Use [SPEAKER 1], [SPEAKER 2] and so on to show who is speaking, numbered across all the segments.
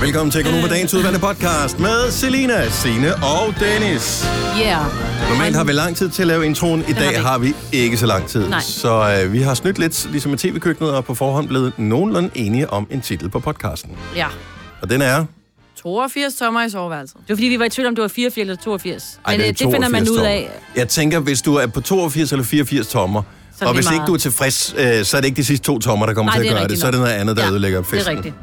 [SPEAKER 1] Velkommen til Konoba Dagens udvalgte podcast med Selina, Sine og Dennis.
[SPEAKER 2] Yeah.
[SPEAKER 1] Normalt har vi lang tid til at lave introen. I dag har vi ikke så lang tid.
[SPEAKER 2] Nej.
[SPEAKER 1] Så øh, vi har snydt lidt, ligesom i tv-køkkenet, og på forhånd blevet nogenlunde enige om en titel på podcasten.
[SPEAKER 3] Ja.
[SPEAKER 1] Og den er...
[SPEAKER 3] 82 tommer i soveværelset.
[SPEAKER 2] Det var fordi, vi var i tvivl om, det var 84 eller 82. Men
[SPEAKER 1] Ej, den er
[SPEAKER 2] øh, det finder man
[SPEAKER 1] 82
[SPEAKER 2] ud
[SPEAKER 1] tommer.
[SPEAKER 2] af.
[SPEAKER 1] Jeg tænker, hvis du er på 82 eller 84 tommer,
[SPEAKER 2] Så er
[SPEAKER 1] og
[SPEAKER 2] det
[SPEAKER 1] hvis
[SPEAKER 2] lige
[SPEAKER 1] ikke
[SPEAKER 2] meget.
[SPEAKER 1] du er tilfreds, øh, så er det ikke de sidste to tommer, der kommer
[SPEAKER 2] Nej,
[SPEAKER 1] til
[SPEAKER 2] det
[SPEAKER 1] at
[SPEAKER 2] er
[SPEAKER 1] gøre det.
[SPEAKER 2] rigtigt
[SPEAKER 1] Så er det
[SPEAKER 2] nok.
[SPEAKER 1] noget andet, der
[SPEAKER 2] Ja,
[SPEAKER 1] ødelægger festen.
[SPEAKER 2] Det er rigtigt.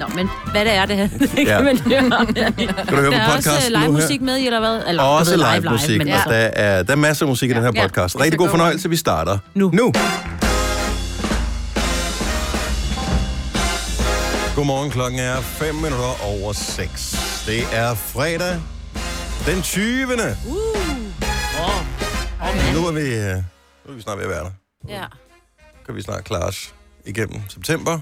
[SPEAKER 2] Nå, men hvad det er, det her, det
[SPEAKER 1] Ja.
[SPEAKER 2] kan man høre.
[SPEAKER 1] Kan du høre
[SPEAKER 2] Der
[SPEAKER 1] på
[SPEAKER 2] er også øh,
[SPEAKER 1] podcasten nu
[SPEAKER 2] live
[SPEAKER 1] her?
[SPEAKER 2] musik med i, eller hvad? Eller,
[SPEAKER 1] Og
[SPEAKER 2] du
[SPEAKER 1] også
[SPEAKER 2] ved,
[SPEAKER 1] live, live musik,
[SPEAKER 2] men
[SPEAKER 1] og der
[SPEAKER 2] altså,
[SPEAKER 1] er, der er masser af musik i den her
[SPEAKER 2] Ja.
[SPEAKER 1] podcast.
[SPEAKER 2] Ja.
[SPEAKER 1] Rigtig god fornøjelse, vi starter nu. nu. Godmorgen, klokken er 5 minutter over 6. Det er fredag den 20. Uh. Nu er vi, øh, nu er vi snart ved at være der.
[SPEAKER 2] ja.
[SPEAKER 1] Kan vi snart klare os igennem september.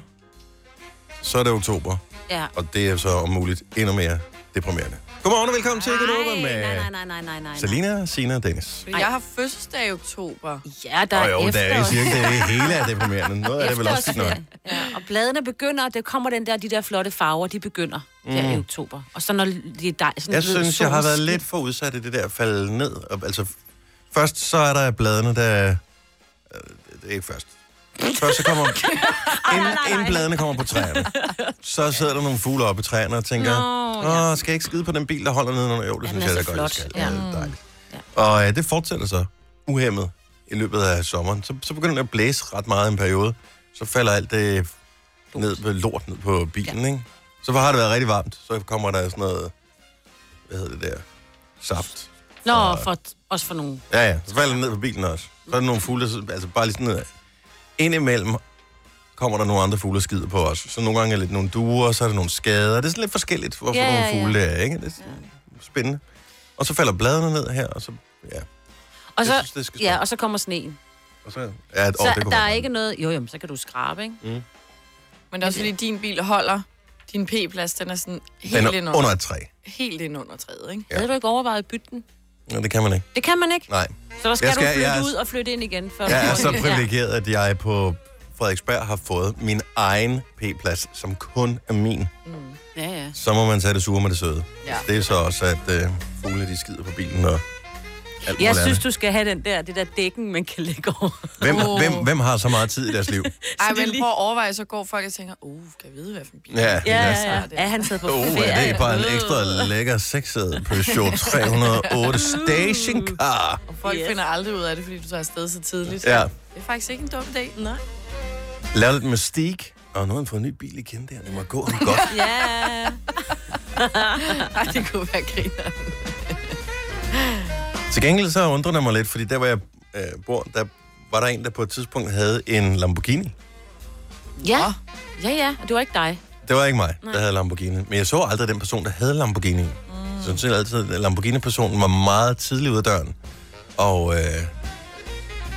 [SPEAKER 1] Så er det oktober,
[SPEAKER 2] ja.
[SPEAKER 1] og det er så om muligt endnu mere deprimerende. Godmorgen og velkommen til Godmorgen med
[SPEAKER 2] Nej, nej, nej, nej, nej, nej.
[SPEAKER 1] Selina, Sina og Dennis.
[SPEAKER 3] Jeg har fødselsdag i oktober.
[SPEAKER 2] Ja, der
[SPEAKER 1] Der
[SPEAKER 2] er
[SPEAKER 1] og jo, der er
[SPEAKER 2] efterårs-
[SPEAKER 1] cirka det hele er deprimerende. Noget af det er vel også tit nok.
[SPEAKER 2] efterårsferie. Ja, og bladene begynder, og det kommer den der, de der flotte farver, de begynder mm. der i oktober. Og så når de er dej, sådan,
[SPEAKER 1] Jeg
[SPEAKER 2] du ved,
[SPEAKER 1] synes, jeg har
[SPEAKER 2] solen
[SPEAKER 1] været
[SPEAKER 2] skin-
[SPEAKER 1] lidt for udsat i det der at falde ned. Og, altså, først så er der bladene, der... øh, Det er ikke først. Først så kommer... inden, inden bladene kommer på træerne. Så sidder der nogle fugle oppe i træerne og tænker...
[SPEAKER 2] Nå,
[SPEAKER 1] Åh, skal jeg ikke skide på den bil, der holder nede under? Jo, det
[SPEAKER 2] Ja,
[SPEAKER 1] synes
[SPEAKER 2] den
[SPEAKER 1] jeg
[SPEAKER 2] er
[SPEAKER 4] altså,
[SPEAKER 1] da
[SPEAKER 2] så
[SPEAKER 1] godt, jeg
[SPEAKER 2] flot. Ja.
[SPEAKER 1] skal. Ja. det er dejligt. Og øh, det fortsætter så uhemmet i løbet af sommeren. Så, så begynder det at blæse ret meget i en periode. Så falder alt det ned, ved- lort ned på bilen, ja. ikke? Så har det været rigtig varmt. Så kommer der sådan noget... Hvad hedder det der? Saft.
[SPEAKER 2] Nå, for, også for nogle...
[SPEAKER 1] Ja, ja. Så falder det ned på bilen også. Så er der nogle fugle, der sidder- altså bare lige sådan ned. Indimellem kommer der nogle andre fugle og skider på os. Så nogle gange er det lidt nogle duer, så er der nogle skader. Det er sådan lidt forskelligt, hvorfor
[SPEAKER 2] Ja,
[SPEAKER 1] ja, nogle
[SPEAKER 2] ja, ja.
[SPEAKER 1] fugle det er, ikke? Det er sådan spændende. Og så falder bladene ned her, og så... Ja,
[SPEAKER 2] Og så,
[SPEAKER 1] Jeg synes, det skal
[SPEAKER 2] ja,
[SPEAKER 1] stoppe.
[SPEAKER 2] og så kommer sneen.
[SPEAKER 1] og så, ja, et,
[SPEAKER 2] Så
[SPEAKER 1] åh, det kunne
[SPEAKER 2] der
[SPEAKER 1] være
[SPEAKER 2] er
[SPEAKER 1] godt.
[SPEAKER 2] ikke noget... Jo, jo, men så kan du skrabe, ikke?
[SPEAKER 3] Men det er også fordi, din bil holder. Din P-plads, den er sådan helt, ind
[SPEAKER 1] Den er
[SPEAKER 3] under,
[SPEAKER 1] under et træ.
[SPEAKER 3] helt ind under træet, ikke?
[SPEAKER 1] Ja.
[SPEAKER 2] Ja. Havde du ikke overvejet at bytte den?
[SPEAKER 1] Ja, det kan man ikke.
[SPEAKER 2] Det kan man ikke.
[SPEAKER 1] Nej.
[SPEAKER 2] Så der skal,
[SPEAKER 1] Jeg
[SPEAKER 2] skal du
[SPEAKER 1] skal-
[SPEAKER 2] flytte
[SPEAKER 1] jeg er-
[SPEAKER 2] ud og flytte ind igen. For
[SPEAKER 1] Jeg er så privilegeret, at jeg på Frederiksberg har fået min egen p-plads, som kun er min.
[SPEAKER 2] Ja, ja.
[SPEAKER 1] Så må man tage det sure med det søde.
[SPEAKER 3] Ja.
[SPEAKER 1] Det er så også, at øh, fugle de skider på bilen og alt
[SPEAKER 2] Jeg
[SPEAKER 1] muligt
[SPEAKER 2] synes,
[SPEAKER 1] andet.
[SPEAKER 2] du skal have den der, det der dækken, man kan lægge over.
[SPEAKER 1] Hvem,
[SPEAKER 3] Åh.
[SPEAKER 1] hvem, hvem har så meget tid i deres liv?
[SPEAKER 3] Ej,
[SPEAKER 2] det er
[SPEAKER 3] men
[SPEAKER 2] lige-
[SPEAKER 3] prøv at overveje, så går folk og tænker, uh, kan jeg vide, hvad for en bil?
[SPEAKER 1] Ja, ja.
[SPEAKER 2] Ja,
[SPEAKER 1] ja.
[SPEAKER 2] ja, ja. Er han taget på
[SPEAKER 1] Oh,
[SPEAKER 2] ferie?
[SPEAKER 1] er det bare en ekstra lækker sexet Peugeot 308 stationcar?
[SPEAKER 3] Folk
[SPEAKER 2] Yes.
[SPEAKER 3] yes. finder aldrig ud af det, fordi du tager afsted så tidligt.
[SPEAKER 1] Ja.
[SPEAKER 3] Det er faktisk ikke en dum dag. Nej.
[SPEAKER 1] Lav lidt mystik. Og nu har han fået en ny bil igen der. Det må gå ham godt.
[SPEAKER 2] Ja.
[SPEAKER 3] Ej, det kunne være griner.
[SPEAKER 1] Til gengæld så undrer det mig lidt, fordi der, hvor jeg øh, bor, der var der en, der på et tidspunkt havde en Lamborghini.
[SPEAKER 2] Ja. Ja, ja. Og det var ikke dig.
[SPEAKER 1] Det var ikke mig, der havde Lamborghini. Men jeg så aldrig den person, der havde Lamborghini. Mm. Så jeg synes altid, at Lamborghini-personen var meget tidlig ud af døren. Og øh,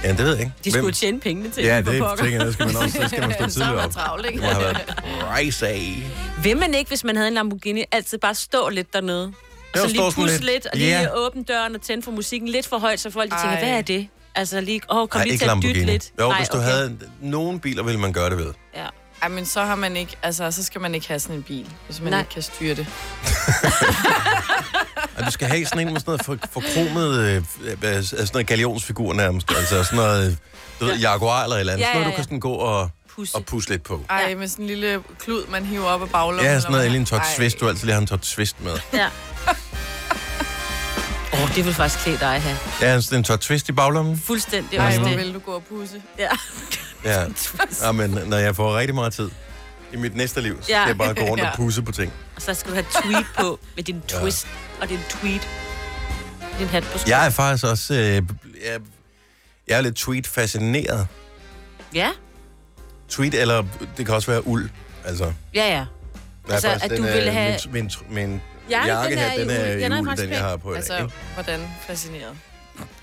[SPEAKER 1] ja, det ved jeg ikke.
[SPEAKER 2] De skulle tjene pengene til
[SPEAKER 1] Ja,
[SPEAKER 2] den, for
[SPEAKER 1] det
[SPEAKER 2] pokker.
[SPEAKER 1] tænker jeg, det skal man også. Det skal man stå
[SPEAKER 3] Så er
[SPEAKER 1] tidligere
[SPEAKER 3] man
[SPEAKER 1] op.
[SPEAKER 3] travlt,
[SPEAKER 1] Det
[SPEAKER 3] ikke?
[SPEAKER 1] må have været rejse af.
[SPEAKER 2] Vil man ikke, hvis man havde en Lamborghini, altid bare stå lidt dernede? Og så
[SPEAKER 1] Jo, stå
[SPEAKER 2] lige
[SPEAKER 1] sådan
[SPEAKER 2] pusse
[SPEAKER 1] lidt.
[SPEAKER 2] lidt. lidt, og lige
[SPEAKER 1] Ja.
[SPEAKER 2] åbne døren og tænde for musikken lidt for højt, så folk de tænker,
[SPEAKER 3] Ej.
[SPEAKER 2] hvad er det? Altså lige, åh, kom
[SPEAKER 1] Nej,
[SPEAKER 2] lige
[SPEAKER 1] ikke
[SPEAKER 2] til at dytte
[SPEAKER 1] Lamborghini.
[SPEAKER 2] lidt.
[SPEAKER 1] Jo,
[SPEAKER 2] Nej,
[SPEAKER 1] hvis du
[SPEAKER 2] okay.
[SPEAKER 1] havde nogen biler, ville man gøre det ved.
[SPEAKER 2] Ja.
[SPEAKER 3] Ej, men så har man ikke, altså, så skal man ikke have sådan en bil, hvis man
[SPEAKER 2] Nej.
[SPEAKER 3] Nej. ikke kan styre det.
[SPEAKER 1] Og du skal have sådan en med sådan noget for, forkromet, øh, øh, øh, sådan noget galionsfigur nærmest. Altså sådan noget, du ved, Jaguar eller et eller andet.
[SPEAKER 2] Ja,
[SPEAKER 1] Sådan
[SPEAKER 2] ja,
[SPEAKER 1] noget, du kan
[SPEAKER 2] ja.
[SPEAKER 1] sådan gå og,
[SPEAKER 2] Pusse.
[SPEAKER 1] og pusse lidt på.
[SPEAKER 3] Ej,
[SPEAKER 2] Ja.
[SPEAKER 3] ja. med sådan en lille klud, man hiver op af baglommen.
[SPEAKER 1] Ja,
[SPEAKER 3] eller
[SPEAKER 1] sådan noget,
[SPEAKER 3] hvad?
[SPEAKER 1] eller en tot
[SPEAKER 3] Ej.
[SPEAKER 1] twist. Du altid lige har en tot twist med.
[SPEAKER 2] Ja. Åh, oh, det vil faktisk klæde dig at have.
[SPEAKER 1] Ja, sådan en tot twist i baglommen. Mhm.
[SPEAKER 2] Fuldstændig
[SPEAKER 3] Ej,
[SPEAKER 2] også
[SPEAKER 3] hvor
[SPEAKER 2] det.
[SPEAKER 3] vil du gå og pusse.
[SPEAKER 2] Ja.
[SPEAKER 1] Ja. ja, men når jeg får rigtig meget tid i mit næste liv, så skal
[SPEAKER 2] Ja.
[SPEAKER 1] jeg bare gå rundt og
[SPEAKER 3] Ja.
[SPEAKER 1] pusse på ting.
[SPEAKER 2] Og så skal du have tweet på med din twist og din tweet. Din hat på skoen.
[SPEAKER 1] Jeg er faktisk også... Øh, jeg, jeg er lidt tweet-fascineret.
[SPEAKER 2] Ja,
[SPEAKER 1] Tweet, eller det kan også være uld. Altså, der
[SPEAKER 2] ja, ja.
[SPEAKER 1] er
[SPEAKER 2] Altså, at du
[SPEAKER 1] øh,
[SPEAKER 2] ville have-
[SPEAKER 1] Min, min, tr- min
[SPEAKER 2] Ja,
[SPEAKER 1] jakke her, den er i uld,
[SPEAKER 2] faktisk
[SPEAKER 1] den jeg
[SPEAKER 2] pæn.
[SPEAKER 1] har på i dag.
[SPEAKER 3] Altså,
[SPEAKER 1] ikke? Øh,
[SPEAKER 3] hvordan fascineret.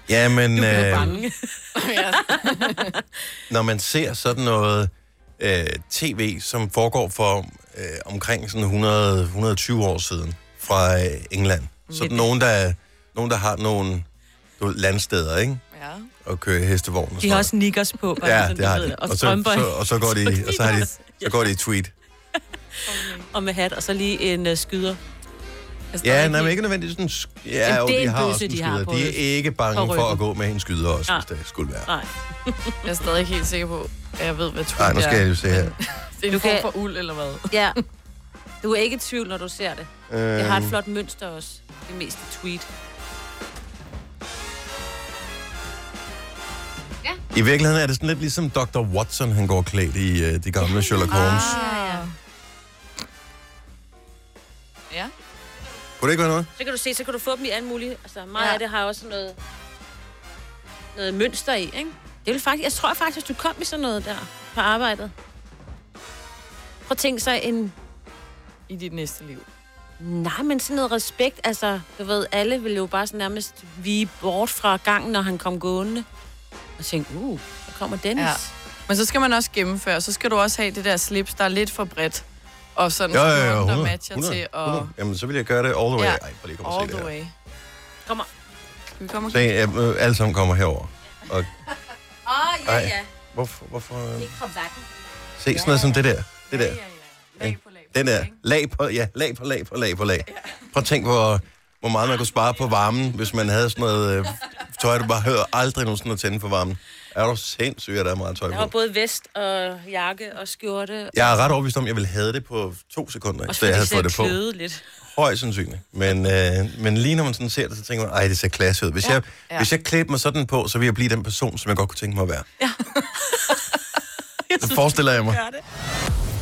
[SPEAKER 1] Ja, men
[SPEAKER 2] Du blev
[SPEAKER 1] øh,
[SPEAKER 2] bange.
[SPEAKER 3] ja,
[SPEAKER 1] når man ser sådan noget øh, tv, som foregår for øh, omkring sådan 100, 120 år siden fra øh, England. Sådan nogen, der, nogen, der har nogle du ved, landsteder, ikke?
[SPEAKER 3] ja.
[SPEAKER 1] og kører hestevogn og
[SPEAKER 2] De
[SPEAKER 1] sådan
[SPEAKER 2] har
[SPEAKER 1] noget.
[SPEAKER 2] også sneakers på, bare
[SPEAKER 1] Ja,
[SPEAKER 2] sådan,
[SPEAKER 1] det
[SPEAKER 2] du
[SPEAKER 1] har
[SPEAKER 2] ved
[SPEAKER 1] de.
[SPEAKER 2] Og
[SPEAKER 1] så,
[SPEAKER 2] strømper. Altså,
[SPEAKER 1] så, og så går de, og så har de, så går de i tweet.
[SPEAKER 2] og med hat, og så lige en øh, skyder. Altså, der er
[SPEAKER 1] Ja,
[SPEAKER 2] ikke
[SPEAKER 1] nej, men
[SPEAKER 2] helt-
[SPEAKER 1] ikke nødvendigvis sådan... en sk- Ja,
[SPEAKER 2] Jamen,
[SPEAKER 1] jo,
[SPEAKER 2] det er
[SPEAKER 1] de
[SPEAKER 2] en
[SPEAKER 1] har
[SPEAKER 2] bøsse,
[SPEAKER 1] også en
[SPEAKER 2] de har
[SPEAKER 1] skyder.
[SPEAKER 2] på-
[SPEAKER 1] De er ikke
[SPEAKER 2] på
[SPEAKER 1] bange for
[SPEAKER 2] ryggen.
[SPEAKER 1] at gå med en skyder også, hvis det skulle være.
[SPEAKER 2] Nej.
[SPEAKER 3] Jeg er stadig ikke helt sikker på, at jeg ved, hvad tun
[SPEAKER 1] Nej, nu skal
[SPEAKER 3] er.
[SPEAKER 1] jeg lige se her.
[SPEAKER 3] Det er
[SPEAKER 2] Du
[SPEAKER 3] en form
[SPEAKER 2] kan-
[SPEAKER 3] for uld eller hvad.
[SPEAKER 2] Ja. Du er ikke i tvivl, når du ser det. Det har et
[SPEAKER 1] Øhm.
[SPEAKER 2] flot mønster også. Det meste tweet.
[SPEAKER 1] I virkeligheden er det sådan lidt ligesom Dr. Watson, han går klædt i øh, de gamle Sherlock Holmes.
[SPEAKER 2] Ah. ja.
[SPEAKER 3] Ja.
[SPEAKER 1] Kunne det ikke være noget?
[SPEAKER 2] Så kan du se, så kan du få dem i alt muligt. Altså, meget
[SPEAKER 3] Ja.
[SPEAKER 2] ja. af det har også noget, noget mønster i, ikke? Det vil faktisk, jeg tror faktisk, du kom i sådan noget der på arbejdet. Prøv at tænke sig en...
[SPEAKER 3] I dit næste liv.
[SPEAKER 2] Nej, men sådan noget respekt. Altså, du ved, alle ville jo bare sådan nærmest vige bort fra gangen, når han kom gående. Og tænkte, uh, der kommer Dennis.
[SPEAKER 3] Ja.
[SPEAKER 2] Ja.
[SPEAKER 3] Men så skal man også gennemføre. Så skal du også have det der slips, der er lidt for bredt. Og sådan
[SPEAKER 1] Jo, jo,
[SPEAKER 3] skjorten,
[SPEAKER 1] jo.
[SPEAKER 3] der
[SPEAKER 1] 100,
[SPEAKER 3] matcher
[SPEAKER 1] 100,
[SPEAKER 3] til.
[SPEAKER 1] 100.
[SPEAKER 3] Og
[SPEAKER 1] Jamen, så vil jeg gøre det all the way.
[SPEAKER 3] Ja.
[SPEAKER 1] Ej, prøv lige at komme og
[SPEAKER 3] all
[SPEAKER 1] se det
[SPEAKER 3] the
[SPEAKER 1] her.
[SPEAKER 3] way.
[SPEAKER 2] Kommer.
[SPEAKER 3] Skal vi komme og
[SPEAKER 1] Se, øh, øh, alle sammen kommer herover. Og,
[SPEAKER 2] Åh, oh,
[SPEAKER 1] ej, hvorfor, hvorfor? øh,
[SPEAKER 2] Ikke fra vatten.
[SPEAKER 1] Se, sådan noget som det der. Det der.
[SPEAKER 3] Lag på lag på
[SPEAKER 1] Den der.
[SPEAKER 3] lag, ikke?
[SPEAKER 1] Lag på, ja, lag på lag på lag på lag. Prøv at tænk på, hvor meget man kunne spare på varmen, hvis man havde sådan noget øh, tøj, du bare hører aldrig nogensinde at tænde for varmen. Er du sindssyg, at der er meget tøj
[SPEAKER 2] Der var
[SPEAKER 1] på?
[SPEAKER 2] både vest og jakke og skjorte.
[SPEAKER 1] Jeg er ret overbevist om, at jeg ville have det på to sekunder,
[SPEAKER 2] Og
[SPEAKER 1] hvis
[SPEAKER 2] så
[SPEAKER 1] jeg
[SPEAKER 2] de
[SPEAKER 1] havde
[SPEAKER 2] sådan
[SPEAKER 1] fået det på.
[SPEAKER 2] kløede lidt.
[SPEAKER 1] Højst sandsynligt. Men, øh, men lige når man sådan ser det, så tænker man, ej, det ser klasse ud. Hvis, ja. Jeg,
[SPEAKER 3] Ja.
[SPEAKER 1] hvis jeg klædte mig sådan på, så ville jeg blive den person, som jeg godt kunne tænke mig at være. Ja. det forestiller jeg mig.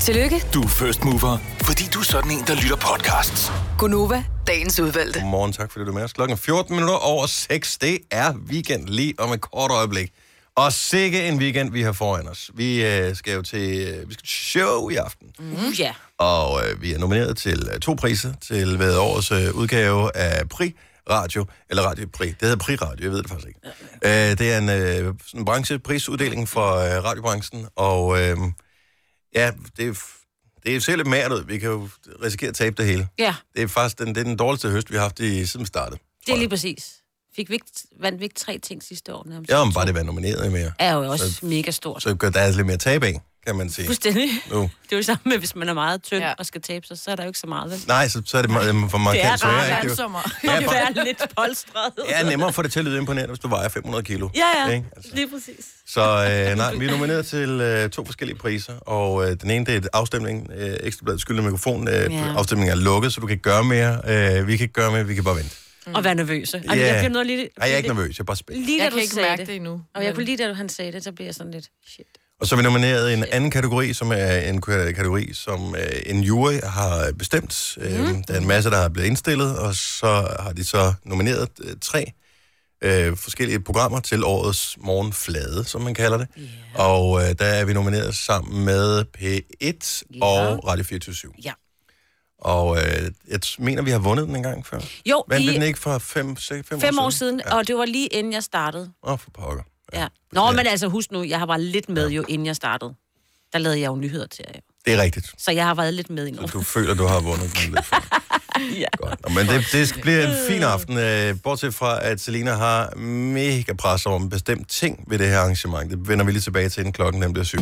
[SPEAKER 5] Tillykke,
[SPEAKER 6] Du er first mover, fordi du er sådan en, der lytter podcasts.
[SPEAKER 5] Gunova, dagens udvalgte.
[SPEAKER 1] Godmorgen, tak fordi du er med os. Klokken er 14 minutter over 6. Det er weekend lige om et kort øjeblik. Og sikke en weekend, vi har foran os. Vi øh, skal jo til, øh, vi skal til show i aften.
[SPEAKER 2] Uh, ja.
[SPEAKER 1] Og øh, vi er nomineret til øh, to priser til ved årets øh, udgave af Pri Radio, eller Radio Pri. Det hedder Pri Radio, jeg ved det faktisk ikke. Øh, det er en, øh, sådan en brancheprisuddeling for øh, radiobranchen, og øh, ja, det, er f- det ser lidt mært ud. Vi kan jo risikere at tabe det hele.
[SPEAKER 2] Ja,
[SPEAKER 1] Det er faktisk den, det er den dårligste høst, vi har haft i, siden vi startede.
[SPEAKER 2] det er lige præcis. Fik vi ikke, vandt vi ikke tre ting sidste år nærmest?
[SPEAKER 1] Ja, om bare det var nomineret mere.
[SPEAKER 2] Er jo også mega stort.
[SPEAKER 1] Så gør der altså lidt mere tab af, kan man sige.
[SPEAKER 2] Fuldstændig.
[SPEAKER 1] Nu.
[SPEAKER 2] Det er jo det samme med, hvis man er meget tynd
[SPEAKER 3] Ja.
[SPEAKER 2] ja. og skal tabe sig, så er der jo ikke så meget. Vel?
[SPEAKER 1] Nej, så, så er det ma- for markant
[SPEAKER 2] Det er
[SPEAKER 1] sværere,
[SPEAKER 2] rart,
[SPEAKER 1] ikke?
[SPEAKER 3] lag.
[SPEAKER 1] Det er jo-
[SPEAKER 3] Dansommer.
[SPEAKER 1] Ja,
[SPEAKER 2] Det
[SPEAKER 1] bare-
[SPEAKER 2] er lidt polstret.
[SPEAKER 1] Ja, nemmere at få det til at lyde imponerende, hvis du vejer 500 kilo.
[SPEAKER 2] Ja, ja.
[SPEAKER 1] Ikke? Altså.
[SPEAKER 2] Lige præcis.
[SPEAKER 1] Så øh, nej, vi er nomineret til øh, to forskellige priser, og øh, den ene, det er et afstemning, øh, ekstrabladet skyldende mikrofon, øh, ja. afstemningen er lukket, så du kan ikke gøre mere, øh, vi kan ikke gøre mere, vi kan bare vente.
[SPEAKER 2] Og være nervøse. Og
[SPEAKER 1] Ja.
[SPEAKER 2] jeg bliver noget lige...
[SPEAKER 1] Nej, jeg er ikke nervøs, jeg er bare spændt.
[SPEAKER 2] Lige da
[SPEAKER 3] Jeg
[SPEAKER 2] du
[SPEAKER 3] kan ikke
[SPEAKER 2] sagde
[SPEAKER 3] mærke
[SPEAKER 2] det.
[SPEAKER 3] det endnu.
[SPEAKER 2] Og jeg
[SPEAKER 3] men-
[SPEAKER 2] kunne lige da han sagde det, så blev jeg sådan lidt... Shit.
[SPEAKER 1] Og så er vi nomineret i en anden kategori, som er en k- kategori, som øh, en jury har bestemt.
[SPEAKER 2] Mhm.
[SPEAKER 1] Mm. Der er en masse, der er blevet indstillet, og så har de så nomineret øh, tre øh, forskellige programmer til årets morgenflade, som man kalder det. Yeah. Og øh, der er vi nomineret sammen med P1 yeah. og Radio 24
[SPEAKER 2] Ja.
[SPEAKER 1] Og øh, jeg t- mener, vi har vundet den en gang før.
[SPEAKER 2] Jo,
[SPEAKER 1] Vandt vi
[SPEAKER 2] i
[SPEAKER 1] den ikke for fem, seks, fem,
[SPEAKER 2] fem år siden, og det var lige inden jeg startede.
[SPEAKER 1] Åh, oh, for pokker.
[SPEAKER 2] Ja. Nå, men altså husk nu, jeg har været lidt med jo, inden jeg startede. Der lavede jeg jo nyheder til jer. jo.
[SPEAKER 1] Det er rigtigt.
[SPEAKER 2] Så jeg har været lidt med endnu.
[SPEAKER 1] Så du føler, du har vundet den lidt. ja. Godt. Nå, men det, det bliver en fin aften, øh, bortset fra, at Selina har mega pres over en bestemt ting ved det her arrangement. Det vender vi lige tilbage til, inden klokken den bliver syv.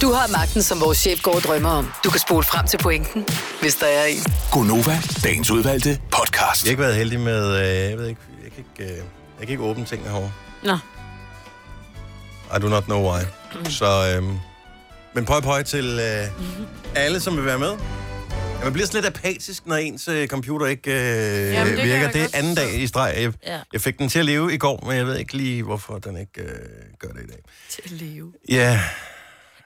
[SPEAKER 5] Du har magten, som vores chef går og drømmer om. Du kan spole frem til pointen, hvis der er en.
[SPEAKER 6] Gonova, dagens udvalgte podcast.
[SPEAKER 1] Jeg har ikke været heldig med, øh, jeg ved ikke, jeg kan ikke, øh, jeg kan ikke åbne ting herovre.
[SPEAKER 2] Nå, Mm.
[SPEAKER 1] I do not know why. Så, øh, men pøj pøj til øh,
[SPEAKER 2] Mm-hmm.
[SPEAKER 1] alle, som vil være med. Ja, man bliver sådan lidt apatisk, når ens øh, computer ikke øh,
[SPEAKER 3] kan
[SPEAKER 1] Jamen,
[SPEAKER 3] jeg
[SPEAKER 1] det virker.
[SPEAKER 3] da
[SPEAKER 1] Det er
[SPEAKER 3] godt
[SPEAKER 1] anden dag i streg. Jeg, ja.
[SPEAKER 2] Ja.
[SPEAKER 1] jeg fik den til at leve i går, men jeg ved ikke lige, hvorfor den ikke øh, gør det i dag.
[SPEAKER 3] Til at leve.
[SPEAKER 1] Ja,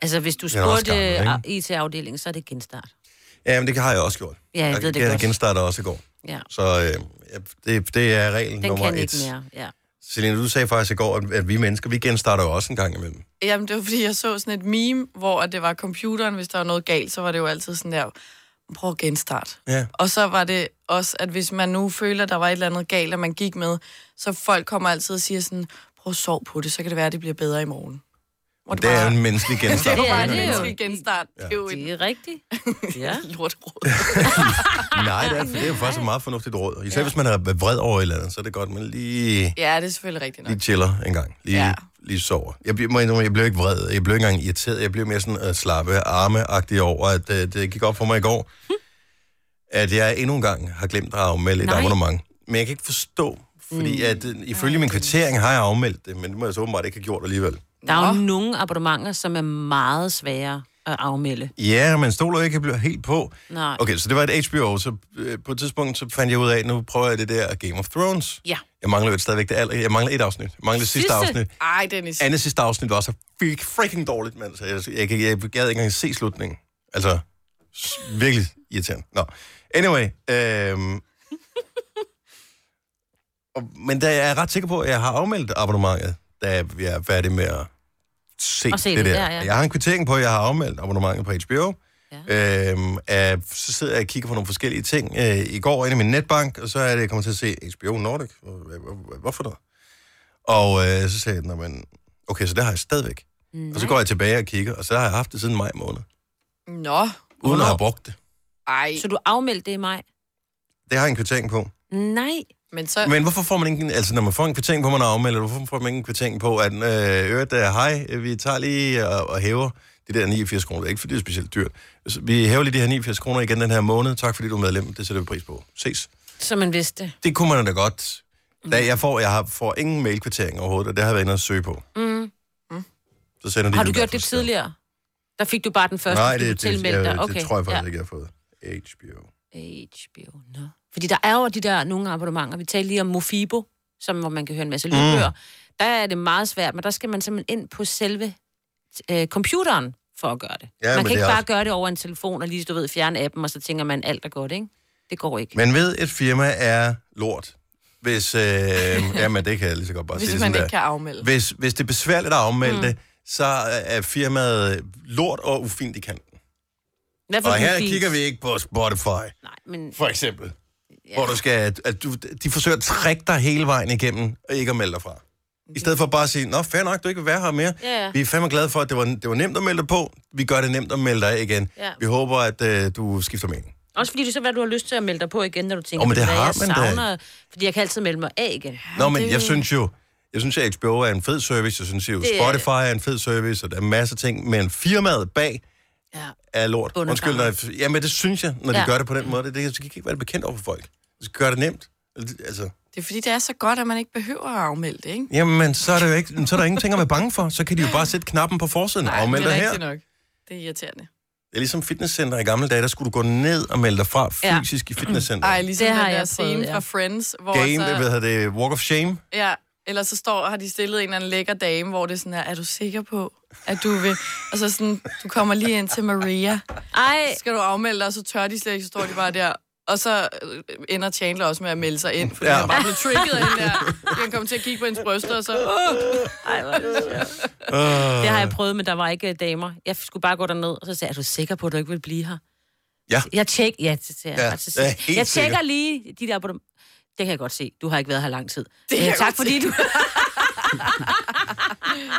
[SPEAKER 2] altså hvis du
[SPEAKER 1] er også
[SPEAKER 2] spurgte ah,
[SPEAKER 1] gammel,
[SPEAKER 2] IT-afdelingen, så er det genstart.
[SPEAKER 1] ja men det har jeg også gjort.
[SPEAKER 2] Ja, jeg ved det
[SPEAKER 1] jeg
[SPEAKER 2] godt.
[SPEAKER 1] genstarter også i går.
[SPEAKER 2] Ja.
[SPEAKER 1] Så øh, ja, det, det er regel
[SPEAKER 2] Den
[SPEAKER 1] nummer
[SPEAKER 2] kan
[SPEAKER 1] et.
[SPEAKER 2] ikke mere. Ja.
[SPEAKER 1] Selina, du sagde faktisk i går, at, at vi mennesker, vi genstarter jo også en gang imellem.
[SPEAKER 3] Jamen, det var fordi, jeg så sådan et meme, hvor at det var computeren, hvis der var noget galt, så var det jo altid sådan der, prøv at genstart.
[SPEAKER 1] Ja.
[SPEAKER 3] Og så var det også, at hvis man nu føler, der var et eller andet galt, og man gik med, så folk kommer altid og siger sådan, prøv at sove på det, så kan det være, at det bliver bedre i morgen. Hvor
[SPEAKER 1] Det er jo
[SPEAKER 3] bare-
[SPEAKER 1] en menneskelig genstart.
[SPEAKER 3] det er bare
[SPEAKER 2] det er
[SPEAKER 3] en
[SPEAKER 2] jo.
[SPEAKER 3] menneskelig genstart. Det er jo en
[SPEAKER 2] Det er rigtigt. Ja.
[SPEAKER 3] lort råd.
[SPEAKER 1] Nej, det er, det er jo faktisk et meget fornuftigt råd. Især ja. hvis man er vred over et eller andet, så er det godt, man lige,
[SPEAKER 3] Ja, det er selvfølgelig rigtigt nok.
[SPEAKER 1] lige chiller en gang. Lige, ja.
[SPEAKER 3] Ja.
[SPEAKER 1] lige sover. Jeg, bliver- må jeg, indrømme, jeg blev ikke øh, vred. Jeg blev ikke engang irriteret. Jeg blev mere sådan uh, slappe arme over, at uh, det gik op for mig i går. at jeg endnu en gang har glemt at afmelde et
[SPEAKER 2] Nej.
[SPEAKER 1] abonnement. Men jeg kan ikke forstå, fordi at, øh, ifølge min kvittering har jeg afmeldt det, men det må jeg så åbenbart ikke have gjort alligevel.
[SPEAKER 2] Der er jo nogle abonnementer, som er meget svære at afmelde.
[SPEAKER 1] Ja, men stoler ikke bliver helt på.
[SPEAKER 2] Nej.
[SPEAKER 1] Okay, så det var et HBO, så øh, på et tidspunkt så fandt jeg ud af, at nu prøver jeg det der Game of Thrones.
[SPEAKER 2] Ja.
[SPEAKER 1] Jeg mangler jo stadigvæk det aller, jeg mangler et afsnit. Jeg mangler det sidste,
[SPEAKER 2] Sidste?
[SPEAKER 1] afsnit.
[SPEAKER 3] Ej, Dennis.
[SPEAKER 1] Andet sidste afsnit var så freak- freaking dårligt, mand. Så jeg, jeg, jeg, jeg gad ikke engang se slutningen. Altså, s- virkelig irriterende. Nå. Anyway, øhm, og, men da jeg er ret sikker på, at jeg har afmeldt abonnementet, da jeg er færdig med at se,
[SPEAKER 2] Og se
[SPEAKER 1] det,
[SPEAKER 2] det
[SPEAKER 1] der.
[SPEAKER 2] der, ja.
[SPEAKER 1] Jeg har en kvittering på, at jeg har afmeldt abonnementet på HBO. Ja. Øhm, af, så sidder jeg og kigger på nogle forskellige ting. Øh, I går inde i min netbank, og så er det, jeg kommer til at se HBO Nordic. Hvor- hvor- hvor- Hvorfor der? Og øh, så sagde jeg, "Nå, men okay, så det har jeg stadigvæk. Nej. Og så går jeg tilbage og kigger, og så har jeg haft det siden maj måned,
[SPEAKER 3] Nå.
[SPEAKER 1] uden at have brugt det.
[SPEAKER 3] Ej,
[SPEAKER 2] Så du afmeldte det i mig?
[SPEAKER 1] Det har jeg en kvittering på.
[SPEAKER 2] Nej.
[SPEAKER 3] men så...
[SPEAKER 2] Øh.
[SPEAKER 1] Men hvorfor får man ingen, altså når man får en kvittering på, at man afmelder, hvorfor får man ingen kvittering på, at øh, øret er, hej, øh, vi tager lige og, og hæver de der 89 kroner. Det er ikke, fordi det er specielt dyrt. Så Vi hæver lige de her 89 kroner igen den her måned. Tak fordi du er medlem. Det sætter vi pris på. Ses.
[SPEAKER 2] Så man vidste det.
[SPEAKER 1] Det kunne man da godt.
[SPEAKER 2] Mm.
[SPEAKER 1] Da jeg får, jeg har, får ingen mailkvittering overhovedet, og det har jeg været inde og søge på. Mm. Så sender de
[SPEAKER 2] Har
[SPEAKER 1] den
[SPEAKER 2] du
[SPEAKER 1] der
[SPEAKER 2] gjort det
[SPEAKER 1] fra-
[SPEAKER 2] tidligere? Der fik du bare den første,
[SPEAKER 1] Nej,
[SPEAKER 2] fordi
[SPEAKER 1] det,
[SPEAKER 2] du
[SPEAKER 1] det,
[SPEAKER 2] tilmeldte
[SPEAKER 1] jeg,
[SPEAKER 2] dig.
[SPEAKER 1] det tror jeg faktisk
[SPEAKER 2] ja.
[SPEAKER 1] ikke, jeg har fået. HBO.
[SPEAKER 2] HBO, no. Fordi der er jo de der nogle abonnementer. Vi talte lige om Mofibo, som, hvor man kan høre en masse
[SPEAKER 1] Mm.
[SPEAKER 2] lydbøger. Der er det meget svært, men der skal man simpelthen ind på selve øh, computeren for at gøre det.
[SPEAKER 1] Ja,
[SPEAKER 2] man kan
[SPEAKER 1] men det
[SPEAKER 2] ikke
[SPEAKER 1] er
[SPEAKER 2] bare
[SPEAKER 1] også-
[SPEAKER 2] gøre det over en telefon og lige, du ved, fjerne appen, og så tænker man, alt er godt, ikke? Det går ikke.
[SPEAKER 1] Men ved, et firma er lort. Hvis, øh, jamen, det kan jeg lige så godt bare sige
[SPEAKER 3] Hvis
[SPEAKER 1] det
[SPEAKER 3] Ligesom man ikke
[SPEAKER 1] sådan der.
[SPEAKER 3] kan afmelde.
[SPEAKER 1] Hvis, hvis det er besværligt at afmelde mm. det, så er firmaet lort og ufint i kanten.
[SPEAKER 2] I hvert fald
[SPEAKER 1] Og her
[SPEAKER 2] mobil.
[SPEAKER 1] kigger vi ikke på Spotify,
[SPEAKER 2] Nej, men
[SPEAKER 1] for eksempel. Ja. Hvor du skal, at, at du, de forsøger at trække dig hele vejen igennem, og ikke at melde dig fra. I stedet for bare at sige, nå, fair nok, du ikke vil være her mere.
[SPEAKER 2] Ja, ja.
[SPEAKER 1] Vi er fandme glade for, at det var, det var nemt at melde dig på. Vi gør det nemt at melde dig af igen.
[SPEAKER 2] Ja.
[SPEAKER 1] Vi håber, at øh, du skifter mening.
[SPEAKER 2] også fordi det er så, hvad du har lyst til at melde dig på igen, når du tænker,
[SPEAKER 1] Åh, men
[SPEAKER 2] "Ved du
[SPEAKER 1] det
[SPEAKER 2] hvad,
[SPEAKER 1] har
[SPEAKER 2] jeg
[SPEAKER 1] man da.
[SPEAKER 2] savner, fordi jeg kan altid melde mig af igen.
[SPEAKER 1] Nå, men jeg synes jo, jeg synes, at HBO er en fed service, jeg synes jo,
[SPEAKER 2] Det er
[SPEAKER 1] Spotify er en fed service, og der er masser af ting, men firmaet bag
[SPEAKER 2] Ja.
[SPEAKER 1] er lort.
[SPEAKER 2] Bundet
[SPEAKER 1] Undskyld, når jeg, jamen det synes jeg, når ja.
[SPEAKER 2] Ja.
[SPEAKER 1] de gør det på den måde. Det, det, jeg skal ikke være bekendt over for folk. Jeg skal gøre det nemt. Altså,
[SPEAKER 3] Det er fordi, det er så godt, at man ikke behøver at afmelde det, ikke?
[SPEAKER 1] jamen, så er, det jo ikke, så er der ingenting at være bange for. Så kan de jo bare sætte knappen på forsiden og melde
[SPEAKER 3] det
[SPEAKER 1] dig
[SPEAKER 3] er
[SPEAKER 1] her.
[SPEAKER 3] rigtigt nok. Det er irriterende.
[SPEAKER 1] Det er ligesom fitnesscenter i gamle dage, der skulle du gå ned og melde dig fra
[SPEAKER 2] Ja.
[SPEAKER 1] fysisk i fitnesscenter.
[SPEAKER 3] Ej, ligesom
[SPEAKER 2] Det
[SPEAKER 3] det
[SPEAKER 2] har
[SPEAKER 3] den der
[SPEAKER 2] jeg prøvet,
[SPEAKER 3] scene
[SPEAKER 2] ja.
[SPEAKER 3] fra Friends, hvor
[SPEAKER 1] Game,
[SPEAKER 3] så...
[SPEAKER 1] hvad hedder det, walk of shame.
[SPEAKER 3] Ja, eller så står, har de stillet en eller anden lækker dame, hvor det er sådan her, er du sikker på, at du vil... Og så sådan, du kommer lige ind til Maria,
[SPEAKER 2] Ej,
[SPEAKER 3] så skal du afmelde dig, og så tør de slet ikke, så står de bare der. Og så øh, ender Chandler også med at melde sig ind, fordi
[SPEAKER 1] Ja.
[SPEAKER 3] ja. han bare blev trigget af den der. fordi Han kom til at kigge på hendes bryster, og så... Uh,
[SPEAKER 2] Ej, hvor er det sjovt. Det har jeg prøvet, men der var ikke øh, damer. Jeg skulle bare gå derned, og så sagde jeg, er du sikker på, at du ikke vil blive her?
[SPEAKER 1] Ja.
[SPEAKER 2] Jeg tjek, ja, så siger jeg.
[SPEAKER 1] Ja,
[SPEAKER 2] Og så
[SPEAKER 1] jeg er
[SPEAKER 2] siger,
[SPEAKER 1] helt
[SPEAKER 2] jeg, jeg
[SPEAKER 1] sikker.
[SPEAKER 2] tjekker lige de der på dem. Det kan jeg godt se. Du har ikke været her lang tid.
[SPEAKER 3] kan
[SPEAKER 2] Øh,
[SPEAKER 3] jeg
[SPEAKER 2] tak
[SPEAKER 3] godt
[SPEAKER 2] fordi du...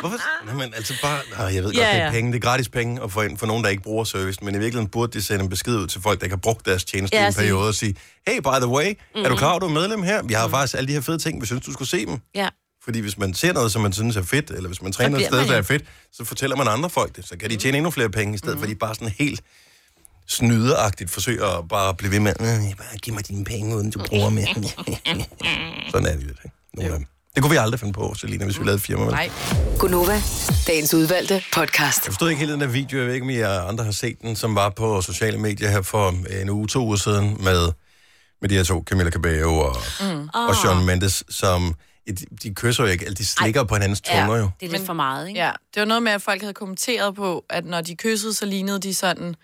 [SPEAKER 1] Hvorfor? Nå, men altså bare... Nå, jeg ved godt,
[SPEAKER 2] Ja,
[SPEAKER 1] det er
[SPEAKER 2] ja.
[SPEAKER 1] penge. Det er gratis penge at få ind for nogen, der ikke bruger servicen. Men i virkeligheden burde de sende en besked ud til folk, der ikke har brugt deres tjeneste
[SPEAKER 2] Ja, Mhm.
[SPEAKER 1] i en
[SPEAKER 2] sige-
[SPEAKER 1] periode og sige, hey, by the way, mm-hmm. er du klar, over, du er medlem her? Vi har
[SPEAKER 2] Mhm.
[SPEAKER 1] mm-hmm. faktisk alle de her fede ting, vi synes, du skulle se dem.
[SPEAKER 2] Ja.
[SPEAKER 1] Fordi hvis man ser noget, som man synes er fedt, eller hvis man træner et
[SPEAKER 2] bliver
[SPEAKER 1] sted,
[SPEAKER 2] man
[SPEAKER 1] der
[SPEAKER 2] jo.
[SPEAKER 1] er fedt, så fortæller man andre folk det. Så kan de tjene endnu flere penge, i stedet
[SPEAKER 2] Mhm.
[SPEAKER 1] for at de bare sådan helt snydeagtigt forsøger at bare blive ved med, "Øh, bare giv mig dine penge, uden du bruger mere. sådan er det lidt, ikke? Nogle af dem. Det kunne vi aldrig finde på, Selina, hvis vi lavede et firma. vel?
[SPEAKER 3] nej.
[SPEAKER 5] Gunova, dagens udvalgte podcast.
[SPEAKER 1] Jeg forstod ikke helt den der video, jeg ved ikke, om I andre har set den, som var på sociale medier her for en uge, to uger siden, med, med de her to, Camilla Cabello og, mm. og Sean Mendes, som de, de kysser jo ikke, eller de slikker Ej. på hinandens tunger jo.
[SPEAKER 2] Det er lidt for meget, ikke?
[SPEAKER 3] Ja, det var noget med, at folk havde kommenteret på, at når de kyssede, så lignede de sådan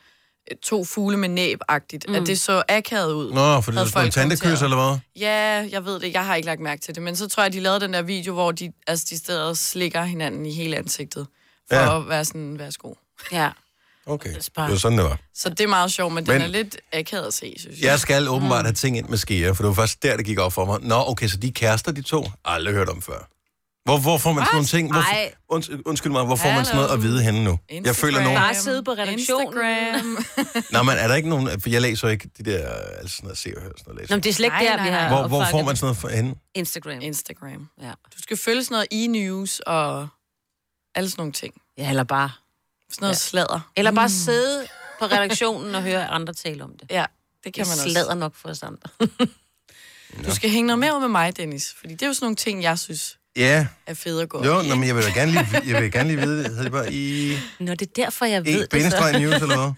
[SPEAKER 3] øh, to fugle med næb-agtigt. Mm. At det så akavet ud.
[SPEAKER 1] Nå, for det er
[SPEAKER 3] havde
[SPEAKER 1] sådan en
[SPEAKER 3] folk kommenteret.
[SPEAKER 1] tantekys, eller hvad?
[SPEAKER 3] Ja, jeg ved det. Jeg har ikke lagt mærke til det. Men så tror jeg, de lavede den der video, hvor de, altså, de steder slikker hinanden i hele ansigtet. For
[SPEAKER 1] Ja.
[SPEAKER 3] ja. at være sådan, værsgo.
[SPEAKER 2] ja.
[SPEAKER 1] Okay,
[SPEAKER 2] er
[SPEAKER 1] det
[SPEAKER 2] smart.
[SPEAKER 1] var sådan, det var.
[SPEAKER 3] Så det er meget sjovt, men, men
[SPEAKER 1] Men-
[SPEAKER 3] den er lidt akavet at se, synes jeg.
[SPEAKER 1] Jeg skal åbenbart have ting ind med skeer, for det var først der, det gik op for mig. Nå, okay, så de er kærester, de to? Aldrig hørt om før. Hvor, hvor får man sådan nogle ting? Hvor,
[SPEAKER 2] Ej.
[SPEAKER 1] unds, undskyld mig, hvor får man sådan
[SPEAKER 3] Hallo.
[SPEAKER 1] noget at vide henne nu? Jeg føler nogen...
[SPEAKER 2] Bare sidde på redaktionen.
[SPEAKER 3] Instagram.
[SPEAKER 1] Nå, men er der ikke nogen... For jeg læser jo ikke de der... Altså sådan noget, se og hør, sådan noget.
[SPEAKER 2] Nå,
[SPEAKER 1] Læser.
[SPEAKER 2] men det er slet ikke
[SPEAKER 3] Nej,
[SPEAKER 2] der,
[SPEAKER 3] nej,
[SPEAKER 2] vi
[SPEAKER 3] nej.
[SPEAKER 2] har
[SPEAKER 1] Hvor, hvor
[SPEAKER 2] opfanget
[SPEAKER 1] får man sådan noget for henne?
[SPEAKER 2] Instagram.
[SPEAKER 3] Instagram.
[SPEAKER 2] Ja.
[SPEAKER 3] Du skal følge sådan noget e-news og alle sådan nogle ting.
[SPEAKER 2] ja, eller bare...
[SPEAKER 3] Sådan noget ja. sladder. Mm.
[SPEAKER 2] Eller bare sidde på redaktionen og høre andre tale om det.
[SPEAKER 3] Ja. Det kan
[SPEAKER 2] Det
[SPEAKER 3] man
[SPEAKER 2] slader
[SPEAKER 3] også.
[SPEAKER 2] nok for os andre.
[SPEAKER 3] Du skal hænge noget mere ud med mig, Dennis. Fordi det er jo sådan nogle ting, jeg synes
[SPEAKER 1] Ja,
[SPEAKER 3] er fede at gå op
[SPEAKER 1] jo,
[SPEAKER 3] i.
[SPEAKER 1] nå, men jeg vil da gerne lige, jeg vil gerne lige vide, hedder det bare i
[SPEAKER 2] Nå, det er derfor, jeg ved det så.
[SPEAKER 1] e news eller hvad?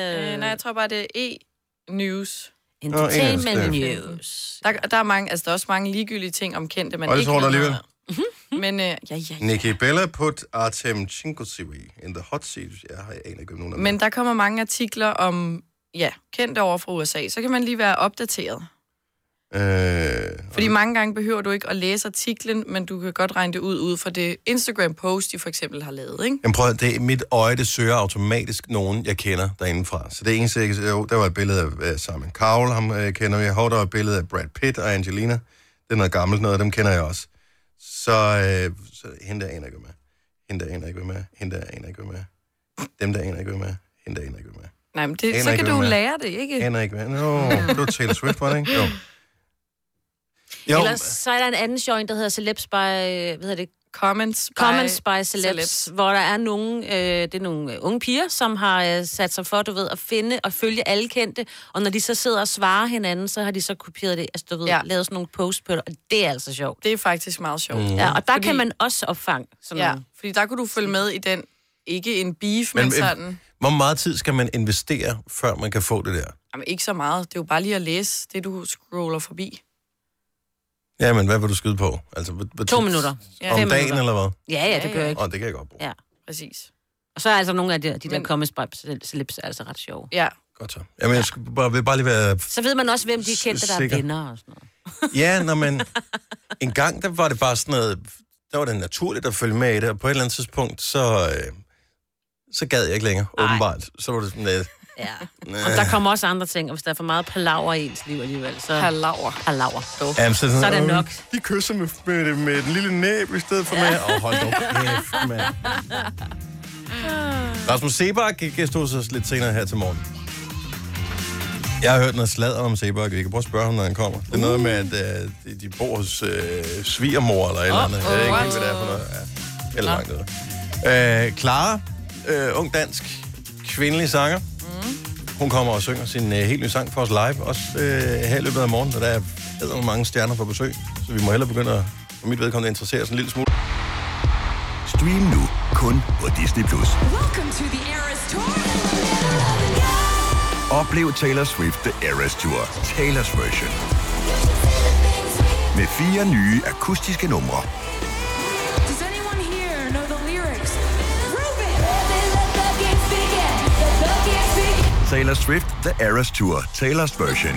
[SPEAKER 2] Øh,
[SPEAKER 3] Øh, nej, jeg tror bare, det er E-news.
[SPEAKER 2] entertainment
[SPEAKER 1] Nå,
[SPEAKER 3] engelsk, ja.
[SPEAKER 2] news.
[SPEAKER 3] Der, der er mange, altså der er også mange ligegyldige ting om kendte, man
[SPEAKER 1] Og det
[SPEAKER 3] ikke
[SPEAKER 1] tror
[SPEAKER 3] ved
[SPEAKER 1] du alligevel?
[SPEAKER 3] noget om. Men øh, ja, ja, ja.
[SPEAKER 1] Nikki Bella put Artem Chinkosiwi in the hot seat. Jeg har jeg aner ikke, om nogen er med.
[SPEAKER 3] Men der kommer mange artikler om ja, kendte over fra USA. Så kan man lige være opdateret.
[SPEAKER 1] Øh,
[SPEAKER 3] Fordi mange gange behøver du ikke at læse artiklen, men du kan godt regne det ud ud fra det Instagram-post, de for eksempel har lavet, ikke?
[SPEAKER 1] Jamen prøv at, det, mit øje, det søger automatisk nogen, jeg kender derindefra. Så det eneste, jeg kan se, jo, der var et billede af øh, Simon Cowell, ham øh, kender jeg. Hov, der var et billede af Brad Pitt og Angelina. Det er noget gammelt noget, dem kender jeg også. Så, øh, så hende der aner ikke, hvem er. Hende der aner ikke, hvem er. Hende der aner ikke, hvem er. Dem der aner ikke, hvem er. Hende der aner ikke, hvem er.
[SPEAKER 3] Nej, men
[SPEAKER 1] Aner
[SPEAKER 3] det, så
[SPEAKER 1] ikke,
[SPEAKER 3] kan
[SPEAKER 1] hvem
[SPEAKER 3] du
[SPEAKER 1] er.
[SPEAKER 3] lære det, ikke?
[SPEAKER 1] Aner ikke, hvem er. Nå, det var Taylor Swift, var det ikke? Jo. Jo,
[SPEAKER 2] Ellers så er der en anden joint, der hedder Celebs by, øh, hvad hedder det,
[SPEAKER 3] Comments. by-
[SPEAKER 2] Comments by Celebs,
[SPEAKER 3] Celebs.
[SPEAKER 2] celebs. hvor der er nogle, øh, det er nogle øh, unge piger, som har øh, sat sig for, du ved, at finde og følge alle kendte, og når de så sidder og svarer hinanden, så har de så kopieret det, altså du ved,
[SPEAKER 3] Ja.
[SPEAKER 2] ja. lavet sådan nogle posts på det, og det er altså sjovt.
[SPEAKER 3] Det er faktisk meget sjovt.
[SPEAKER 1] Mm.
[SPEAKER 3] Mm.
[SPEAKER 2] Ja, og der
[SPEAKER 3] Fordi-
[SPEAKER 2] kan man også opfange sådan
[SPEAKER 3] Ja,
[SPEAKER 2] nogle.
[SPEAKER 3] fordi der kunne du følge med i den, ikke en beef, men,
[SPEAKER 1] Men,
[SPEAKER 3] men
[SPEAKER 1] øh,
[SPEAKER 3] sådan.
[SPEAKER 1] Hvor meget tid skal man investere, før man kan få det der?
[SPEAKER 3] Jamen, ikke så meget. Det er jo bare lige at læse det, du scroller forbi.
[SPEAKER 1] Jamen, hvad vil du skyde på? Altså, hvad- hvad
[SPEAKER 2] To
[SPEAKER 1] tid-
[SPEAKER 2] minutter.
[SPEAKER 3] Ja.
[SPEAKER 1] Om
[SPEAKER 2] Fem
[SPEAKER 1] dagen,
[SPEAKER 2] minutter.
[SPEAKER 1] eller hvad?
[SPEAKER 2] Ja, ja, det gør
[SPEAKER 3] Ja,
[SPEAKER 2] jeg
[SPEAKER 3] ja.
[SPEAKER 2] ikke.
[SPEAKER 1] Åh, oh, det kan jeg godt bruge.
[SPEAKER 2] Ja.
[SPEAKER 3] Præcis.
[SPEAKER 2] Og så er altså nogle af de, de der
[SPEAKER 3] Men-
[SPEAKER 2] Comments by Celebs er altså ret sjove.
[SPEAKER 3] Ja,
[SPEAKER 1] Godt så. Jamen, jeg skulle bare, vil bare lige være...
[SPEAKER 2] Så ved man også, hvem de kendte, der
[SPEAKER 1] Sikker.
[SPEAKER 2] er venner og sådan noget.
[SPEAKER 1] Ja, når man... En gang, der var det bare sådan noget... Der var det naturligt at følge med i det, og på et eller andet tidspunkt, så... Øh, så gad jeg ikke længere, Ej. åbenbart. Så var det sådan lidt...
[SPEAKER 2] Ja.
[SPEAKER 1] Øh,
[SPEAKER 2] Og der kommer også andre ting, og hvis der er for meget palaver i ens liv alligevel, så
[SPEAKER 3] palaver.
[SPEAKER 2] palaver. Dog.
[SPEAKER 1] Jamen, så, sådan,
[SPEAKER 2] så er det
[SPEAKER 1] "Åh,
[SPEAKER 2] nok."
[SPEAKER 1] De kysser med, med, med den øh, lille næb i stedet for ja. med... Åh, hold dog kæft, mand. Rasmus Sebak gik stod så lidt senere her til morgen. Jeg har hørt noget sladder om Sebak. Vi kan prøve at spørge ham, når han kommer. Det er noget med, at øh, de- de bor hos øh, svigermor eller et eller andet. Jeg ved ikke helt, hvad det er for noget. Ja, eller langt noget. Øh, Clara, øh, ung dansk kvindelig sanger. Hun kommer og synger sin øh, helt nye sang for os live, også øh, her i løbet af morgenen, og der er æder mange stjerner på besøg, så vi må hellere begynde at, for mit vedkommende, interessere os en lille smule.
[SPEAKER 6] Stream nu kun på Disney+. Plus. Oplev Taylor Swift The Eras Tour, Taylor's version. Med fire nye akustiske numre.
[SPEAKER 7] Does anyone here know the lyrics?
[SPEAKER 6] Taylor Swift The Eras Tour, Taylor's version.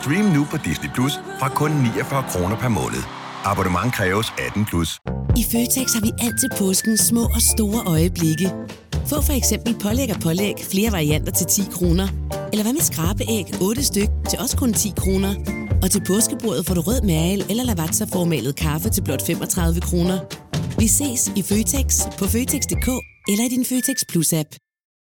[SPEAKER 6] Stream nu på Disney Plus fra kun 49 kroner per måned. Abonnement kræves 18 plus.
[SPEAKER 8] I Føtex har vi alt til påsken små og store øjeblikke. Få for eksempel pålæg og pålæg flere varianter til 10 kroner. Eller hvad med skrabeæg 8 styk til også kun 10 kroner. Og til påskebordet får du rød mal eller lavatserformalet kaffe til blot 35 kroner. Vi ses i Føtex på Føtex.dk eller i din Føtex Plus-app.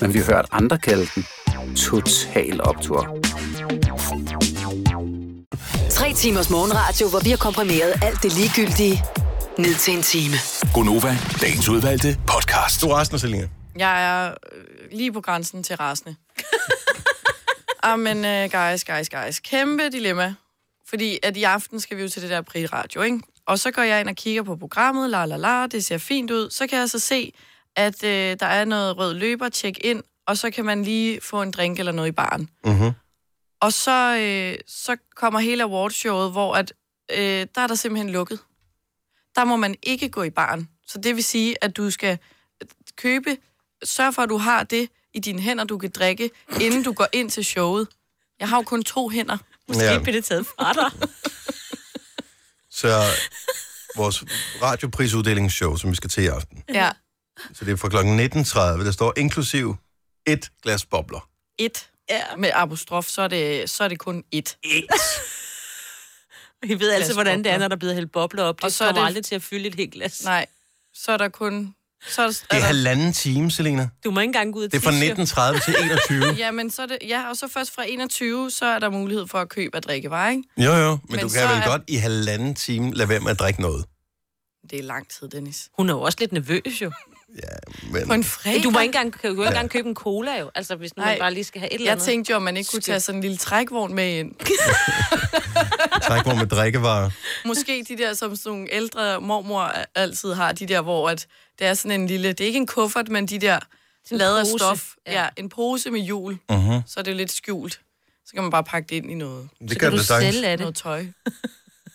[SPEAKER 9] men vi har hørt andre kalde den Total Optor.
[SPEAKER 5] Tre timers morgenradio, hvor vi har komprimeret alt det ligegyldige ned til en time.
[SPEAKER 6] Gonova, dagens udvalgte podcast.
[SPEAKER 1] Du er resten af Selina.
[SPEAKER 3] Jeg er øh, lige på grænsen til rasende. Amen, uh, guys, guys, guys. Kæmpe dilemma. Fordi at i aften skal vi jo til det der Brit Radio, ikke? Og så går jeg ind og kigger på programmet, la la la, det ser fint ud. Så kan jeg så se, at øh, der er noget rød løber, tjek ind, og så kan man lige få en drink eller noget i baren.
[SPEAKER 1] Mhm.
[SPEAKER 3] Og så, øh, så kommer hele awardshowet, hvor at, øh, der er der simpelthen lukket. Der må man ikke gå i baren. Så det vil sige, at du skal øh, købe, sørg for, at du har det i dine hænder, du kan drikke, inden du går ind til showet. Jeg har jo kun to hænder.
[SPEAKER 1] Ja.
[SPEAKER 2] bliver det taget fra dig.
[SPEAKER 1] Så vores radioprisuddelingshow, som vi skal til i aften,
[SPEAKER 3] Ja.
[SPEAKER 1] så det er fra kl. 19.30, der står inklusiv et glas bobler.
[SPEAKER 3] Et.
[SPEAKER 2] Ja.
[SPEAKER 3] Med apostrof, så er det, så er det kun ét.
[SPEAKER 2] Vi ved altid, hvordan det er, når der bliver hældt bobler op. Det og så kommer det... aldrig til at fylde et helt glas.
[SPEAKER 3] Nej, så er der kun... Så er der,
[SPEAKER 1] Det er halvanden time, Selina.
[SPEAKER 2] Du må ikke engang gå ud og
[SPEAKER 1] Det er fra
[SPEAKER 2] tisse, jo.
[SPEAKER 1] 1930 til 21.
[SPEAKER 3] ja, men så er det, ja, og så først fra 21, så er der mulighed for at købe og drikke varer, ikke?
[SPEAKER 1] Jo, jo, men, men
[SPEAKER 3] Men
[SPEAKER 1] du
[SPEAKER 3] så
[SPEAKER 1] kan vel
[SPEAKER 3] er-
[SPEAKER 1] godt i halvanden time lade være med at drikke noget.
[SPEAKER 3] Det er lang tid, Dennis.
[SPEAKER 2] Hun er jo også lidt nervøs, jo.
[SPEAKER 1] Men...
[SPEAKER 3] På en fredag?
[SPEAKER 2] Du må ikke engang, du må ikke engang købe en cola, jo. Altså, hvis nu man bare lige skal have et eller
[SPEAKER 3] jeg
[SPEAKER 2] andet.
[SPEAKER 3] tænkte jo, om man ikke kunne
[SPEAKER 2] Skal-
[SPEAKER 3] tage sådan en lille trækvogn med ind.
[SPEAKER 1] Tak, hvor med drikkevarer.
[SPEAKER 3] Måske de der, som sådan nogle ældre mormor altid har, de der, hvor at det er sådan en lille... Det er ikke en kuffert, men de der
[SPEAKER 2] en
[SPEAKER 3] lader
[SPEAKER 2] pose.
[SPEAKER 3] stof. Ja. ja. en pose med hjul.
[SPEAKER 1] Mhm.
[SPEAKER 3] Så er det lidt skjult. Så kan man bare pakke det ind i noget.
[SPEAKER 1] Det Så kan kan du du sagtens. sælge af det.
[SPEAKER 3] Noget tøj.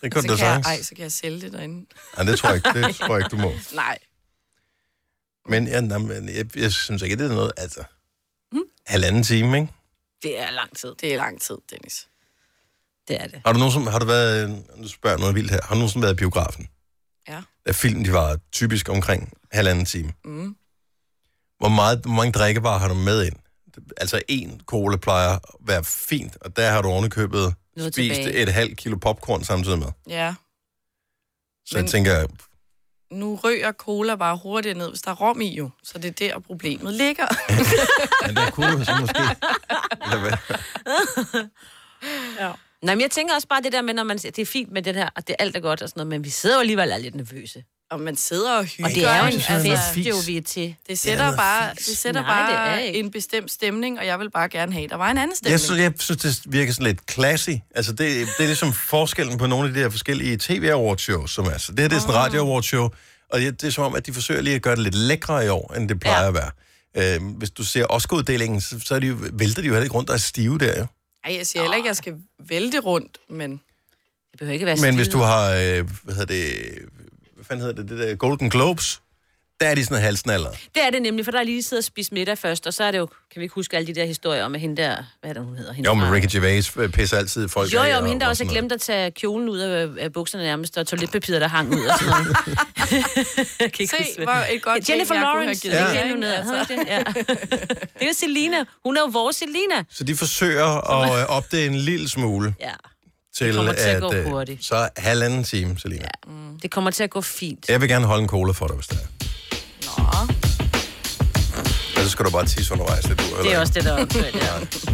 [SPEAKER 1] Det kunne
[SPEAKER 3] så
[SPEAKER 1] du
[SPEAKER 3] kan jeg,
[SPEAKER 1] sagtens.
[SPEAKER 3] ej, så kan jeg sælge det derinde.
[SPEAKER 1] Ej, det tror jeg ikke, det tror jeg ikke, du må.
[SPEAKER 3] Nej.
[SPEAKER 1] Men, ja, nej, men jeg, jeg, synes ikke, det er noget, altså...
[SPEAKER 3] Hmm?
[SPEAKER 1] Halvanden time, ikke?
[SPEAKER 2] Det er lang tid.
[SPEAKER 3] Det er lang tid, Dennis.
[SPEAKER 2] Det er det.
[SPEAKER 1] Har du nogen som, har du været, nu spørger jeg noget vildt her, har du nogen som været i biografen?
[SPEAKER 3] Ja.
[SPEAKER 1] Der film, de var typisk omkring halvanden time.
[SPEAKER 3] Mm.
[SPEAKER 1] Hvor, meget, hvor mange drikkevarer har du med ind? Altså, en cola plejer at være fint, og der har du ovenikøbet
[SPEAKER 3] Noget
[SPEAKER 1] spist tilbage.
[SPEAKER 3] tilbage.
[SPEAKER 1] et halvt kilo popcorn samtidig med.
[SPEAKER 3] Ja.
[SPEAKER 1] Så Men... jeg tænker,
[SPEAKER 3] Nu rører cola bare hurtigt ned, hvis der er rom i jo. Så det er der, problemet ligger.
[SPEAKER 1] men der kunne du så måske... Eller hvad?
[SPEAKER 2] ja. Nej, men jeg tænker også bare det der med, når man siger, det er fint med det her, og det er alt er godt og sådan noget, men vi sidder jo alligevel og er lidt nervøse.
[SPEAKER 3] Og man sidder og hygger.
[SPEAKER 2] Og det er jo en
[SPEAKER 3] ikke? Altså,
[SPEAKER 2] fest, jo, vi er til.
[SPEAKER 3] Det sætter det bare, det sætter
[SPEAKER 2] Nej, det er
[SPEAKER 3] bare
[SPEAKER 2] ikke.
[SPEAKER 3] en bestemt stemning, og jeg vil bare gerne have, der var en anden stemning.
[SPEAKER 1] Jeg synes, jeg synes, det virker sådan lidt classy. Altså, det, det er ligesom forskellen på nogle af de der forskellige tv awards show som er. Så det her det er
[SPEAKER 2] Ah.
[SPEAKER 1] sådan en radio awards show og det det er som om, at de forsøger lige at gøre det lidt lækre i år, end det plejer ja. at være. Øhm, hvis du ser Oscar-uddelingen, så, så er de jo, vælter de jo heller ikke rundt og er stive der, jo.
[SPEAKER 3] Ej, jeg siger heller ikke, at jeg skal vælte rundt, men...
[SPEAKER 2] Det behøver ikke
[SPEAKER 1] Men hvis du har, øh, hvad hedder det, hvad fanden hedder det, det der Golden Globes, der er de sådan halsen allerede.
[SPEAKER 2] Det er det nemlig, for der er lige siddet og spist middag først, og så er det jo, kan vi ikke huske alle de der historier om, at hende der, hvad er det, hun hedder? Hende
[SPEAKER 1] Jo,
[SPEAKER 2] fra-
[SPEAKER 1] men Ricky Gervais øh, pisser altid folk
[SPEAKER 2] Jo,
[SPEAKER 1] af,
[SPEAKER 2] jo,
[SPEAKER 1] og-
[SPEAKER 2] men hende der
[SPEAKER 1] og
[SPEAKER 2] også
[SPEAKER 1] sådan
[SPEAKER 2] har
[SPEAKER 1] noget.
[SPEAKER 2] glemt at tage kjolen ud af, af bukserne nærmest, og toiletpapiret, der hang ud og sådan noget. Jeg kan ikke
[SPEAKER 3] Se,
[SPEAKER 2] huske, hvad-
[SPEAKER 3] hvor et godt
[SPEAKER 2] Jennifer
[SPEAKER 3] ting, jeg kunne have
[SPEAKER 2] Lawrence,
[SPEAKER 3] givet
[SPEAKER 2] det
[SPEAKER 3] jer,
[SPEAKER 2] kender hun
[SPEAKER 3] ikke?
[SPEAKER 2] hedder, hedder hun ikke det? Ja. Det er jo Selina. Hun er jo vores Selina.
[SPEAKER 1] Så de forsøger at øh, opdage en lille smule.
[SPEAKER 2] Ja.
[SPEAKER 1] Til,
[SPEAKER 2] Det kommer til at
[SPEAKER 1] at,
[SPEAKER 2] gå
[SPEAKER 1] øh,
[SPEAKER 2] hurtigt.
[SPEAKER 1] Så halvanden time, Selina. Ja.
[SPEAKER 2] Det kommer til at gå fint.
[SPEAKER 1] Jeg vil gerne holde en cola for dig, hvis det er. Nå. Og så Altså, skal du bare tisse undervejs, det du
[SPEAKER 2] Det er også det, der er åndssvagt, ja.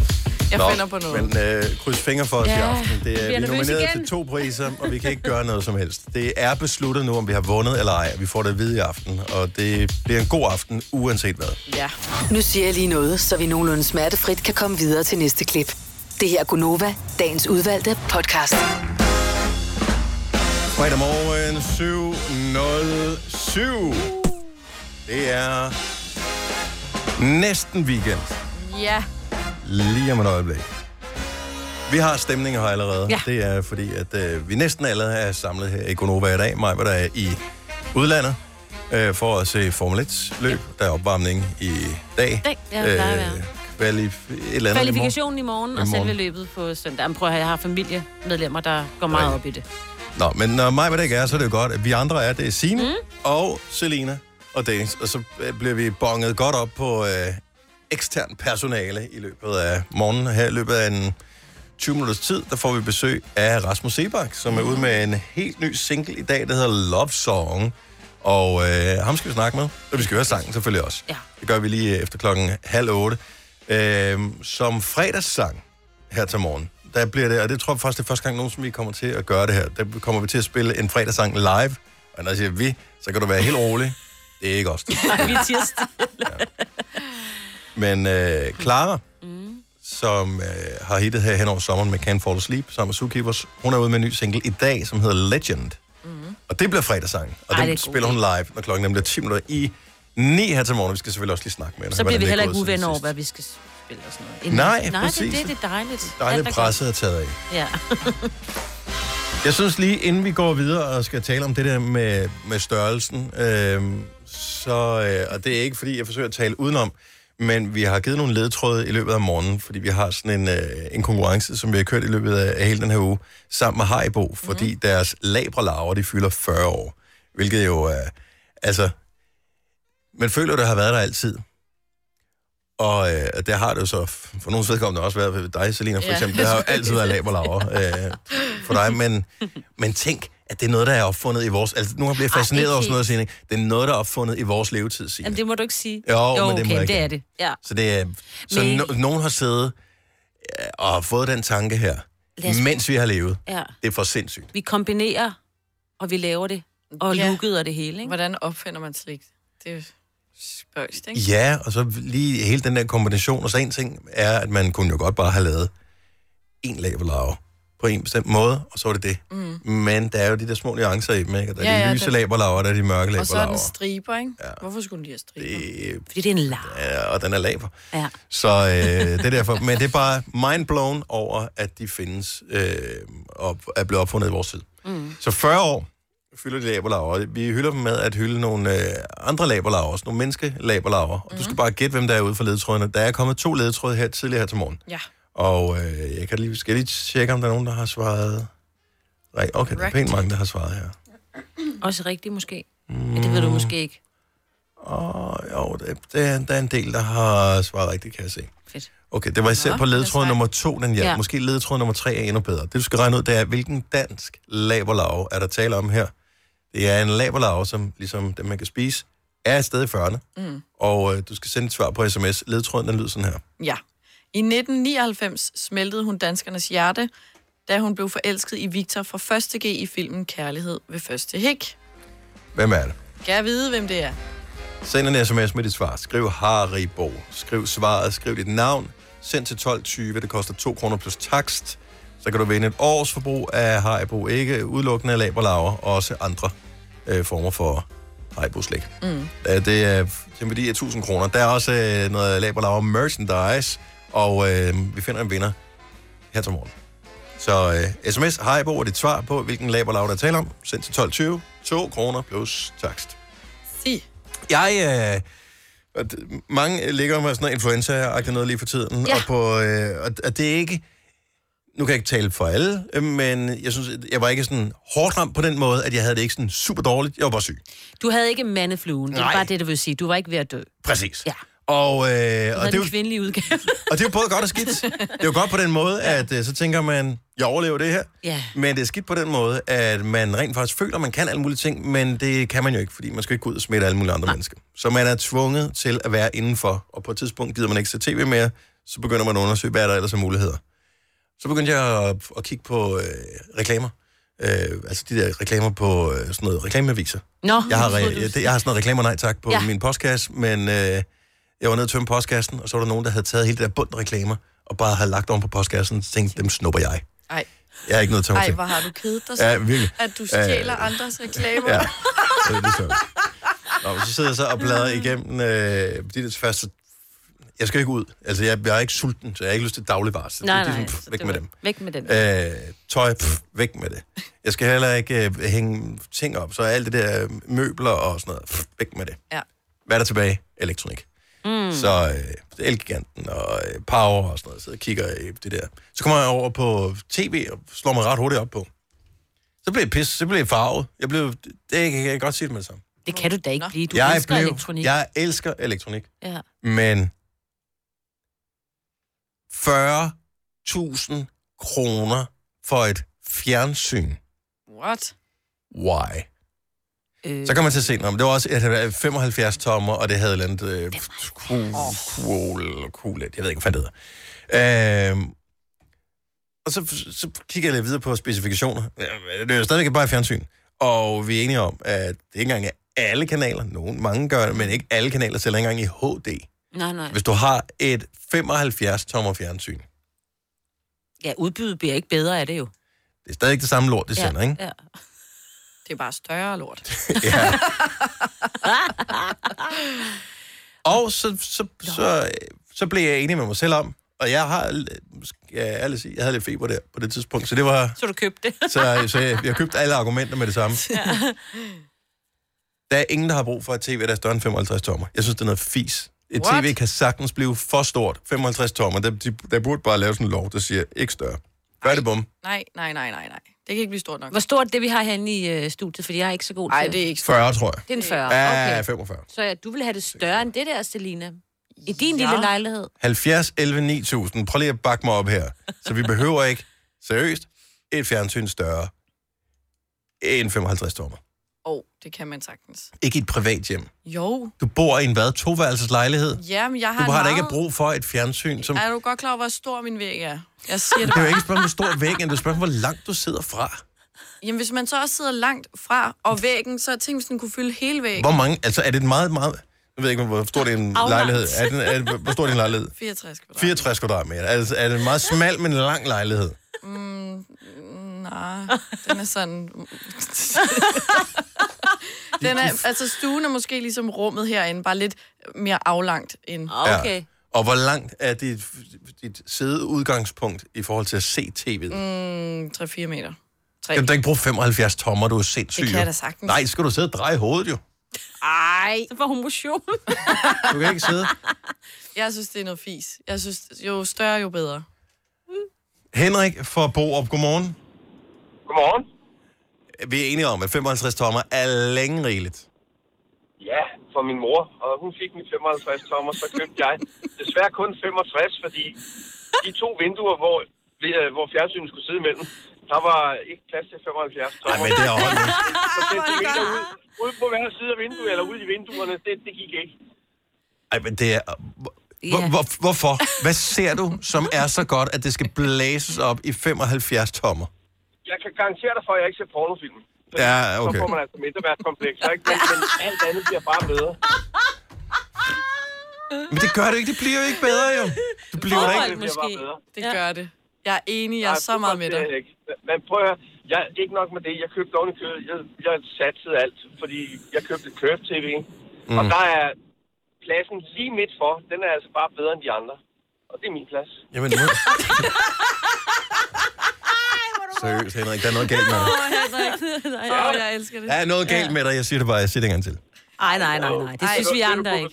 [SPEAKER 3] Jeg finder på noget.
[SPEAKER 1] Men øh, kryds fingre for os ja. i
[SPEAKER 2] Ja,
[SPEAKER 1] aften.
[SPEAKER 2] vi
[SPEAKER 1] Det er,
[SPEAKER 2] er
[SPEAKER 1] vi er
[SPEAKER 2] nervøse
[SPEAKER 1] nomineret
[SPEAKER 2] igen.
[SPEAKER 1] til to priser, og vi kan ikke gøre noget som helst. Det er besluttet nu, om vi har vundet eller ej. Vi får det at vide i aften, og det bliver en god aften, uanset hvad.
[SPEAKER 3] Ja.
[SPEAKER 5] Nu siger jeg lige noget, så vi nogenlunde smertefrit kan komme videre til næste klip. Det her er Gunova, dagens udvalgte podcast.
[SPEAKER 1] Fredag morgen 7.07. Det er næsten weekend.
[SPEAKER 3] Ja.
[SPEAKER 1] Lige om et øjeblik. Vi har stemninger her allerede.
[SPEAKER 3] Ja.
[SPEAKER 1] Det er fordi, at øh, vi næsten alle er samlet her i Gonova i dag. Mig, hvor der er i udlandet øh, for at se Formel 1-løb. Der er opvarmning i dag.
[SPEAKER 2] Dag, ja, der er være.
[SPEAKER 1] kvali- et eller andet i morgen.
[SPEAKER 2] Kvalifikationen i morgen,
[SPEAKER 1] I
[SPEAKER 2] og selve
[SPEAKER 1] morgen.
[SPEAKER 2] løbet på søndag. Men prøv at høre, jeg har familiemedlemmer, der går meget op i det.
[SPEAKER 1] Nå, men når mig, hvad det ikke er, så er det jo godt, at vi andre er. Det er Signe mm. og Selina og Dennis. Og så øh, bliver vi bonget godt op på øh, ekstern personale i løbet af morgenen. Her i løbet af en 20 minutters tid, der får vi besøg af Rasmus Sebak, som er ude med en helt ny single i dag, der hedder Love Song. Og øh, ham skal vi snakke med. Og vi skal høre sangen selvfølgelig også.
[SPEAKER 2] Ja.
[SPEAKER 1] Det gør vi lige efter klokken halv otte. Øh, som fredagssang her til morgen, der bliver det, og det tror jeg faktisk, det er første gang nogen, som vi kommer til at gøre det her. Der kommer vi til at spille en fredagssang live. Og når jeg siger vi, så kan du være helt rolig. Det er ikke os.
[SPEAKER 2] Vi er tirsdag.
[SPEAKER 1] Men øh, Clara, mm. som øh, har hittet her hen over sommeren med Can't Fall Asleep, sammen med Zookeepers, hun er ude med en ny single i dag, som hedder Legend. Mm. Og det bliver fredagssangen, og
[SPEAKER 2] Ej,
[SPEAKER 1] Ej,
[SPEAKER 2] det er
[SPEAKER 1] den
[SPEAKER 2] en god
[SPEAKER 1] spiller hun live, når klokken nemlig er 10 minutter i 9 her til morgen. Vi skal selvfølgelig også lige snakke med hende.
[SPEAKER 2] Så
[SPEAKER 1] hvordan
[SPEAKER 2] bliver vi
[SPEAKER 1] det er
[SPEAKER 2] heller ikke
[SPEAKER 1] gået siden
[SPEAKER 2] uvenner over,
[SPEAKER 1] sidst.
[SPEAKER 2] hvad vi skal spille og sådan noget.
[SPEAKER 1] Nej,
[SPEAKER 2] Nej,
[SPEAKER 1] præcis.
[SPEAKER 2] det er det, det er dejligt.
[SPEAKER 1] Dejligt
[SPEAKER 2] Alt er
[SPEAKER 1] presset er taget af.
[SPEAKER 2] godt. Ja.
[SPEAKER 1] Jeg synes lige, inden vi går videre og skal tale om det der med, med størrelsen, øh, så, øh, og det er ikke, fordi jeg forsøger at tale udenom, men vi har givet nogle ledtråde i løbet af morgenen, fordi vi har sådan en, øh, en konkurrence, som vi har kørt i løbet af, af hele den her uge, sammen med Haribo, fordi mm. deres labre laver, de fylder 40 år, hvilket jo er, øh, altså, man føler, det har været der altid. Og øh, det har det jo så f- for nogens vedkommende også været ved dig, Selina, for
[SPEAKER 10] Ja.
[SPEAKER 1] eksempel. Det har jo altid været lav og lavere øh, for dig. Men, men tænk, at det er noget, der er opfundet i vores... Altså, nu har jeg blevet
[SPEAKER 2] Ej,
[SPEAKER 1] fascineret
[SPEAKER 2] ikke
[SPEAKER 1] over sådan noget,
[SPEAKER 2] helt.
[SPEAKER 1] Signe. Det er noget, der er opfundet i vores levetid, Signe.
[SPEAKER 2] Jamen, det må du ikke sige.
[SPEAKER 1] Jo, men det må
[SPEAKER 2] okay,
[SPEAKER 1] jeg ikke.
[SPEAKER 2] det er det. Ja.
[SPEAKER 1] Så, det er, så
[SPEAKER 2] Men-
[SPEAKER 1] no, nogen har siddet øh, og har fået den tanke her,
[SPEAKER 2] Lad os-
[SPEAKER 1] mens vi har levet.
[SPEAKER 2] ja.
[SPEAKER 1] Det er for sindssygt.
[SPEAKER 2] Vi kombinerer, og vi laver det. Og ja. lukket og det hele, ikke?
[SPEAKER 3] Hvordan opfinder man slik? Det er jo spøjst, ikke?
[SPEAKER 1] Ja, og så lige hele den der kombination. Og så en ting er, at man kunne jo godt bare have lavet en laverlarve på en bestemt måde, og så var det det. Mm. Men der er jo de der små nuancer i dem, ikke? Og Der er
[SPEAKER 3] Ja,
[SPEAKER 1] ja,
[SPEAKER 3] ja,
[SPEAKER 1] de lyse
[SPEAKER 3] det-
[SPEAKER 1] laverlarver, og der er de mørke
[SPEAKER 3] Og så er den
[SPEAKER 1] laverlarver.
[SPEAKER 3] striber, ikke? Ja. Hvorfor skulle den lige have striber?
[SPEAKER 1] Det...
[SPEAKER 2] Fordi det er en larve.
[SPEAKER 1] Øh, Ja, og den er laver.
[SPEAKER 2] Ja.
[SPEAKER 1] Så øh, det er derfor. Men det er bare mind blown over, at de findes øh, og er blevet opfundet i vores tid.
[SPEAKER 2] Mm.
[SPEAKER 1] Så 40 år fylder de laberlaver. Vi hylder dem med at hylde nogle øh, andre laberlaver også, nogle menneskelaberlaver. Og
[SPEAKER 2] Mhm.
[SPEAKER 1] du skal bare gætte, hvem der er ude for ledetrådene. Der er kommet to ledetråde her tidligere her til morgen.
[SPEAKER 3] Ja.
[SPEAKER 1] Og øh, jeg kan lige, skal lige tjekke, om der er nogen, der har svaret. Nej, okay, der er pænt mange, der har svaret her.
[SPEAKER 2] Også rigtigt måske. Men det ved
[SPEAKER 1] Mm.
[SPEAKER 2] du måske ikke.
[SPEAKER 1] Åh, jo, det, det er, der er en del, der har svaret rigtigt, kan jeg se.
[SPEAKER 2] Fedt.
[SPEAKER 1] Okay, det var især
[SPEAKER 2] Nå,
[SPEAKER 1] på ledetråd nummer to, den hjalp.
[SPEAKER 2] Ja.
[SPEAKER 1] Ja. Måske ledetråd nummer tre er endnu bedre. Det, du skal regne ud, det er, hvilken dansk laberlav er der tale om her? Det er en laberlav, som ligesom den, man kan spise, er et sted i 40'erne.
[SPEAKER 3] Mm.
[SPEAKER 1] Og øh, du skal sende et svar på sms. Ledetråden, den lyder sådan her.
[SPEAKER 3] Ja. I 1999 smeltede hun danskernes hjerte, da hun blev forelsket i Victor fra 1. G i filmen Kærlighed ved første hæk.
[SPEAKER 1] Hvem er det?
[SPEAKER 3] Kan jeg vide, hvem det er?
[SPEAKER 1] Send en sms med dit svar. Skriv Haribo. Skriv svaret. Skriv dit navn. Send til 12.20. Det koster 2 kroner plus takst. Så kan du vinde et års forbrug af Haribo. Ikke udelukkende af laberlaver og også andre øh, former for Haribo-slik.
[SPEAKER 4] Mm.
[SPEAKER 1] Ja, Øh, det er til en værdi af 1000 kroner. Der er også øh, noget laberlaver merchandise, og øh, vi finder en vinder her til morgen. Så øh, sms, hej Bo, og dit svar på, hvilken laberlaver der er tale om. Send til 12.20, 2 kroner plus takst.
[SPEAKER 3] Sig.
[SPEAKER 1] Jeg, øh, og d- mange ligger med sådan noget influenza noget lige for tiden,
[SPEAKER 2] Ja.
[SPEAKER 1] og, på, øh, og, og det er ikke... Nu kan jeg ikke tale for alle, øh, men jeg synes, jeg var ikke sådan hårdt ramt på den måde, at jeg havde det ikke sådan super dårligt. Jeg var bare syg.
[SPEAKER 2] Du havde ikke mandefluen. Det var
[SPEAKER 1] Nej.
[SPEAKER 2] bare det, du vil sige. Du var ikke ved at dø.
[SPEAKER 1] Præcis.
[SPEAKER 2] Ja.
[SPEAKER 1] Og, øh, og, det,
[SPEAKER 2] Du
[SPEAKER 1] er
[SPEAKER 2] havde
[SPEAKER 1] jo-
[SPEAKER 2] den kvindelige udgave.
[SPEAKER 1] og det er jo både godt og skidt. Det er jo godt på den måde, at øh, så tænker man, jeg overlever det her.
[SPEAKER 2] ja.
[SPEAKER 1] Men det er skidt på den måde, at man rent faktisk føler, at man kan alle mulige ting, men det kan man jo ikke, fordi man skal ikke gå ud og smitte alle mulige andre Nej. mennesker. Så man er tvunget til at være indenfor, og på et tidspunkt gider man ikke se tv mere, så begynder man at undersøge, hvad er der ellers af muligheder. Så begyndte jeg at, at kigge på øh, reklamer. Øh, altså de der reklamer på øh, sådan noget reklameaviser.
[SPEAKER 2] Nå.
[SPEAKER 1] Jeg
[SPEAKER 2] Jeg
[SPEAKER 1] har,
[SPEAKER 2] troede,
[SPEAKER 1] re-
[SPEAKER 2] du
[SPEAKER 1] jeg, det-
[SPEAKER 2] sagde-
[SPEAKER 1] jeg har sådan noget reklamer, nej tak, på
[SPEAKER 2] Ja.
[SPEAKER 1] ja. min postkasse, men øh, jeg var nede og tømme postkassen, og så var der nogen, der havde taget hele det der bund reklamer, og bare havde lagt oven på postkassen, og tænkte, dem snupper jeg.
[SPEAKER 3] Ej.
[SPEAKER 1] Jeg er ikke nødt til at
[SPEAKER 3] Ej, hvor har du kedet dig så,
[SPEAKER 1] Ja, virkelig.
[SPEAKER 3] at du stjæler
[SPEAKER 1] Øh,
[SPEAKER 3] andres reklamer.
[SPEAKER 1] Ja, det er lidt sjovt. Nå, men så sidder jeg så og bladrer igennem øh, de der første... Jeg skal ikke ud. Altså, jeg, jeg er ikke sulten, så jeg har ikke lyst til dagligvarer. Så
[SPEAKER 2] Nej,
[SPEAKER 1] det er
[SPEAKER 2] nej.
[SPEAKER 1] sådan, pff,
[SPEAKER 2] så
[SPEAKER 1] væk
[SPEAKER 2] det
[SPEAKER 1] med
[SPEAKER 2] var-
[SPEAKER 1] dem.
[SPEAKER 2] Væk med den.
[SPEAKER 1] Øh, tøj, pff, væk med det. Jeg skal heller ikke øh, hænge ting op, så alt det der øh, møbler og sådan noget, pff, væk med det.
[SPEAKER 3] Ja.
[SPEAKER 1] Hvad er der tilbage? Elektronik.
[SPEAKER 3] Mm.
[SPEAKER 1] Så øh, Elgiganten og øh, Power og sådan noget, så jeg kigger i det der. Så kommer jeg over på tv og slår mig ret hurtigt op på. Så blev jeg pis, så blev jeg farvet. Jeg blev, det kan jeg kan godt sige det med det samme.
[SPEAKER 2] Det kan du da ikke blive. Du
[SPEAKER 1] jeg
[SPEAKER 2] elsker elektronik.
[SPEAKER 1] Jeg elsker elektronik.
[SPEAKER 2] Ja.
[SPEAKER 1] Men 40.000 kroner for et fjernsyn.
[SPEAKER 3] What?
[SPEAKER 1] Why? Øh. Så kan man så se, om det var også et 75 tommer, og det havde et eller andet øh, cool, cool, cool, jeg ved ikke, hvad det hedder. Øhm, og så, så kigger jeg lidt videre på specifikationer. Ja, Det er jo stadigvæk bare et fjernsyn. Og vi er enige om, at det ikke engang er alle kanaler. Nogen, mange gør det, men ikke alle kanaler sælger engang i HD.
[SPEAKER 2] Nej, nej.
[SPEAKER 1] Hvis du har et 75-tommer fjernsyn,
[SPEAKER 2] Ja, udbuddet bliver ikke bedre af det jo.
[SPEAKER 1] det er stadig ikke det samme lort, det
[SPEAKER 2] ja.
[SPEAKER 1] sender, ikke?
[SPEAKER 2] Ja.
[SPEAKER 3] Det er bare større lort.
[SPEAKER 1] ja. og så, så, så, så blev jeg enig med mig selv om, og jeg har, skal jeg ærligt sige, jeg havde lidt feber der på det tidspunkt, så det var,
[SPEAKER 2] Så du købte det.
[SPEAKER 1] så, så jeg, jeg købte alle argumenter med det samme. Der er ingen, der har brug for et tv, der er større end 55 tommer. Jeg synes, det er noget fis. Et
[SPEAKER 2] What?
[SPEAKER 1] tv kan sagtens blive for stort. 55 tommer, der, de, der burde bare lave sådan en lov, der siger, ikke større. Gør det bum.
[SPEAKER 3] Nej, nej, nej, nej, nej. Det kan ikke blive stort nok.
[SPEAKER 2] Hvor stort er det, vi har herinde i øh, studiet? Fordi jeg er ikke så god
[SPEAKER 3] Ej,
[SPEAKER 2] til
[SPEAKER 3] det er ikke
[SPEAKER 1] 40, tror jeg.
[SPEAKER 2] Det er en 40.
[SPEAKER 1] Ja,
[SPEAKER 2] Okay.
[SPEAKER 1] 45.
[SPEAKER 2] Så ja, du vil have det større end det der, Selina. I din ja. lille lejlighed.
[SPEAKER 1] 70 11 9000. Prøv lige at bakke mig op her. Så vi behøver ikke, seriøst, et fjernsyn større end 55 tommer.
[SPEAKER 3] Åh, oh, det kan man sagtens.
[SPEAKER 1] Ikke i et privat hjem.
[SPEAKER 3] Jo.
[SPEAKER 1] Du bor i en hvad? Toværelseslejlighed?
[SPEAKER 3] Jamen, jeg har
[SPEAKER 1] Du har da
[SPEAKER 3] meget...
[SPEAKER 1] ikke brug for et fjernsyn, som...
[SPEAKER 3] Er du godt klar over, hvor stor min væg er? Jeg siger det
[SPEAKER 1] Det er jo
[SPEAKER 3] bare.
[SPEAKER 1] ikke et spørgsmål, hvor stor væggen er. Det er et spørgsmål, hvor langt du sidder fra.
[SPEAKER 3] Jamen, hvis man så også sidder langt fra og væggen, så er ting, hvis den kunne fylde hele væggen.
[SPEAKER 1] Hvor mange... Altså, er det et meget, meget... Jeg ved ikke, hvor stor det er en
[SPEAKER 3] Aflangt.
[SPEAKER 1] lejlighed. Er den, er, hvor stor er din lejlighed?
[SPEAKER 3] 64 kvadrat.
[SPEAKER 1] 64 kvadratmeter. Altså, er det en meget smal, men lang lejlighed?
[SPEAKER 3] Mm, nej, den er sådan... den er, altså, stuen er måske ligesom rummet herinde, bare lidt mere aflangt end...
[SPEAKER 1] Ja. Og hvor langt er dit, dit sædeudgangspunkt i forhold til at se tv'et? Mm.
[SPEAKER 3] Mm, 3-4 meter. 3.
[SPEAKER 1] Kan du da ikke bruge 75 tommer, du er sindssyg?
[SPEAKER 3] Det kan
[SPEAKER 1] jo.
[SPEAKER 3] jeg da sagtens.
[SPEAKER 1] Nej, så skal du sidde og dreje hovedet jo.
[SPEAKER 2] Ej. Det var homotion.
[SPEAKER 1] Du kan ikke sidde.
[SPEAKER 3] Jeg synes, det er noget fis. Jeg synes, jo større, jo bedre.
[SPEAKER 1] Henrik fra Borup, godmorgen.
[SPEAKER 10] Godmorgen.
[SPEAKER 1] Vi er enige om, at 55 tommer er længe rigeligt.
[SPEAKER 10] Ja, for min mor. Og hun fik min 55 tommer, så købte jeg desværre kun 65, fordi de to vinduer, hvor, ved- hvor fjernsynet skulle sidde imellem, der var ikke plads til 75 tommer.
[SPEAKER 1] Ej, men det er også...
[SPEAKER 10] Så centimeter ud, ud på hver side af vinduet, eller ud i vinduerne, det, det gik ikke.
[SPEAKER 1] Ej, men det er... Hvor, hvor, hvorfor? Hvad ser du, som er så godt, at det skal blæses op i 75 tommer?
[SPEAKER 10] Jeg kan garantere dig for, at jeg ikke ser pornofilm.
[SPEAKER 1] Ja, okay.
[SPEAKER 10] Så får man altså mindreværdskomplekser, ikke? Men, men alt andet bliver bare bedre.
[SPEAKER 1] Men det gør det ikke. Det bliver jo ikke bedre, jo. Du bliver da
[SPEAKER 3] Fodbold
[SPEAKER 1] ikke...
[SPEAKER 3] måske. Det gør det. Jeg er enig, jeg er så meget med dig.
[SPEAKER 10] Jeg ikke. Men prøv at høre, jeg, ikke nok med det. Jeg købte oven i købet. Jeg, jeg satsede alt, fordi jeg købte et Curve-TV. Mm. Og
[SPEAKER 1] Mm.
[SPEAKER 10] der er pladsen lige midt for. Den er altså bare bedre end de andre. Og det er min plads.
[SPEAKER 1] Jamen, nu... Seriøst, Henrik, der er noget galt med dig.
[SPEAKER 2] nej, nej, jeg elsker det.
[SPEAKER 1] Der er noget galt med dig, jeg siger det bare. Jeg siger det en gang til.
[SPEAKER 2] Ej, nej, nej, nej. Det synes vi andre ikke.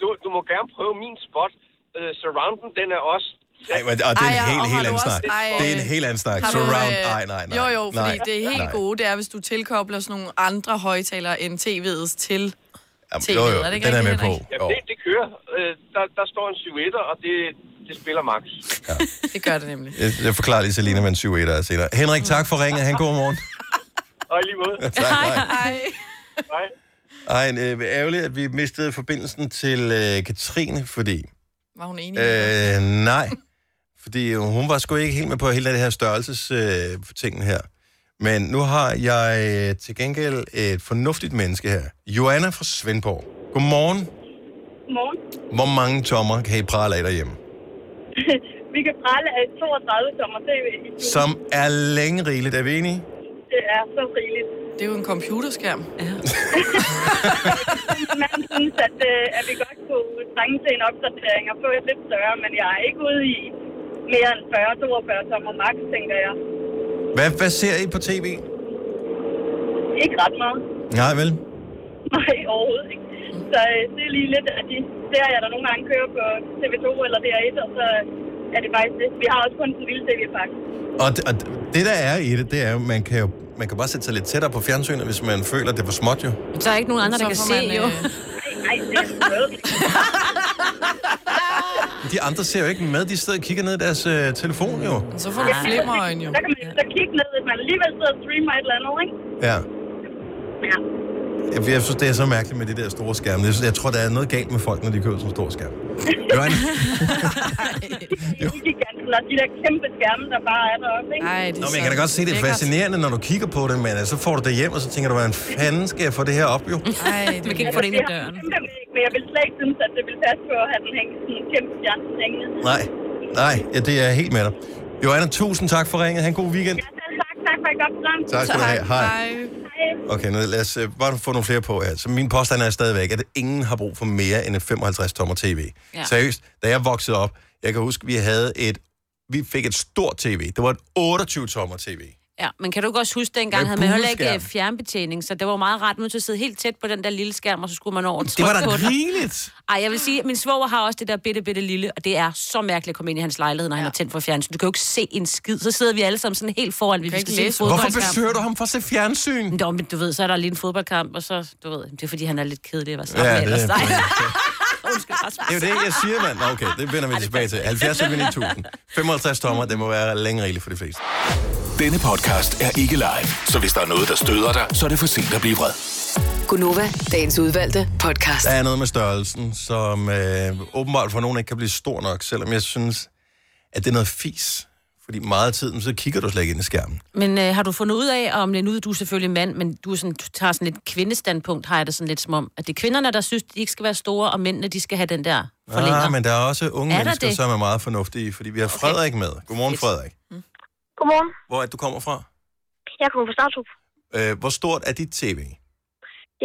[SPEAKER 10] Du, du må gerne prøve min spot. Uh, surrounden, den er også...
[SPEAKER 1] Ej, men, og det er en
[SPEAKER 10] Ej,
[SPEAKER 1] helt,
[SPEAKER 10] og har
[SPEAKER 1] helt
[SPEAKER 10] du
[SPEAKER 1] anden
[SPEAKER 10] også-
[SPEAKER 1] snak.
[SPEAKER 10] Ej.
[SPEAKER 1] Det er en helt anden snak.
[SPEAKER 3] Har du,
[SPEAKER 1] Surround,
[SPEAKER 3] øh,
[SPEAKER 1] nej, nej, nej.
[SPEAKER 3] Jo, jo, fordi
[SPEAKER 1] nej,
[SPEAKER 3] det er helt
[SPEAKER 1] nej.
[SPEAKER 3] gode, det er, hvis du tilkobler sådan nogle andre højtalere end tv'ets til
[SPEAKER 1] Jamen,
[SPEAKER 3] tv'et.
[SPEAKER 1] jo, jo,
[SPEAKER 3] er det ikke
[SPEAKER 1] den er
[SPEAKER 3] rigtigt,
[SPEAKER 1] med
[SPEAKER 3] Henrik?
[SPEAKER 1] på.
[SPEAKER 10] Jamen, det, det kører. Uh, der, der står en 7 og det, det spiller max.
[SPEAKER 3] Det gør det nemlig.
[SPEAKER 1] Jeg, jeg forklarer lige Selina med en 7 er senere. Henrik, tak for ringet. Han god morgen.
[SPEAKER 10] Og i lige måde.
[SPEAKER 1] Tak, hej.
[SPEAKER 3] Hej.
[SPEAKER 10] Hej.
[SPEAKER 1] Ej, en, øh, ærgerligt, at vi mistede forbindelsen til øh, Katrine, fordi...
[SPEAKER 3] Var hun enig?
[SPEAKER 1] Øh, nej, fordi hun var sgu ikke helt med på hele det her størrelses-tingen øh, tingen her. Men nu har jeg øh, til gengæld et fornuftigt menneske her. Joanna fra Svendborg. Godmorgen.
[SPEAKER 4] Morgen.
[SPEAKER 1] Hvor mange tommer kan I prale af derhjemme?
[SPEAKER 4] vi kan prale af 32 tommer tv.
[SPEAKER 1] Som er længe rigeligt, er vi enige?
[SPEAKER 4] Det er så rigeligt.
[SPEAKER 3] Det er jo en computerskærm. Ja.
[SPEAKER 4] Man synes, at, øh, at vi godt kunne trænge til en opdatering og få et lidt større, men jeg er ikke ude i mere end 40-42 tommer max, tænker jeg.
[SPEAKER 1] Hvad, hvad ser I på tv?
[SPEAKER 4] Ikke ret meget.
[SPEAKER 1] Nej, vel?
[SPEAKER 4] Nej, overhovedet ikke. Så øh, det er lige lidt af de serier, der nogle gange kører på TV2 eller DR1, og så øh, er det faktisk det. Vi har også kun den vilde tv-pakke.
[SPEAKER 1] Og det, og det, der er i det, det er jo, man kan jo man kan bare sætte sig lidt tættere på fjernsynet, hvis man føler, at det er for småt jo.
[SPEAKER 2] Så øh, er ikke nogen andre, der kan se, jo.
[SPEAKER 4] Nej, det er noget.
[SPEAKER 1] De andre ser jo ikke med, de sidder og kigger ned i deres øh, telefon jo.
[SPEAKER 3] Så får du flimmerøjne, jo.
[SPEAKER 4] Så kan man så kigge ned, hvis man alligevel sidder og streamer et eller andet, ikke?
[SPEAKER 1] Ja.
[SPEAKER 4] Ja.
[SPEAKER 1] Jeg, jeg synes, det er så mærkeligt med de der store skærme. Jeg, synes, jeg tror, der er noget galt med folk, når de køber sådan en stor skærm. Joanna,
[SPEAKER 4] Giganten og de der kæmpe skærme, der bare er deroppe, ikke?
[SPEAKER 3] Ej,
[SPEAKER 1] Nå, men jeg kan da godt se, det er fascinerende, når du kigger på det, men øh, så får du det hjem, og så tænker du, hvordan fanden skal jeg få det her op, jo?
[SPEAKER 3] Ej, det
[SPEAKER 2] man kan ikke få det ind i døren.
[SPEAKER 4] Men jeg vil slet ikke synes, at det vil passe på at have den hængende, sådan en kæmpe stjerne hængende.
[SPEAKER 1] Nej, nej, ja, det er jeg helt med dig. Joanna, tusind tak for ringet. Ha' en god weekend.
[SPEAKER 4] Tak, tak for et godt program.
[SPEAKER 1] Tak skal du have. Hej.
[SPEAKER 4] Hej.
[SPEAKER 1] Okay, nu lad os øh, bare få nogle flere på her. Så min påstand er stadigvæk, at ingen har brug for mere end en 55-tommer tv.
[SPEAKER 11] Ja.
[SPEAKER 1] Ja. Seriøst, da jeg voksede op, jeg kan huske, vi havde et vi fik et stort tv. Det var et 28-tommer tv.
[SPEAKER 2] Ja, men kan du ikke også huske, dengang
[SPEAKER 1] Med
[SPEAKER 2] havde man heller ikke
[SPEAKER 1] gulskærm.
[SPEAKER 2] øh, fjernbetjening, så det var meget rart nu til at sidde helt tæt på den der lille skærm, og så skulle man over og
[SPEAKER 1] Det var
[SPEAKER 2] trykke
[SPEAKER 1] da
[SPEAKER 2] på den.
[SPEAKER 1] rigeligt.
[SPEAKER 2] Ej, jeg vil sige, at min svoger har også det der bitte, bitte lille, og det er så mærkeligt at komme ind i hans lejlighed, når ja. han er tændt for fjernsyn. Du kan jo ikke se en skid. Så sidder vi alle sammen sådan helt foran, vi skal
[SPEAKER 1] kan ikke
[SPEAKER 2] se en
[SPEAKER 1] læse. Hvorfor
[SPEAKER 2] fodboldkamp.
[SPEAKER 1] besøger du ham for at se fjernsyn?
[SPEAKER 2] Nå, men du ved, så er der lige en fodboldkamp, og så, du ved, det er fordi, han er lidt kedelig. Var
[SPEAKER 1] Ja, det er
[SPEAKER 2] det, Undskyld, Rasmus.
[SPEAKER 1] Det er jo det, jeg siger, mand. Nå, Okay, det vender vi tilbage til. 70 9000. 55 tommer, det må være længe rigeligt for de fleste.
[SPEAKER 11] Denne podcast er ikke live, så hvis der er noget, der støder dig, så er det for sent at blive vred.
[SPEAKER 5] Gunova, dagens udvalgte podcast.
[SPEAKER 1] Der er noget med størrelsen, som øh, åbenbart for nogen ikke kan blive stor nok, selvom jeg synes, at det er noget fis. Fordi meget af tiden, så kigger du slet ikke ind i skærmen.
[SPEAKER 2] Men øh, har du fundet ud af, om nu du er selvfølgelig mand, men du, er sådan, du tager sådan et kvindestandpunkt, har jeg det sådan lidt som om, at det er kvinderne, der synes, de ikke skal være store, og mændene, de skal have den der forlænger.
[SPEAKER 1] Ah, men der er også unge
[SPEAKER 2] Er
[SPEAKER 1] er
[SPEAKER 2] der
[SPEAKER 1] mennesker,
[SPEAKER 2] det?
[SPEAKER 1] som er meget fornuftige, fordi vi har Frederik med. Godmorgen, Frederik.
[SPEAKER 12] Godmorgen.
[SPEAKER 1] Hvor er det, du kommer fra?
[SPEAKER 12] Jeg kommer fra Startup.
[SPEAKER 1] Øh, hvor stort er dit tv?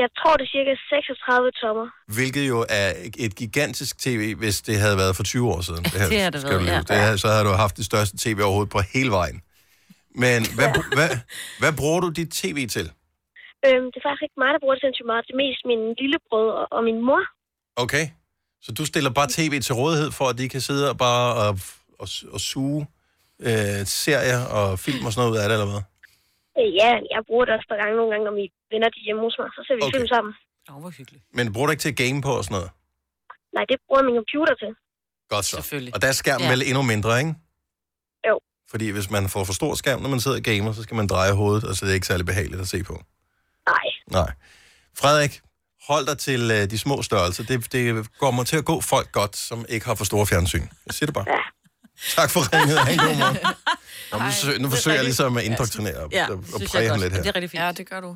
[SPEAKER 12] Jeg tror, det er cirka 36 tommer.
[SPEAKER 1] Hvilket jo er et gigantisk tv, hvis det havde været for 20 år siden. her
[SPEAKER 12] Det har det
[SPEAKER 1] skal
[SPEAKER 12] været,
[SPEAKER 1] du lige-
[SPEAKER 12] ja.
[SPEAKER 1] det her, Så havde du haft det største tv overhovedet på hele vejen. Men hvad, hvad, hvad bruger du dit tv til?
[SPEAKER 12] Øhm, det er faktisk ikke mig, der bruger det sindssygt meget. Det er mest min lillebrød og, og min mor.
[SPEAKER 1] Okay? Så du stiller bare tv til rådighed for, at de kan sidde og bare og, og, og suge øh, serier og film og sådan noget ud af det, eller hvad?
[SPEAKER 12] Øh, ja, jeg bruger det også et par gange nogle gange, når mine venner de er hjemme hos mig. Så ser vi okay. film sammen.
[SPEAKER 2] Åh, hvor hyggeligt.
[SPEAKER 1] Men bruger du ikke til at game på og sådan noget?
[SPEAKER 12] Nej, det bruger jeg min computer til.
[SPEAKER 1] Godt så. Selvfølgelig. Og der er skærmen ja.
[SPEAKER 12] Ja.
[SPEAKER 1] vel endnu mindre, ikke?
[SPEAKER 12] Jo.
[SPEAKER 1] Fordi hvis man får for stor skærm, når man sidder og gamer, så skal man dreje hovedet, og så er det ikke særlig behageligt at se på.
[SPEAKER 12] Nej.
[SPEAKER 1] Nej. Frederik, hold dig til øh, de små størrelser. Det, det kommer til at gå folk godt, som ikke har for store fjernsyn. Jeg siger det bare. Ja. Tak for ringet. Ha' en god morgen. Nå, nu, forsøger, nu forsøger jeg ligesom at indoktrinere og, og, og præge ham lidt her.
[SPEAKER 3] Det er rigtig fint. Ja, det gør du.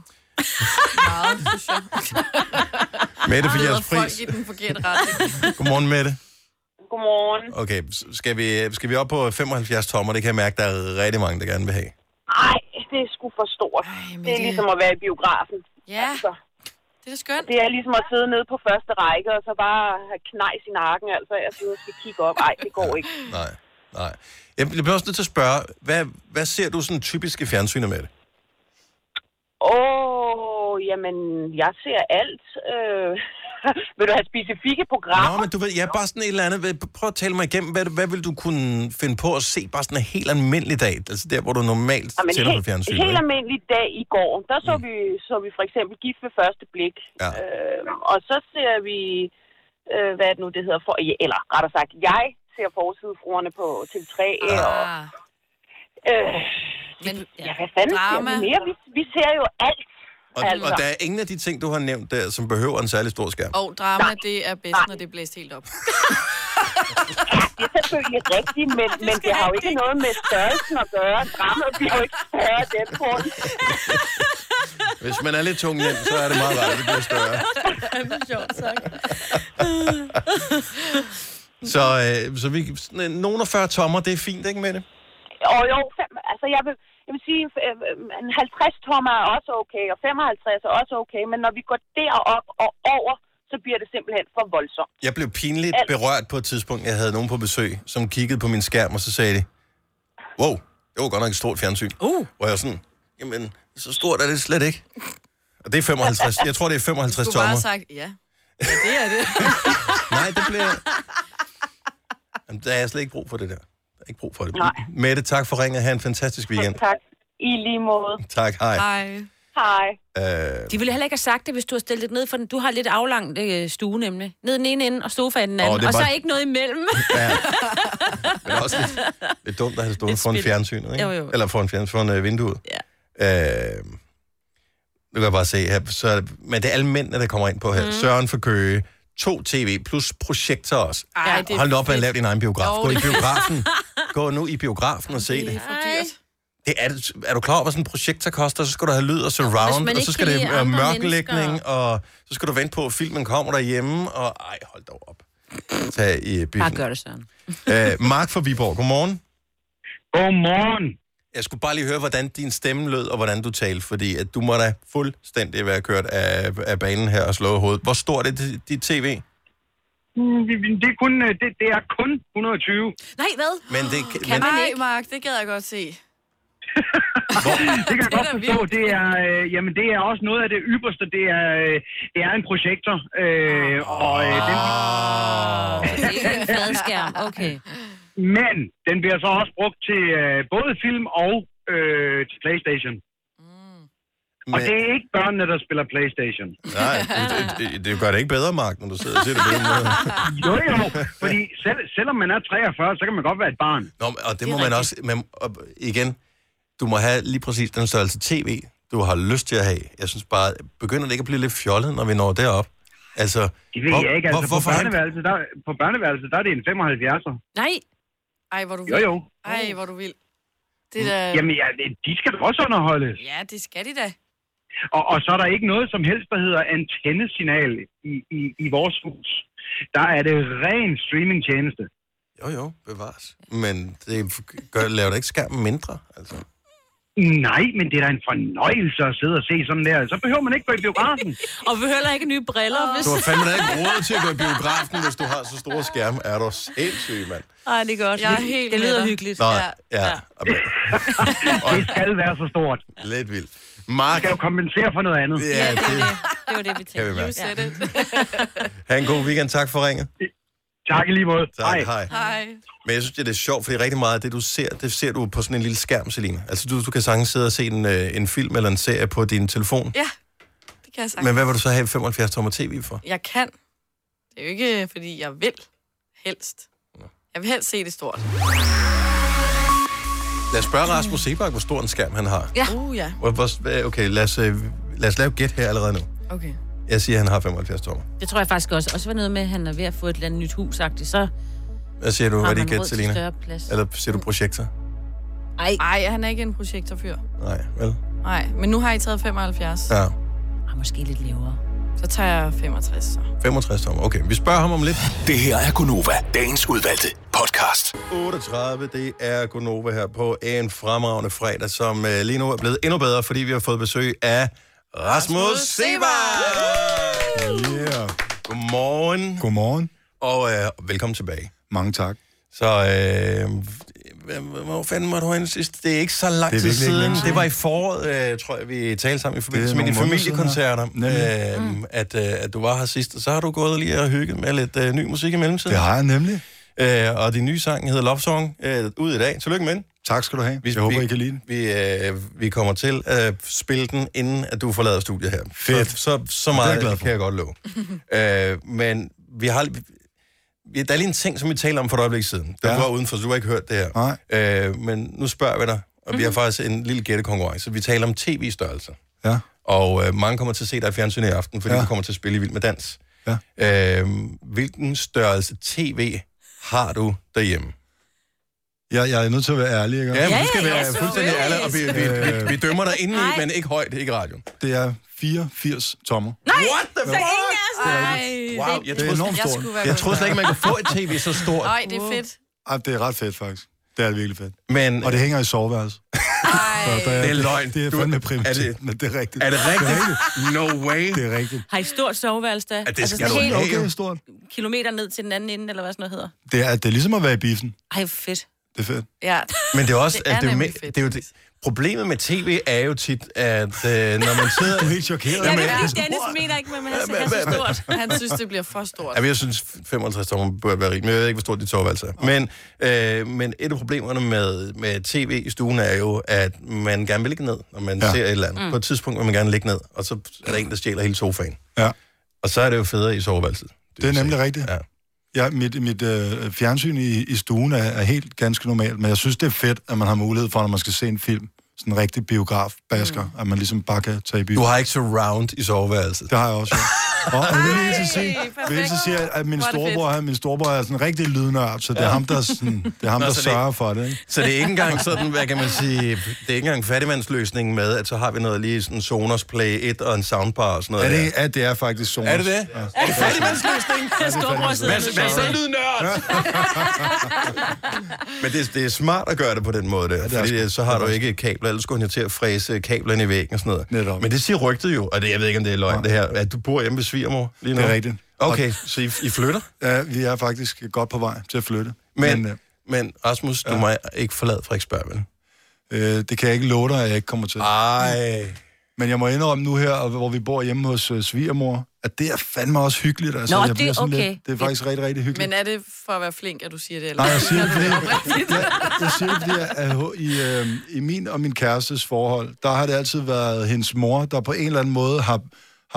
[SPEAKER 3] Meget, synes jeg.
[SPEAKER 1] Mette for
[SPEAKER 3] Leder
[SPEAKER 1] jeres
[SPEAKER 3] folk
[SPEAKER 1] pris.
[SPEAKER 3] i den forkerte retning.
[SPEAKER 1] Godmorgen, Mette.
[SPEAKER 12] Godmorgen.
[SPEAKER 1] Okay, s- skal vi, øh, skal vi op på 75 tommer? Det kan jeg mærke, der er rigtig mange, der gerne vil have.
[SPEAKER 13] Nej, det er sgu for stort. Ej, det er det... ligesom at være i biografen.
[SPEAKER 3] Ja,
[SPEAKER 13] altså,
[SPEAKER 3] det er skønt.
[SPEAKER 13] Det er ligesom at sidde nede på første række, og så bare have knejs i nakken, altså jeg synes, skal kigge op. Nej, det går ikke.
[SPEAKER 1] Nej, nej. Jeg bliver også nødt til at spørge, hvad, hvad ser du sådan typiske fjernsyner med det?
[SPEAKER 13] Åh, jamen, jeg ser alt. Øh, vil du have specifikke programmer?
[SPEAKER 1] Nå, men du ved, jeg er bare sådan et eller andet. Hvad- Prøv at tale mig igennem, hvad, hvad vil du kunne finde på at se bare sådan en helt almindelig dag? Altså der, hvor du normalt
[SPEAKER 13] Jamen,
[SPEAKER 1] tænder på
[SPEAKER 13] helt,
[SPEAKER 1] fjernsynet.
[SPEAKER 13] helt
[SPEAKER 1] ikke?
[SPEAKER 13] almindelig dag i går, der så, mm. vi, så vi for eksempel Gift ved første blik.
[SPEAKER 1] Ja.
[SPEAKER 13] Øh, og så ser vi, øh, hvad er det nu, det hedder, for, ja, eller rettere sagt, jeg ser forsidefruerne på TV3. Ah. Og, øh, Men, ja, hvad fanden ser vi mere? Vi, vi ser jo alt.
[SPEAKER 1] Og, altså. og der er ingen af de ting, du har nævnt der, som behøver en særlig stor skærm.
[SPEAKER 3] Og drama, det er bedst, når det er blæst helt op.
[SPEAKER 13] Det er selvfølgelig rigtigt, men, men det har jo ikke noget med størrelsen at gøre. Drama bliver jo ikke større af den grund.
[SPEAKER 1] Hvis man er lidt tungnem, så er det meget rart, at det bliver større.
[SPEAKER 3] det er sjovt sagt.
[SPEAKER 1] Så, øh, så vi, sådan en- nogen af 40 tommer, det er fint, ikke med det?
[SPEAKER 13] Og jo, fem, altså jeg vil, jeg vil sige, øh, øh, en 50 tommer er også okay, og 55 er også okay, men når vi går derop og over, så bliver det simpelthen for voldsomt.
[SPEAKER 1] Jeg blev pinligt
[SPEAKER 13] Alt.
[SPEAKER 1] berørt på et tidspunkt. Jeg havde nogen på besøg, som kiggede på min skærm, og så sagde de, wow, det var godt nok et stort fjernsyn. Uh. Hvor jeg sådan, jamen, så stort er det slet ikke. Og det er 55, jeg tror, det er 55
[SPEAKER 3] Du skulle bare
[SPEAKER 1] tommer.
[SPEAKER 3] have sagt, ja. Ja, det er det.
[SPEAKER 1] Nej, det bliver... Jamen, der er jeg slet ikke brug for det der. Der er ikke brug for det.
[SPEAKER 13] Nej.
[SPEAKER 1] Mette, tak for ringet. Ha' en fantastisk weekend.
[SPEAKER 13] Tak. I lige måde.
[SPEAKER 1] Tak, hej.
[SPEAKER 13] Hej.
[SPEAKER 1] Øh,
[SPEAKER 2] De ville heller ikke have sagt det, hvis du har stillet det ned, for du har lidt aflangt øh, stue nemlig. Ned den ene ende, og sofaen den
[SPEAKER 1] Åh,
[SPEAKER 2] anden, oh,
[SPEAKER 1] det er
[SPEAKER 2] og så
[SPEAKER 1] bare-
[SPEAKER 2] ikke noget imellem.
[SPEAKER 1] men også lidt, lidt dumt at have stået foran
[SPEAKER 2] spild.
[SPEAKER 1] fjernsynet, ikke?
[SPEAKER 2] Jo, jo.
[SPEAKER 1] Eller foran, fjern, foran øh, vinduet. Ja. Øh, nu kan jeg bare se her. Så, er det- men det er alle mændene, der kommer ind på her. Mm. Søren for Køge, to tv plus projekter også.
[SPEAKER 3] Ej, det er
[SPEAKER 1] Hold nu op med at
[SPEAKER 3] fedt.
[SPEAKER 1] lave din egen biograf.
[SPEAKER 3] Jo,
[SPEAKER 1] Gå i
[SPEAKER 3] det er fedt.
[SPEAKER 1] biografen. Gå nu i biografen og se det.
[SPEAKER 3] For dyrt.
[SPEAKER 1] Det er, er du klar over, hvad sådan en projektor koster? Så skal du have lyd og
[SPEAKER 3] hvis
[SPEAKER 1] surround,
[SPEAKER 3] man
[SPEAKER 1] og
[SPEAKER 3] ikke
[SPEAKER 1] så skal
[SPEAKER 3] kan
[SPEAKER 1] det
[SPEAKER 3] lide
[SPEAKER 1] være
[SPEAKER 3] andre
[SPEAKER 1] mørklægning,
[SPEAKER 3] mennesker.
[SPEAKER 1] og så skal du vente på, at filmen kommer derhjemme, og ej, hold dog op. Tag i øh, biffen.
[SPEAKER 2] Bare gør det, Søren.
[SPEAKER 1] Øh, Mark fra Viborg, godmorgen.
[SPEAKER 14] Godmorgen.
[SPEAKER 1] Jeg skulle bare lige høre, hvordan din stemme lød, og hvordan du talte, fordi at du må da fuldstændig være kørt af, af banen her og slå hovedet. Hvor stort er dit, dit tv?
[SPEAKER 14] Mm, Det er kun, øh, det, det er kun 120.
[SPEAKER 2] Nej, hvad?
[SPEAKER 1] Men det, kan
[SPEAKER 3] Kan
[SPEAKER 1] men,
[SPEAKER 3] man ikke? Mark, det gad jeg godt se.
[SPEAKER 14] det kan jeg
[SPEAKER 3] Det er
[SPEAKER 14] godt
[SPEAKER 3] da
[SPEAKER 14] forstå.
[SPEAKER 3] vildt.
[SPEAKER 14] Det er, øh, jamen, det er også noget af det ypperste. Det er, øh, det er en projektor. Øh, og, øh, den,
[SPEAKER 1] Ah.
[SPEAKER 2] Det er ikke en fladskærm, okay.
[SPEAKER 14] men den bliver
[SPEAKER 1] Mm.
[SPEAKER 14] så også brugt til øh, både film og øh, til Playstation. Og det er ikke børnene, der spiller Playstation.
[SPEAKER 1] Nej, det, det, det gør det ikke bedre, Mark, når du sidder og siger det på den måde.
[SPEAKER 14] Jo, jo, fordi selv, selvom man er 43, så kan man godt være et barn.
[SPEAKER 1] Nå, men- og det, det må man også... Men, og igen, du må have lige præcis den størrelse tv, du har lyst til at have. Jeg synes bare, begynder det ikke at blive lidt fjollet, når vi når derop? Altså,
[SPEAKER 14] Det ved jeg ikke. Altså, på, børneværelset, der, på børneværelset, der er det en 75'er.
[SPEAKER 2] Nej.
[SPEAKER 3] Ej, hvor er du
[SPEAKER 14] Jo,
[SPEAKER 3] vild.
[SPEAKER 14] jo. Mm.
[SPEAKER 3] Ej, hvor er du vild. Det der...
[SPEAKER 14] Jamen, ja, det- de skal da også underholdes.
[SPEAKER 3] Ja, det skal de da.
[SPEAKER 14] Og, og så er der ikke noget som helst, der hedder antennesignal i, i, i vores hus. Der er det ren streamingtjeneste.
[SPEAKER 1] Jo, jo, bevares. Men det gør, laver da ikke skærmen mindre, altså.
[SPEAKER 14] Nej, men det er da en fornøjelse at sidde og se sådan der. Så behøver man ikke gå i biografen.
[SPEAKER 2] Og vi heller ikke nye briller. Hvis...
[SPEAKER 1] Du har fandme da ikke råd til at gå i biografen, hvis du har så store skærme. Er du sindssyg, mand?
[SPEAKER 2] Ej, det er godt.
[SPEAKER 3] Jeg er helt
[SPEAKER 2] det
[SPEAKER 3] med
[SPEAKER 2] lyder
[SPEAKER 3] dig.
[SPEAKER 2] hyggeligt.
[SPEAKER 1] Nå, ja. ja.
[SPEAKER 14] det skal være så stort.
[SPEAKER 1] Lidt vildt. Mark...
[SPEAKER 14] skal jo kompensere for noget andet.
[SPEAKER 1] Ja, det...
[SPEAKER 2] Det var det, vi
[SPEAKER 1] Kan
[SPEAKER 2] tænkte.
[SPEAKER 1] vi mærke.
[SPEAKER 2] You said it.
[SPEAKER 1] Ha' en god weekend. Tak for ringet.
[SPEAKER 14] Tak i lige måde.
[SPEAKER 1] Tak, hej. hej.
[SPEAKER 3] Hej.
[SPEAKER 1] Men jeg synes, det er sjovt, fordi rigtig meget af det, du ser, det ser du på sådan en lille skærm, Selina. Altså, du, du kan sagtens sidde og se en, øh, en film eller en serie på din telefon.
[SPEAKER 3] Ja, det kan jeg sagtens.
[SPEAKER 1] Men hvad vil du så have 75 tommer tv for?
[SPEAKER 3] Jeg kan. Det er jo ikke, fordi jeg vil. Helst. Jeg vil helst se det stort.
[SPEAKER 1] Lad os spørge Rasmus Sebak, hvor stor en skærm han har.
[SPEAKER 3] Ja. Uh, ja.
[SPEAKER 1] Hvor- hvor- hvad- Okay, lad os, øh, lad os lave et gæt her allerede nu.
[SPEAKER 3] Okay.
[SPEAKER 1] Jeg siger, at han har 75 tommer.
[SPEAKER 2] Det tror jeg faktisk også. Og så var noget med, at han er ved at få et eller andet nyt hus, sagt så...
[SPEAKER 1] Hvad siger du?
[SPEAKER 2] Har
[SPEAKER 1] Hvad er det
[SPEAKER 2] man
[SPEAKER 1] gæt,
[SPEAKER 2] råd til
[SPEAKER 1] Selina?
[SPEAKER 2] større plads? Mm.
[SPEAKER 1] Eller siger du projekter?
[SPEAKER 2] Ej.
[SPEAKER 3] Ej, han er ikke en projektorfyr.
[SPEAKER 1] Nej, vel?
[SPEAKER 3] Nej, men nu har I taget 75.
[SPEAKER 1] Ja.
[SPEAKER 2] Og måske lidt lavere.
[SPEAKER 3] Så tager jeg 65, så.
[SPEAKER 1] 65 tommer. Okay, vi spørger ham om lidt.
[SPEAKER 11] Det her er Gunova, dagens udvalgte podcast.
[SPEAKER 1] 38, det er Gunova her på en fremragende fredag, som øh, lige nu er blevet endnu bedre, fordi vi har fået besøg af Rasmus Seber! Yeah. Godmorgen.
[SPEAKER 15] Godmorgen.
[SPEAKER 1] Og øh, velkommen tilbage.
[SPEAKER 15] Mange tak.
[SPEAKER 1] Så øh, hvor- hvor fanden måtte du hen sidst? Det er ikke så lang
[SPEAKER 15] Det er
[SPEAKER 1] tid
[SPEAKER 15] virkelig ikke
[SPEAKER 1] siden.
[SPEAKER 15] længe siden.
[SPEAKER 1] Det var i foråret, øh, tror jeg, vi talte sammen i forbindelse med
[SPEAKER 15] nogle
[SPEAKER 1] dine
[SPEAKER 15] måneder siden
[SPEAKER 1] familiekoncerter,
[SPEAKER 15] her.
[SPEAKER 1] øh, at, øh, at du var her sidst. Og så har du gået lige og hygget med lidt øh, ny musik i mellemtiden.
[SPEAKER 15] Det har jeg nemlig.
[SPEAKER 1] Øh, og din nye sang hedder Love Song, øh, ud i dag. Tillykke med den.
[SPEAKER 15] Tak skal du have.
[SPEAKER 1] Vi,
[SPEAKER 15] Jeg håber, I kan lide den.
[SPEAKER 1] Vi, øh, vi kommer til at spille den, inden at du forlader studiet her. Fedt. Så, så, så
[SPEAKER 15] er
[SPEAKER 1] meget
[SPEAKER 15] jeg glad
[SPEAKER 1] det
[SPEAKER 15] for.
[SPEAKER 1] kan jeg godt love. øh, men vi har... Vi, der er lige en ting, som vi taler om for et øjeblik siden. Du
[SPEAKER 15] Ja.
[SPEAKER 1] var udenfor, så du har ikke hørt det her. Nej. Øh, men nu spørger vi dig, og vi har faktisk en lille gættekonkurrence. Vi taler om tv-størrelser.
[SPEAKER 15] Ja.
[SPEAKER 1] Og øh, mange kommer til at se dig i fjernsynet i aften, fordi ja.
[SPEAKER 15] Ja.
[SPEAKER 1] du kommer til at spille i Vild med Dans. Ja. Øh, hvilken størrelse tv har du derhjemme?
[SPEAKER 15] Jeg, jeg er nødt til at være ærlig, ikke?
[SPEAKER 1] Ja, men du skal være fuldstændig ærlig, og vi, vi, Øh, vi, vi dømmer dig indeni,
[SPEAKER 15] Nej.
[SPEAKER 1] men ikke højt, ikke radioen.
[SPEAKER 15] Det er 84 tommer.
[SPEAKER 1] Nej, What the fuck? Wow, jeg
[SPEAKER 15] Det er
[SPEAKER 1] troede,
[SPEAKER 15] enormt stort.
[SPEAKER 1] jeg, jeg troede slet ikke, man kunne få et tv så stort.
[SPEAKER 3] Nej, det er fedt.
[SPEAKER 15] Ej, det er ret fedt, faktisk. Det er det virkelig fedt.
[SPEAKER 1] Men,
[SPEAKER 15] og det hænger i soveværelset. Så der
[SPEAKER 1] Det er løgn.
[SPEAKER 15] Det er
[SPEAKER 1] Du-
[SPEAKER 15] fandme
[SPEAKER 1] er det-
[SPEAKER 15] primitivt, men det er rigtigt.
[SPEAKER 1] Er det rigtigt? No way.
[SPEAKER 15] Det er rigtigt.
[SPEAKER 2] Har I stort soveværelse da? Altså Ja,
[SPEAKER 15] det skal du have. Okay, stort.
[SPEAKER 2] Kilometer ned til den anden ende, eller hvad sådan noget hedder.
[SPEAKER 15] Det er, det er ligesom at være i biffen.
[SPEAKER 2] Ej, fedt.
[SPEAKER 15] Det er fedt.
[SPEAKER 3] Ja.
[SPEAKER 1] Men det er også...
[SPEAKER 2] Det er
[SPEAKER 1] at det, er jo
[SPEAKER 2] nemlig
[SPEAKER 1] me- det er jo det, problemet med tv er jo tit, at øh, når man sidder... Du er
[SPEAKER 15] helt chokeret.
[SPEAKER 2] Ja, men, Dennis mener ikke, men han skal have så stort.
[SPEAKER 3] Han synes, det bliver for stort.
[SPEAKER 1] Ja, men jeg synes, 55 tommer bør være rigtigt, men jeg ved ikke, hvor stort dit soveværelse er. Men, øh, men et af problemerne med, med tv i stuen er jo, at man gerne vil ligge ned, når man ja.
[SPEAKER 15] Ja.
[SPEAKER 1] ser et eller andet. Mm.
[SPEAKER 15] Mm.
[SPEAKER 1] På et tidspunkt vil man gerne ligge ned, og så er der en, der stjæler hele sofaen.
[SPEAKER 15] ligesom- Ja.
[SPEAKER 1] Og så er det jo federe i soveværelset.
[SPEAKER 15] Det er nemlig rigtigt.
[SPEAKER 1] Ja.
[SPEAKER 15] Ja, mit, mit øh, fjernsyn i, i stuen er, er helt ganske normalt, men jeg synes, det er fedt, at man har mulighed for, når man skal se en film, sådan en rigtig biograf-basker, mm. at man ligesom bare kan tage i byen.
[SPEAKER 1] Du har ikke surround i soveværelset.
[SPEAKER 15] Det har jeg også. ja. Og jeg vil lige så sige, jeg vil lige så sige at min
[SPEAKER 1] Hvor er det
[SPEAKER 15] storebror, han, min storebror er sådan en rigtig lydnørd, så det er
[SPEAKER 1] Ja.
[SPEAKER 15] ham, der, sådan, det er ham,
[SPEAKER 1] Nå,
[SPEAKER 15] der
[SPEAKER 1] så det-
[SPEAKER 15] sørger for det. Ikke?
[SPEAKER 1] Så det er ikke engang sådan, hvad kan man sige, det er ikke engang fattigmandsløsningen med, at så har vi noget lige sådan Sonos Play 1 og en soundbar og sådan noget
[SPEAKER 15] Er
[SPEAKER 1] der.
[SPEAKER 15] det, ja, det er faktisk Sonos.
[SPEAKER 1] Er det det?
[SPEAKER 15] Ja.
[SPEAKER 1] Er det fattigmandsløsning?
[SPEAKER 15] Ja, det er Storbror sidder
[SPEAKER 1] Hvad,
[SPEAKER 15] med
[SPEAKER 1] hvad
[SPEAKER 15] sokken.
[SPEAKER 1] så lydnørd? Men det, det er smart at gøre det på den måde der,
[SPEAKER 15] er
[SPEAKER 1] ja, fordi så har du ikke kabler, ellers skulle han jo til at fræse kablerne i væggen og sådan noget. Netop. Men det siger rygtet jo, og det, jeg ved ikke, om det er løgn det her, at du bor hjemme ved svigermor lige nu.
[SPEAKER 15] Det er rigtigt.
[SPEAKER 1] Okay, så I, I flytter?
[SPEAKER 15] Ja, vi er faktisk godt på vej til at flytte.
[SPEAKER 1] Men, men, men Rasmus, du ja. må ikke forlade Frederiksberg, vel?
[SPEAKER 15] Øh, det kan jeg ikke love dig, at jeg ikke kommer til.
[SPEAKER 1] Ej.
[SPEAKER 15] Men jeg må indrømme nu her, og hvor vi bor hjemme hos øh, svigermor, at det er fandme også hyggeligt. Altså,
[SPEAKER 3] Nå,
[SPEAKER 15] jeg
[SPEAKER 3] det
[SPEAKER 15] bliver sådan
[SPEAKER 3] er okay.
[SPEAKER 15] Lidt, det er faktisk rigtig, rigtig hyggeligt.
[SPEAKER 3] Men er det for at være flink, at du siger det? Eller?
[SPEAKER 15] Nej, jeg siger det, fordi
[SPEAKER 3] Oprigtigt.
[SPEAKER 15] jeg siger det, fordi jeg, er- i, øh, i min og min kærestes forhold, der har det altid været hendes mor, der på en eller anden måde har,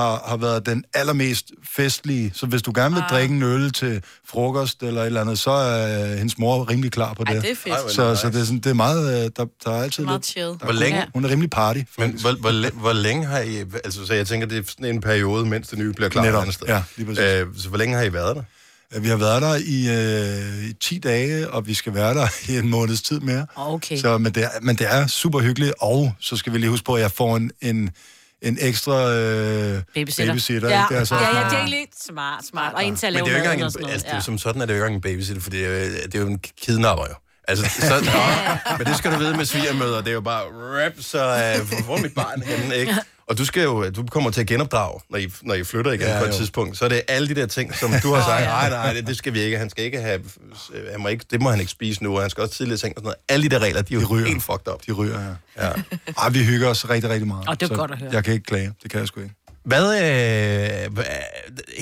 [SPEAKER 15] har, har været den allermest festlige. Så hvis du gerne vil
[SPEAKER 1] Ah.
[SPEAKER 15] drikke en øl til frokost eller et eller andet, så er øh, hendes mor rimelig klar på
[SPEAKER 1] Ej,
[SPEAKER 15] det.
[SPEAKER 1] det er fedt. Ej, hvor er det
[SPEAKER 15] Så,
[SPEAKER 1] nice.
[SPEAKER 15] så det, er sådan, det er meget... Øh, der, der er altid
[SPEAKER 1] Meget
[SPEAKER 15] lidt,
[SPEAKER 1] chill.
[SPEAKER 15] Der,
[SPEAKER 1] Hvor længe?
[SPEAKER 15] Hun, hun er rimelig party.
[SPEAKER 1] Men hvor, hvor, læ- hvor længe har I... Altså, så jeg tænker, det er sådan en periode, mens det nye bliver klar.
[SPEAKER 15] Netop,
[SPEAKER 1] et andet sted.
[SPEAKER 15] ja, lige præcis.
[SPEAKER 1] Øh, så hvor længe har I været der?
[SPEAKER 15] Øh, Vi har været der i, øh, i 10 dage, og vi skal være der i en måneds tid mere.
[SPEAKER 2] Okay.
[SPEAKER 15] Så, men, det er, men det er super hyggeligt, og så skal vi lige huske på, at jeg får en, en, en ekstra øh,
[SPEAKER 2] Babysitter.
[SPEAKER 15] babysitter
[SPEAKER 2] ja.
[SPEAKER 15] ikke? Det er så,
[SPEAKER 2] ja, ja, det er lidt smart, smart. Og en til at
[SPEAKER 1] Men
[SPEAKER 2] lave
[SPEAKER 1] det er jo ikke
[SPEAKER 2] maden og
[SPEAKER 1] engang
[SPEAKER 2] sådan
[SPEAKER 1] en,
[SPEAKER 2] noget.
[SPEAKER 1] altså, det er, jo
[SPEAKER 2] ja.
[SPEAKER 1] som sådan er det jo ikke engang en babysitter, for det er, jo- det er jo en kidnapper jo. Altså, så, nå, men det skal du vide med svigermøder, det er jo bare rap, så øh, hvor er mit barn henne, ikke? Og du, skal jo, du kommer til at genopdrage, når I, når I flytter igen
[SPEAKER 15] Ja,
[SPEAKER 1] ja, på et
[SPEAKER 15] jo.
[SPEAKER 1] tidspunkt. Så er det alle de der ting, som du har
[SPEAKER 15] Åh,
[SPEAKER 1] sagt,
[SPEAKER 15] ja.
[SPEAKER 1] nej, nej, det, det skal vi ikke. Han skal ikke have, øh, han må ikke, det må han ikke spise nu, og han skal også tidligere tænke og sådan noget. Alle de der regler, de er jo de helt fucked up.
[SPEAKER 15] De ryger, ja. ja. Ej, vi hygger os rigtig, rigtig meget.
[SPEAKER 1] Åh, det er
[SPEAKER 15] så
[SPEAKER 1] godt at høre.
[SPEAKER 15] Jeg kan ikke klage, det kan jeg sgu ikke.
[SPEAKER 1] Hvad, øh, hva-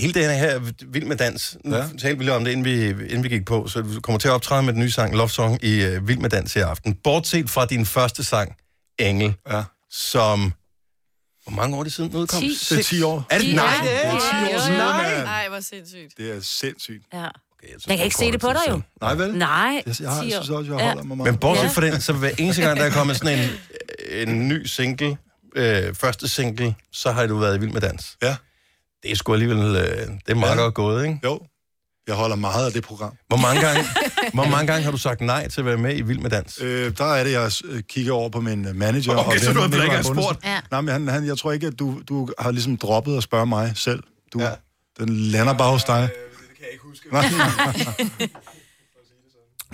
[SPEAKER 1] hele den her Vild med Dans, nu ja.
[SPEAKER 15] Ja.
[SPEAKER 1] talte vi lige om det, inden vi, inden vi gik på, så du kommer til at optræde med den nye sang, Love Song, i øh, Vild med Dans i aften. Bortset fra din første sang, Engel,
[SPEAKER 15] ja.
[SPEAKER 1] som... Hvor mange år er det siden den udkom?
[SPEAKER 15] Ti.
[SPEAKER 1] Seks-
[SPEAKER 15] Det er ti år.
[SPEAKER 1] Er det?
[SPEAKER 15] Ti
[SPEAKER 1] Nej,
[SPEAKER 15] år.
[SPEAKER 1] det er
[SPEAKER 15] Det er
[SPEAKER 1] ikke.
[SPEAKER 15] ti år
[SPEAKER 1] Nej.
[SPEAKER 15] siden,
[SPEAKER 1] Nej.
[SPEAKER 15] mand.
[SPEAKER 3] Nej, hvor sindssygt.
[SPEAKER 15] Det er sindssygt.
[SPEAKER 2] Ja.
[SPEAKER 1] synes,
[SPEAKER 2] Man kan ikke
[SPEAKER 1] det er
[SPEAKER 2] se det på dig jo.
[SPEAKER 15] Nej, vel?
[SPEAKER 2] Nej.
[SPEAKER 15] Jeg, jeg, har- jeg synes også, jeg holder mig meget.
[SPEAKER 1] Men bortset fra den, så hver eneste gang, der er kommet sådan en, en ny single, øh, første single, så har du været i Vild med Dans.
[SPEAKER 15] Ja.
[SPEAKER 1] Det er sgu alligevel, øh, det er meget ja. godt gået, ikke?
[SPEAKER 15] Jo. Jeg holder meget af det program.
[SPEAKER 1] Hvor mange, gange, hvor mange gange har du sagt nej til at være med i Vild med Dans?
[SPEAKER 15] Øh, der er det, jeg øh, kigger over på min øh, manager.
[SPEAKER 1] Okay, så
[SPEAKER 15] ven,
[SPEAKER 1] du har
[SPEAKER 15] Nikolaj
[SPEAKER 1] ikke engang
[SPEAKER 15] Bundesen.
[SPEAKER 1] spurgt? Ja.
[SPEAKER 15] Nej, men han, han, jeg tror ikke, at du, du har ligesom droppet at spørge mig selv. Du, ja. Den lander bare hos dig. Det kan jeg ikke huske.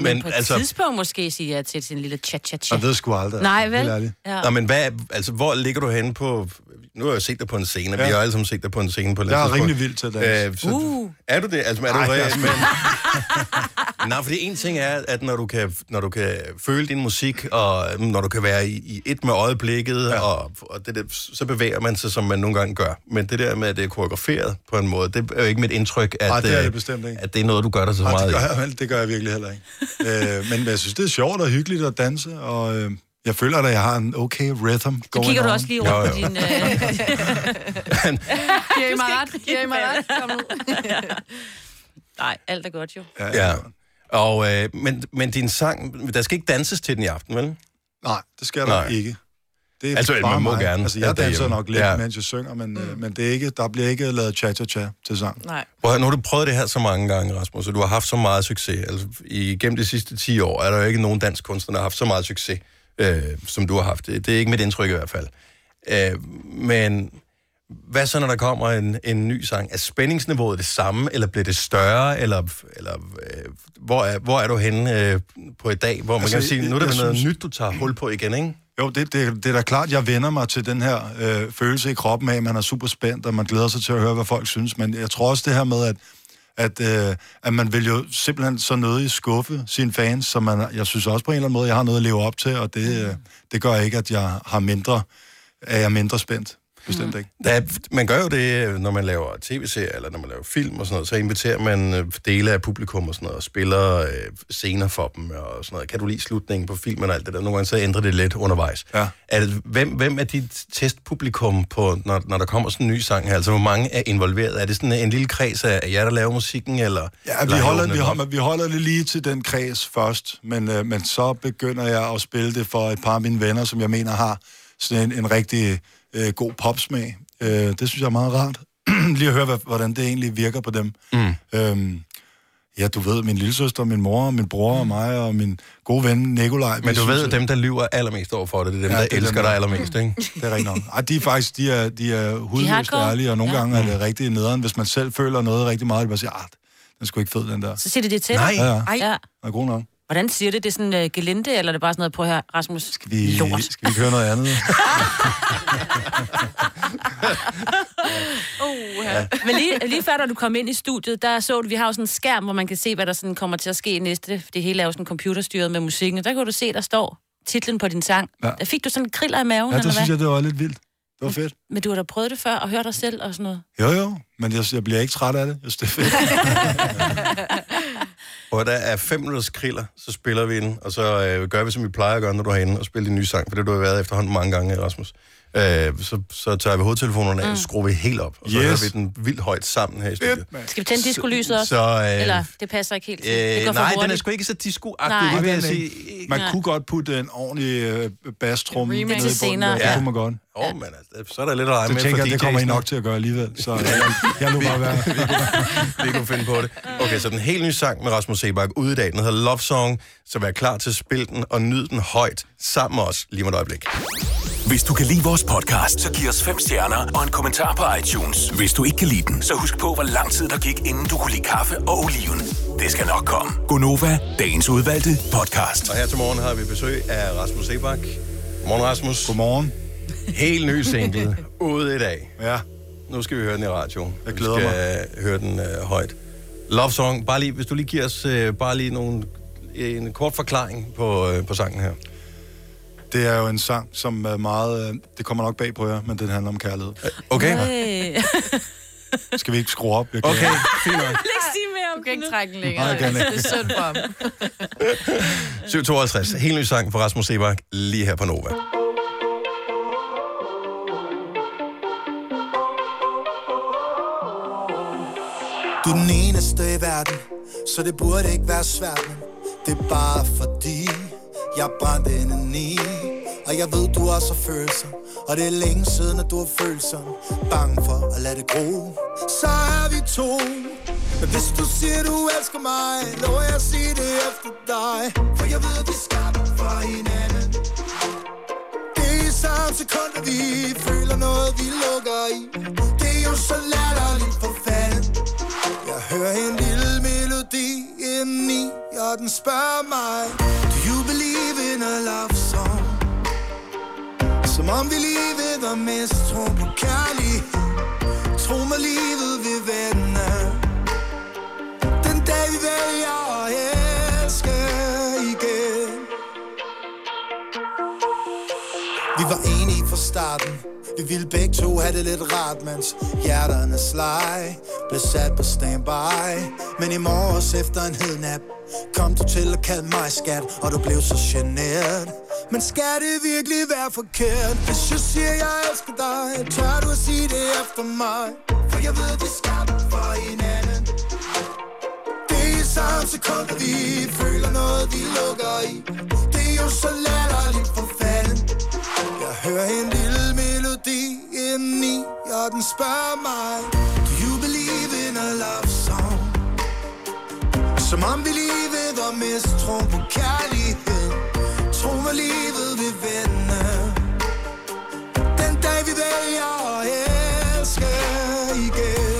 [SPEAKER 1] Men
[SPEAKER 2] På et
[SPEAKER 1] altså,
[SPEAKER 2] altså... tidspunkt måske siger jeg til sin lille cha-cha-cha.
[SPEAKER 1] Man ved sgu aldrig,
[SPEAKER 2] Nej,
[SPEAKER 1] altså,
[SPEAKER 2] vel?
[SPEAKER 1] helt ærligt.
[SPEAKER 2] Ja.
[SPEAKER 1] Nå, men hvad, altså, hvor ligger du henne på... Nu har jeg jo set dig på en scene, og ja. vi
[SPEAKER 15] Ja.
[SPEAKER 1] har alle sammen set dig på en scene på et eller
[SPEAKER 15] Jeg er
[SPEAKER 1] andet tidspunkt.
[SPEAKER 15] rimelig vild til at danse.
[SPEAKER 1] Øh, så, uh.
[SPEAKER 15] Uh.
[SPEAKER 1] Er du det? Altså, er du
[SPEAKER 15] Ej, jeg er
[SPEAKER 1] reelt? Men... Nej, fordi en ting er, at når du kan, når du kan føle din musik, og mm, når du kan være i, i et med øjeblikket, ja. og, og det der, så bevæger man sig, som man nogle gange gør. Men det der med, at det er koreograferet på en måde, det er jo ikke mit indtryk, at,
[SPEAKER 15] Ej, det er
[SPEAKER 1] øh,
[SPEAKER 15] det bestemt ikke.
[SPEAKER 1] at det er noget, du gør dig så
[SPEAKER 15] Ej,
[SPEAKER 1] meget
[SPEAKER 15] det,
[SPEAKER 1] i.
[SPEAKER 15] gør jeg, vel, det gør jeg virkelig heller ikke. øh, men jeg synes, det er sjovt og hyggeligt at danse, og øh, jeg føler, at jeg har en okay rhythm
[SPEAKER 2] Så
[SPEAKER 15] going
[SPEAKER 2] kigger du
[SPEAKER 15] on.
[SPEAKER 2] også lige rundt på din... Øh...
[SPEAKER 3] Giver I
[SPEAKER 2] Du
[SPEAKER 3] mig
[SPEAKER 2] skal
[SPEAKER 3] ret?
[SPEAKER 2] ikke
[SPEAKER 3] Giver I mig
[SPEAKER 2] kigge
[SPEAKER 3] ret? Kom nu.
[SPEAKER 2] Nej, alt er godt jo.
[SPEAKER 1] Ja. Og, øh, men, men din sang, der skal ikke danses til den i aften, vel?
[SPEAKER 15] Nej, det skal der ikke.
[SPEAKER 1] Det er altså,
[SPEAKER 15] bare
[SPEAKER 1] man må
[SPEAKER 15] mig.
[SPEAKER 1] gerne.
[SPEAKER 15] Altså, jeg danser
[SPEAKER 1] derhjemme.
[SPEAKER 15] nok lidt, ja. mens jeg synger, men, mm. øh, men det er ikke, der bliver ikke lavet cha-cha-cha til sang.
[SPEAKER 3] Nej.
[SPEAKER 1] Prøv, at høre, nu har du prøvet det her så mange gange, Rasmus, og du har haft så meget succes. Altså, igennem de sidste 10 år er der jo ikke nogen dansk kunstner, der har haft så meget succes, øh, som du har haft. Det, det er ikke mit indtryk i hvert fald. Øh, men hvad så, når der kommer en, en ny sang? Er spændingsniveauet det samme, eller bliver det større, eller, eller øh, hvor, er, hvor er du henne øh, på i dag? Hvor man altså,
[SPEAKER 15] Altså,
[SPEAKER 1] kan sige, nu er der
[SPEAKER 15] jeg
[SPEAKER 1] noget
[SPEAKER 15] synes-
[SPEAKER 1] synes... nyt, du tager hul på igen, ikke?
[SPEAKER 15] Jo, det, det, det er da klart, jeg vender mig til den her øh, følelse i kroppen af, at man er super spændt, og man glæder sig til at høre, hvad folk synes. Men jeg tror også det her med, at, at, øh, at man vil jo simpelthen så nødig skuffe sine fans, så man, jeg synes også på en eller anden måde, jeg har noget at leve op til, og det, øh, det gør ikke, at jeg har mindre, er jeg mindre spændt. Bestemt ikke.
[SPEAKER 1] Der, er- man gør jo det, øh, når man laver tv-serier, eller når man laver film og sådan noget, så inviterer man øh, dele af publikum og sådan noget, og spiller øh, scener for dem og sådan noget. Kan du lide slutningen på filmen og alt det der? Nogle gange så ændrer det lidt undervejs. Ja. Er det, hvem, hvem er dit testpublikum, på, når, når der kommer sådan en ny sang her? Altså, hvor mange er involveret? Er det sådan en lille kreds af jer, der laver musikken, eller...
[SPEAKER 15] Ja, vi
[SPEAKER 1] eller
[SPEAKER 15] holder,
[SPEAKER 1] åbner
[SPEAKER 15] vi,
[SPEAKER 1] den op?
[SPEAKER 15] holder, vi holder det lige til den kreds først, men, øh, men så begynder jeg at spille det for et par af mine venner, som jeg mener har sådan en, en rigtig øh, god popsmag. Øh, det synes jeg er meget rart. lige at høre, hvad, hvordan det egentlig virker på dem.
[SPEAKER 1] Mm.
[SPEAKER 15] Øhm, ja, du ved, min lillesøster, min mor, min bror og mig og min gode ven Nikolaj.
[SPEAKER 1] Men du ved, at dem, der lyver allermest over for det, det er dem, ja, der
[SPEAKER 15] det er dem,
[SPEAKER 1] elsker dig
[SPEAKER 15] der-
[SPEAKER 1] allermest, ikke?
[SPEAKER 15] Det er rigtigt nok. Ej, de er faktisk de er, de er hudløst
[SPEAKER 2] hardcore.
[SPEAKER 15] ærlige, og nogle
[SPEAKER 2] Ja.
[SPEAKER 15] ja. gange er det rigtig nederen. Hvis man selv føler noget rigtig meget, det bare siger, at den er sgu ikke fed, den der.
[SPEAKER 2] Så siger det det til
[SPEAKER 15] Nej.
[SPEAKER 2] dig?
[SPEAKER 15] Ja, ja.
[SPEAKER 2] Ja.
[SPEAKER 15] Den er god nok.
[SPEAKER 2] Hvordan siger det? Det er sådan uh, gelinde, eller er det bare sådan noget på her, Rasmus? Skal
[SPEAKER 15] Vi,
[SPEAKER 2] Lort.
[SPEAKER 15] skal vi køre noget andet?
[SPEAKER 2] Uh, ja. Men lige, lige før, da du kom ind i studiet, der så du, vi har jo sådan en skærm, hvor man kan se, hvad der sådan kommer til at ske næste. Det hele er jo sådan computerstyret med musikken, og der kan du se, der står titlen på din sang. Ja.
[SPEAKER 15] Ja.
[SPEAKER 2] Der fik du sådan en kriller i maven, eller
[SPEAKER 15] ja, det
[SPEAKER 2] hvad?
[SPEAKER 15] synes jeg, det var lidt vildt. Det var fedt.
[SPEAKER 2] Men du har da prøvet det før, og hørt dig selv og sådan noget.
[SPEAKER 15] Øh, Jo, jo, men jeg, jeg bliver ikke træt af det. Jeg synes, det er fedt.
[SPEAKER 1] Og der er fem minutters kriller, så spiller vi den, og så øh, gør vi, som vi plejer at gøre, når du er herinde, og spiller din nye sang, for det har du har været efterhånden mange gange, Rasmus. Øh, så, så tager vi hovedtelefonerne af,
[SPEAKER 2] Mm.
[SPEAKER 1] mm. skruer vi helt op, og så
[SPEAKER 15] Yes.
[SPEAKER 1] yes. hører vi den vildt højt sammen her i studiet.
[SPEAKER 2] Skal vi tænde discolyset også?
[SPEAKER 1] Så, øh,
[SPEAKER 2] Eller det passer ikke helt til. det
[SPEAKER 1] øh,
[SPEAKER 2] går for
[SPEAKER 1] nej,
[SPEAKER 2] hurtigt.
[SPEAKER 1] den er sgu ikke så disco
[SPEAKER 2] Nej.
[SPEAKER 1] det vil jeg sige.
[SPEAKER 15] Man
[SPEAKER 2] Nej.
[SPEAKER 15] kunne godt putte en ordentlig øh, basstromme ned i
[SPEAKER 2] Remix.
[SPEAKER 15] bunden.
[SPEAKER 2] Til senere,
[SPEAKER 15] Senere, ja.
[SPEAKER 2] ja.
[SPEAKER 15] Det kunne man godt.
[SPEAKER 1] Åh, oh, men altså, så er der lidt at lege
[SPEAKER 15] Det
[SPEAKER 1] med
[SPEAKER 15] tænker
[SPEAKER 1] for
[SPEAKER 15] jeg, det kommer I
[SPEAKER 1] DJ's nu.
[SPEAKER 15] nok til at gøre alligevel. Så øh, jeg nu bare være.
[SPEAKER 1] vi kunne finde på det. Okay, så den helt nye sang med Rasmus Sebak ude i dag, den hedder Love Song, så vær klar til at spille den og nyd den højt sammen med os lige om et øjeblik.
[SPEAKER 11] Hvis du kan lide vores podcast, så giv os fem stjerner og en kommentar på iTunes. Hvis du ikke kan lide den, så husk på, hvor lang tid der gik, inden du kunne lide kaffe og oliven. Det skal nok komme.
[SPEAKER 1] Gonova, dagens udvalgte podcast. Og her til morgen har vi besøg af Rasmus Sebak. Godmorgen, Rasmus. Godmorgen. Helt ny single, ude i dag. Ja. Nu skal vi høre den i radioen. Jeg glæder vi skal mig. høre den øh, højt. Love Song, bare lige, hvis du lige giver os øh, bare lige nogle, en kort forklaring på, øh, på sangen her.
[SPEAKER 15] Det er jo en sang, som er meget... Øh, det kommer nok bag på jer, men den handler om kærlighed.
[SPEAKER 2] Øj.
[SPEAKER 15] Skal vi ikke skrue op? Jeg okay, fint nok.
[SPEAKER 2] Ikke sige mere om
[SPEAKER 3] Du kan ikke trække den
[SPEAKER 15] Nej,
[SPEAKER 3] længere.
[SPEAKER 15] jeg kan ikke.
[SPEAKER 3] Det er synd for ham.
[SPEAKER 1] 752, helt ny sang fra Rasmus Sebak, lige her på Nova.
[SPEAKER 16] Du er den eneste i verden, så det burde ikke være svært, men det er bare fordi, jeg brændte inden i. Og jeg ved, du også er følsom, og det er længe siden, at du er følsom. Bange for at lade det gro, så er vi to. Men hvis du siger, du elsker mig, lover jeg at sige det efter dig. For jeg ved, vi er skabt for hinanden. Det er i samme sekund, at vi føler noget, vi lukker i. Det er jo så latterligt for fanden. Jeg hører en lille melodi indeni, og den spørger mig Do you believe in a love song? Som om vi livet var mest tro på kærlighed Tro mig livet vil vende Den dag vi vælger at elske igen Vi var enige fra starten Vi ville begge to have det lidt rart Mens hjerterne slej Blev sat på standby Men i morges efter en hednap Kom du til at kalde mig skat Og du blev så generet Men skal det virkelig være forkert Hvis jeg siger jeg elsker dig Tør du at sige det efter mig For jeg ved vi er skabt for hinanden Det er i samme sekund at vi føler noget vi lukker i Det er jo så latterligt for fanden jeg hører en lille melodi indeni, og den spørger mig Do you believe in a love song? Som om vi livet var mistro på kærlighed Tro mig livet vil vende Den dag vi vælger at elske igen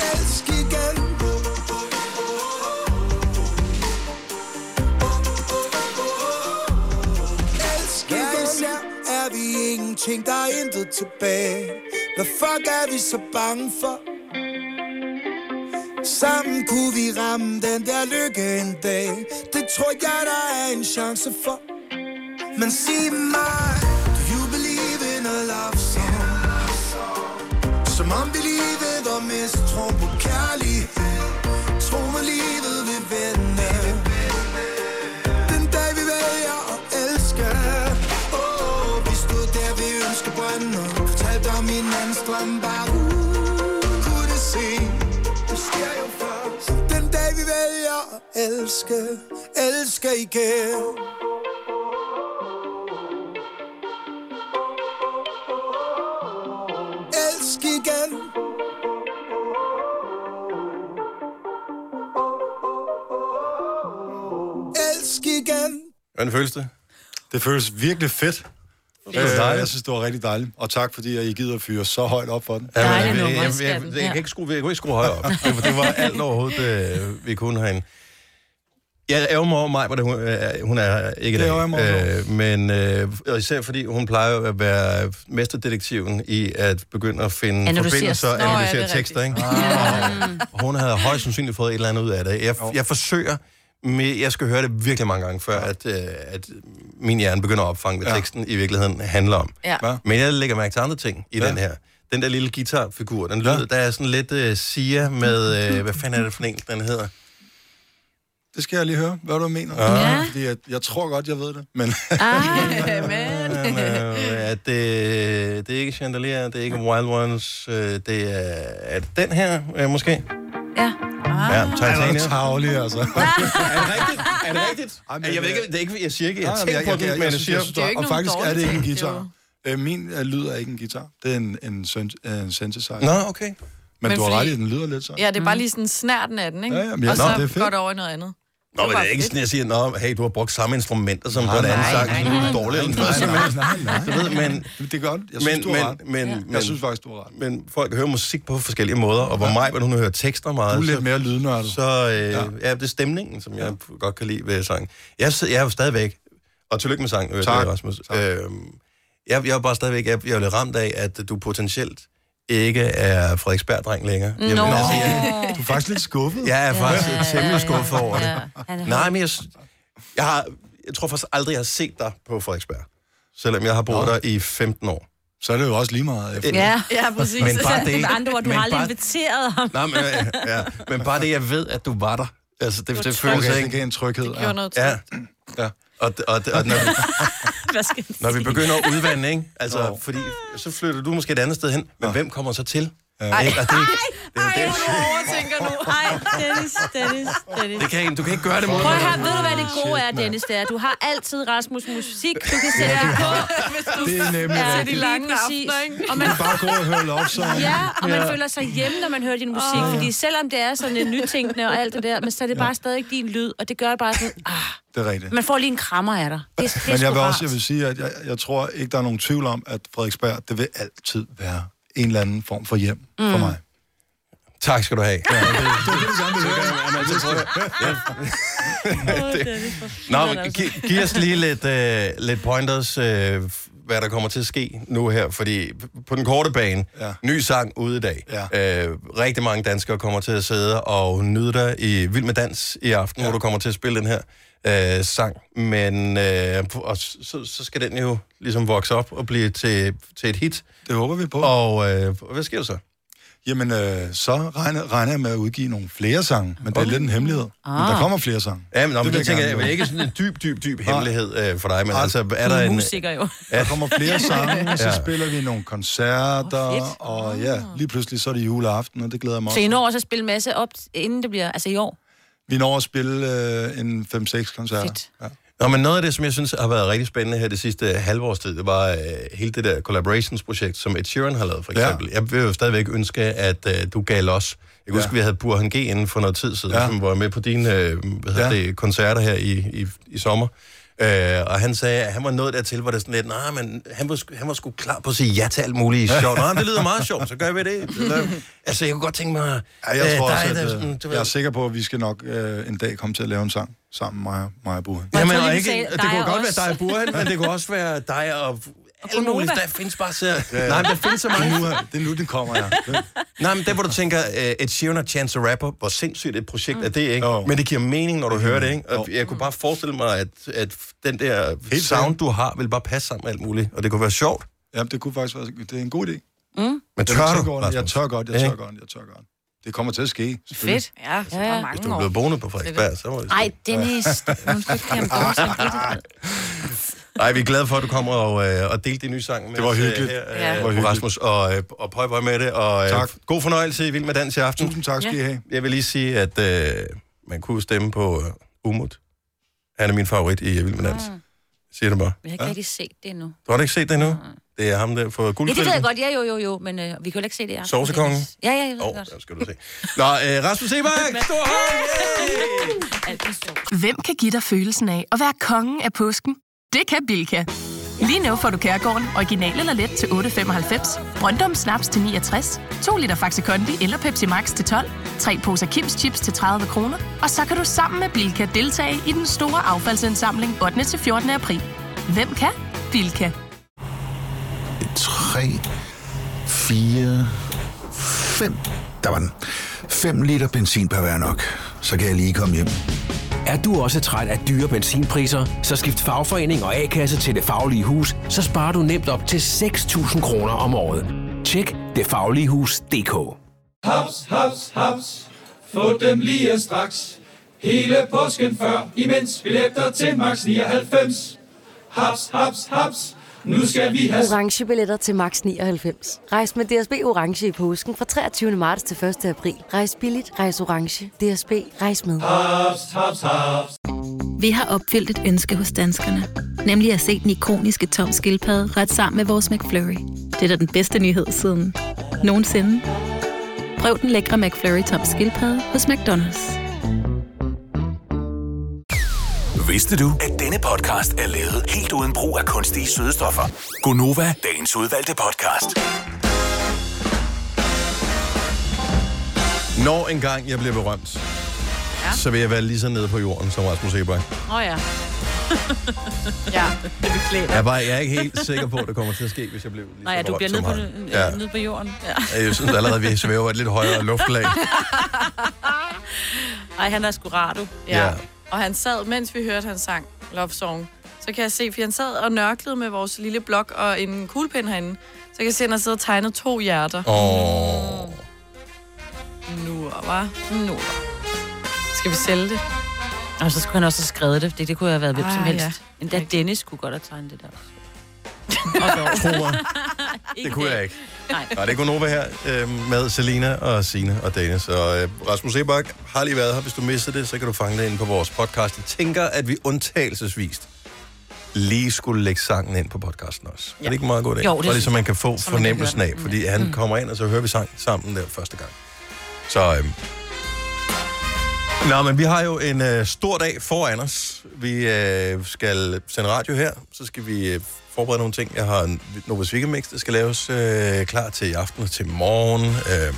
[SPEAKER 16] Elsk igen elsker Hver især er vi ingenting, der er intet tilbage Hvad fuck er vi så bange for? Sammen kunne vi ramme den der lykke en dag Det tror jeg, der er en chance for Men sig mig Do you believe in a love song? Som om vi livet var mest tro på kærlighed Tro mig, livet vil vende den dag vi vælger at elske oh, Vi stod der ved ønskebrønden Og fortalte om hinandens drøm Bare uh, kunne det se Det sker jo først Den dag vi vælger at elske Elske igen Elsk igen Elsk igen
[SPEAKER 15] Mm,
[SPEAKER 1] Hvordan føles det?
[SPEAKER 15] Det føles virkelig fedt.
[SPEAKER 1] Fedt.
[SPEAKER 15] Øh, jeg synes, det var rigtig dejligt. Og tak, fordi at I gider at fyre så højt op for den.
[SPEAKER 1] Ja, men, jeg, jeg, jeg, jeg, jeg, kan ikke skrue, jeg kunne ikke skrue højere op. Det, var- det var alt overhovedet, øh, vi kunne herinde. Jeg ærger mig over mig, hvor hun, øh, hun er her ikke i
[SPEAKER 15] Det ærgrer jeg mig også
[SPEAKER 1] dag. Øh, men øh, og især fordi hun plejer jo at være mesterdetektiven i at begynde at finde
[SPEAKER 2] Analysere.
[SPEAKER 1] forbindelser og
[SPEAKER 2] Nå, ja, det er
[SPEAKER 1] analysere
[SPEAKER 2] rigtigt. Ah.
[SPEAKER 1] tekster. Ikke? Og hun havde højst sandsynligt fået et eller andet ud af det. Jeg, jeg forsøger, med, jeg skal høre det virkelig mange gange, før at, øh, at min hjerne begynder at opfange, hvad teksten i virkeligheden handler om.
[SPEAKER 2] Ja.
[SPEAKER 1] Men jeg lægger mærke til andre ting i den her. Den der lille guitarfigur, den lyder, der er sådan lidt uh, Sia med, uh, hvad fanden er det for en, den hedder?
[SPEAKER 15] Det skal jeg lige høre, hvad du mener.
[SPEAKER 1] Ja.
[SPEAKER 15] Fordi jeg, jeg tror godt, jeg ved det, men...
[SPEAKER 1] Ah, men, øh, at det, det er ikke Chandelier, det er ikke Wild Ones, øh, det er, er det den her, øh, måske?
[SPEAKER 2] Ja.
[SPEAKER 1] Ja, Titanium.
[SPEAKER 15] Ah. Det er tavlig, altså. er
[SPEAKER 1] det rigtigt? Er det rigtigt?
[SPEAKER 15] men-
[SPEAKER 1] jeg ved ikke, det er ikke, jeg siger ikke, jeg
[SPEAKER 15] Nej,
[SPEAKER 1] tænker
[SPEAKER 15] jeg-
[SPEAKER 1] på
[SPEAKER 15] jeg-
[SPEAKER 1] det,
[SPEAKER 15] jeg-
[SPEAKER 1] men
[SPEAKER 15] jeg
[SPEAKER 1] jeg
[SPEAKER 15] synes,
[SPEAKER 1] siger,
[SPEAKER 15] jeg synes, det er jo ikke Og nogen faktisk er det dårlig ikke en ting, det guitar. Øh, min øh, lyd er ikke en guitar. Det er en, en, syn, øh, en synthesizer.
[SPEAKER 1] Nå, okay.
[SPEAKER 15] Men, du har ret i, den lyder lidt sådan. Mm.
[SPEAKER 3] Ja, det er bare lige sådan snærten af den, ikke?
[SPEAKER 15] Ja, ja, men jeg-
[SPEAKER 3] og
[SPEAKER 1] nå,
[SPEAKER 3] så
[SPEAKER 1] det er
[SPEAKER 3] det
[SPEAKER 1] fedt.
[SPEAKER 3] går det over i noget andet.
[SPEAKER 1] Nå, men
[SPEAKER 3] bare
[SPEAKER 1] det er ikke
[SPEAKER 3] fedt.
[SPEAKER 1] sådan, jeg siger, Nå, hey, du har brugt samme instrumenter som på
[SPEAKER 15] Nej,
[SPEAKER 1] en anden
[SPEAKER 15] nej,
[SPEAKER 1] sang,
[SPEAKER 15] nej,
[SPEAKER 1] så nu er
[SPEAKER 15] nej.
[SPEAKER 1] det dårligt eller noget som helst. Du ved, men...
[SPEAKER 15] Det er godt. Jeg synes,
[SPEAKER 1] men,
[SPEAKER 15] du har ret.
[SPEAKER 1] men, men,
[SPEAKER 15] Jeg
[SPEAKER 1] men,
[SPEAKER 15] synes
[SPEAKER 1] faktisk, du har ret. Men folk hører musik på forskellige måder, og hvor mig, hvor hun hører tekster meget.
[SPEAKER 15] Du er lidt
[SPEAKER 1] så-
[SPEAKER 15] mere lydnørdet.
[SPEAKER 1] Så øh, ja. ja. det er stemningen, som jeg godt kan lide ved sangen. Jeg, sid- jeg er jo stadigvæk, og tillykke med sangen, øh,
[SPEAKER 15] Tak.
[SPEAKER 1] Rasmus. Øhm, jeg, jeg er bare stadigvæk, jeg, jeg er lidt ramt af, at du potentielt ikke er Frederiksberg-dreng længere. Jeg,
[SPEAKER 2] Nå.
[SPEAKER 1] altså, jeg,
[SPEAKER 15] du er faktisk lidt skuffet.
[SPEAKER 1] Jeg er faktisk
[SPEAKER 2] Ja,
[SPEAKER 1] ja,
[SPEAKER 2] ja,
[SPEAKER 1] temmelig
[SPEAKER 2] ja.
[SPEAKER 1] skuffet over
[SPEAKER 2] Ja. Han er-
[SPEAKER 1] det. Nej, men jeg, s- jeg, har, jeg tror faktisk aldrig, jeg har set dig på Frederiksberg. Selvom jeg har boet der i 15 år.
[SPEAKER 15] Så er det jo også lige meget efter.
[SPEAKER 2] Ja, ja præcis.
[SPEAKER 1] Men bare det,
[SPEAKER 2] Med andre ord, du
[SPEAKER 1] men
[SPEAKER 2] har aldrig
[SPEAKER 1] bare,
[SPEAKER 2] inviteret ham.
[SPEAKER 1] nej, men, øh, ja, men bare det, jeg ved, at du var der. Altså, det,
[SPEAKER 2] var
[SPEAKER 1] det, det
[SPEAKER 2] trygt.
[SPEAKER 1] føles
[SPEAKER 2] Okay,
[SPEAKER 1] ikke...
[SPEAKER 2] det gav
[SPEAKER 15] en tryghed. Det
[SPEAKER 2] gjorde noget
[SPEAKER 1] ja. ja. Og, og, og, og når, vi-
[SPEAKER 2] Hvad skal jeg
[SPEAKER 1] når vi
[SPEAKER 2] sige?
[SPEAKER 1] begynder at udvande, ikke? Altså, fordi så flytter du måske et andet sted hen, men hvem kommer så til?
[SPEAKER 2] Ej,
[SPEAKER 1] Ikke? Og det, det,
[SPEAKER 2] Ej,
[SPEAKER 1] det,
[SPEAKER 2] hun overtænker nu. Ej, Dennis, Dennis, Dennis.
[SPEAKER 1] det kan, ikke- du kan ikke gøre det mod
[SPEAKER 2] Prøv at
[SPEAKER 1] mig.
[SPEAKER 2] høre, ved du hvad det gode er, Dennis, det er, du har altid Rasmus musik, du kan sætte ja, på, hvis du
[SPEAKER 15] Det er nemlig
[SPEAKER 2] Ja,
[SPEAKER 15] rigtigt.
[SPEAKER 2] lige
[SPEAKER 3] lange
[SPEAKER 2] præcis.
[SPEAKER 3] aftener, ikke?
[SPEAKER 2] Og
[SPEAKER 15] Man
[SPEAKER 2] man,
[SPEAKER 15] kan bare gå og høre love song.
[SPEAKER 2] ja, og man føler sig hjemme, når man hører din musik,
[SPEAKER 15] Åh.
[SPEAKER 2] fordi selvom det er sådan en nytænkende og alt det der, men så er det bare stadig din lyd, og det gør bare sådan, ah,
[SPEAKER 15] Det er rigtigt.
[SPEAKER 2] man får lige en krammer af dig. Det, er- det er
[SPEAKER 15] Men jeg
[SPEAKER 2] sgu
[SPEAKER 15] vil
[SPEAKER 2] rart.
[SPEAKER 15] også jeg vil sige, at jeg, jeg tror ikke, der er nogen tvivl om, at Frederiksberg, det vil altid være en eller anden form for hjem mm. for
[SPEAKER 1] Mm.
[SPEAKER 15] mig.
[SPEAKER 1] Tak skal du have. Ja,
[SPEAKER 15] det,
[SPEAKER 1] Nå, men
[SPEAKER 15] altså.
[SPEAKER 1] gi- giv os lige lidt, øh, lidt pointers, øh, hvad der kommer til at ske nu her, fordi på den korte bane, ja. ny sang ude i dag. Ja. Øh, rigtig mange danskere kommer til at sidde og nyde dig i Vild med Dans i aften, ja. hvor du kommer til at spille den her øh, sang. Men øh, og s- så, så skal den jo ligesom vokse op og blive til, til et hit.
[SPEAKER 15] Det håber vi på.
[SPEAKER 1] Og øh, hvad sker der så?
[SPEAKER 15] Jamen, øh, så regner, regner jeg med at udgive nogle flere sange, men det er lidt en hemmelighed. Ah. Men
[SPEAKER 1] Ah.
[SPEAKER 15] der kommer flere sange.
[SPEAKER 1] Ja, men, nå, men
[SPEAKER 15] vil
[SPEAKER 1] det, tænker jeg,
[SPEAKER 15] gerne
[SPEAKER 1] det
[SPEAKER 15] vide.
[SPEAKER 1] er ikke sådan en dyb, dyb, dyb
[SPEAKER 15] Nej.
[SPEAKER 1] hemmelighed øh, for dig, men
[SPEAKER 15] Nej.
[SPEAKER 1] altså er
[SPEAKER 15] Du
[SPEAKER 1] der
[SPEAKER 15] er
[SPEAKER 1] en...
[SPEAKER 15] musiker
[SPEAKER 2] jo.
[SPEAKER 15] Der kommer flere sange, så
[SPEAKER 1] Ja.
[SPEAKER 15] spiller vi nogle koncerter, oh, og ja, lige pludselig så er det juleaften, og det glæder jeg mig
[SPEAKER 2] Så I
[SPEAKER 15] også.
[SPEAKER 2] når også at spille en masse op, inden det bliver, altså i år?
[SPEAKER 15] Vi når at spille øh, en 5-6 koncerter. Fedt. Ja.
[SPEAKER 1] Nå, men noget af det, som jeg synes har været rigtig spændende her det sidste halve års tid, det var øh, hele det der collaborations-projekt, som Ed Sheeran har lavet, for
[SPEAKER 15] Ja.
[SPEAKER 1] eksempel. Jeg vil jo stadigvæk ønske, at øh, du gav os. Jeg kan
[SPEAKER 15] Ja.
[SPEAKER 1] huske, vi havde Burhan G inden for noget tid siden,
[SPEAKER 15] Ja.
[SPEAKER 1] ja. som var med på dine øh, hvad hedder
[SPEAKER 15] Ja.
[SPEAKER 1] det, koncerter her i, i, i sommer. Øh, og han sagde, at han var nået dertil, hvor det sådan lidt, nej, men han var, sgu- han var sgu klar på at sige ja til alt muligt sjovt. Nå, men det lyder meget sjovt, så gør vi det. Så, altså, jeg kunne godt tænke mig...
[SPEAKER 15] Ja, jeg
[SPEAKER 1] øh,
[SPEAKER 15] tror
[SPEAKER 1] dig,
[SPEAKER 15] også,
[SPEAKER 1] der
[SPEAKER 15] at,
[SPEAKER 1] sådan, du
[SPEAKER 15] øh,
[SPEAKER 1] ved-
[SPEAKER 15] jeg er sikker på, at vi skal nok øh, en dag komme til at lave en sang sammen, mig og, mig og Burhan.
[SPEAKER 1] Ja, men
[SPEAKER 2] tror lige,
[SPEAKER 1] og
[SPEAKER 2] vi
[SPEAKER 1] ikke,
[SPEAKER 2] sagde
[SPEAKER 1] det
[SPEAKER 2] dig
[SPEAKER 1] kunne
[SPEAKER 2] og
[SPEAKER 1] godt
[SPEAKER 2] os.
[SPEAKER 1] være dig og Burhan, men det kunne også være dig og alle mulige.
[SPEAKER 2] Gonova.
[SPEAKER 1] Der findes bare så...
[SPEAKER 15] ja.
[SPEAKER 1] Nej, men der findes så mange.
[SPEAKER 15] Nu, er- det er nu, den kommer, ja.
[SPEAKER 1] Nej, men der hvor du tænker, øh, Ed Sheeran og Chance the Rapper, hvor sindssygt et projekt er det, ikke?
[SPEAKER 15] Jo.
[SPEAKER 1] Men det giver mening, når du hører det, ikke? Og jeg kunne bare forestille mig, at, at den der sound, du har, vil bare passe sammen med alt muligt, og det kunne være sjovt.
[SPEAKER 15] Ja, det kunne faktisk være, det er en god idé.
[SPEAKER 2] Mm.
[SPEAKER 1] Men
[SPEAKER 15] Jeg
[SPEAKER 1] tør
[SPEAKER 15] tænker
[SPEAKER 1] du,
[SPEAKER 15] over det. Jeg
[SPEAKER 1] Rasmus?
[SPEAKER 15] tør godt, jeg
[SPEAKER 1] Ja,
[SPEAKER 15] tør
[SPEAKER 1] ikke?
[SPEAKER 15] godt, jeg tør godt. Det kommer til at ske. selvfølgelig.
[SPEAKER 2] Fedt. Ja, så
[SPEAKER 15] ja.
[SPEAKER 2] der er
[SPEAKER 1] Hvis
[SPEAKER 2] mange
[SPEAKER 1] du er blevet boende på Frederiksberg, så må det...
[SPEAKER 2] Ej, Dennis, nu skal jeg kæmpe over sådan lidt.
[SPEAKER 1] Ej, vi er glade for, at du kommer og, øh, og delte din nye sang med
[SPEAKER 15] Det var
[SPEAKER 1] os, øh,
[SPEAKER 15] hyggeligt.
[SPEAKER 1] her, øh,
[SPEAKER 15] Ja. Det var hyggeligt.
[SPEAKER 1] Rasmus, og, øh, og prøv, prøv med det. Og, øh,
[SPEAKER 15] Tak.
[SPEAKER 1] God fornøjelse i Vild med Dans i aften.
[SPEAKER 15] Tusind tak skal I have.
[SPEAKER 1] Jeg vil lige sige, at øh, man kunne stemme på øh, Umut. Han er min favorit i øh, Vild med Dans.
[SPEAKER 2] Mm.
[SPEAKER 1] Siger det bare.
[SPEAKER 2] Men jeg har ikke rigtig set det endnu.
[SPEAKER 1] Du har da ikke set det endnu? Det er ham der fra
[SPEAKER 2] Ja, det
[SPEAKER 1] guldfilmen.
[SPEAKER 2] ved jeg godt. Ja, jo, jo, jo. Men øh, vi kan jo ikke se det i aften.
[SPEAKER 1] Sovsekongen.
[SPEAKER 2] Ja, ja, jeg ved det
[SPEAKER 1] Åh,
[SPEAKER 2] godt.
[SPEAKER 1] der skal du se. Nå, øh, Rasmus Sebak, stor hånd!
[SPEAKER 17] Hvem kan give dig følelsen af at være kongen af påsken? Det kan Bilka! Lige nu får du Kærgården original eller let til 8.95, Brøndum Snaps til 69, 2 liter Faxi Kondi eller Pepsi Max til 12, 3 poser Kims Chips til 30 kroner, og så kan du sammen med Bilka deltage i den store affaldsindsamling 8. til 14. april. Hvem kan? Bilka.
[SPEAKER 18] 3, 4, 5. Der var den. 5 liter benzin per hver nok. Så kan jeg lige komme hjem.
[SPEAKER 11] Er du også træt af dyre benzinpriser, så skift fagforening og A-kasse til Det Faglige Hus, så sparer du nemt op til 6.000 kroner om året. Tjek detfagligehus.dk
[SPEAKER 19] Haps, haps, haps. Få dem lige straks. Hele påsken før, imens billetter til max 99. Haps, haps, haps. Nu skal vi have...
[SPEAKER 20] orange billetter til max 99. Rejs med DSB orange i påsken fra 23. marts til 1. april. Rejs billigt, rejs orange. DSB rejs med.
[SPEAKER 19] Haps, haps, haps.
[SPEAKER 21] Vi har opfyldt et ønske hos danskerne. Nemlig at se den ikoniske tom skildpadde ret sammen med vores McFlurry. Det er da den bedste nyhed siden nogensinde. Prøv den lækre McFlurry tom skildpadde hos McDonald's.
[SPEAKER 11] Vidste du, at denne podcast er lavet helt uden brug af kunstige sødestoffer? Gonova, dagens udvalgte podcast.
[SPEAKER 1] Når engang jeg bliver berømt, ja. så vil jeg være lige så nede på jorden som Rasmus Eberg.
[SPEAKER 2] Åh oh, ja.
[SPEAKER 3] ja,
[SPEAKER 2] det beklæder.
[SPEAKER 1] Jeg er, bare, jeg er ikke helt sikker på, at det kommer til at ske, hvis jeg bliver lige
[SPEAKER 2] Nej, ja, du bliver nede på, øh,
[SPEAKER 1] Ja.
[SPEAKER 2] nede på jorden. Ja.
[SPEAKER 1] Jeg synes allerede, at vi svæver et lidt højere luftlag.
[SPEAKER 2] Ej, han er sgu rar, du.
[SPEAKER 1] Ja.
[SPEAKER 3] Og han sad, mens vi hørte hans sang, Love Song, så kan jeg se, for han sad og nørklede med vores lille blok og en kuglepind herinde. Så kan jeg se, at han har siddet og tegnet to hjerter.
[SPEAKER 1] Åh.
[SPEAKER 3] Nu, var Nu. Skal vi sælge det?
[SPEAKER 2] Og så skulle han også have skrevet det. Det, det kunne jeg have været hvem
[SPEAKER 3] Ah,
[SPEAKER 2] som helst.
[SPEAKER 3] ja.
[SPEAKER 2] Ja. Endda Dennis kunne godt have tegnet det der.
[SPEAKER 1] Tro mig. Det kunne jeg ikke.
[SPEAKER 2] Nej.
[SPEAKER 1] Og det er Gunova her øh, med Selina og Sine og Dane. Så øh, Rasmus Sebak har lige været her. Hvis du missede det, så kan du fange det inde på vores podcast. Jeg tænker, at vi undtagelsesvist lige skulle lægge sangen ind på podcasten også. Ja. Er det ikke en meget god idé?
[SPEAKER 2] Jo, det
[SPEAKER 1] Bare lige,
[SPEAKER 2] synes
[SPEAKER 1] så man kan få
[SPEAKER 2] Så man kan Mm.
[SPEAKER 1] fornemmelsen
[SPEAKER 2] høre
[SPEAKER 1] af,
[SPEAKER 2] den.
[SPEAKER 1] fordi han kommer ind, og så hører vi sang sammen der første gang. Så øh, Nå, men vi har jo en øh, stor dag foran os. Vi øh, skal sende radio her, så skal vi øh, forberede nogle ting. Jeg har en Novus Mix, der skal laves øh, klar til i aften og til morgen. Øh,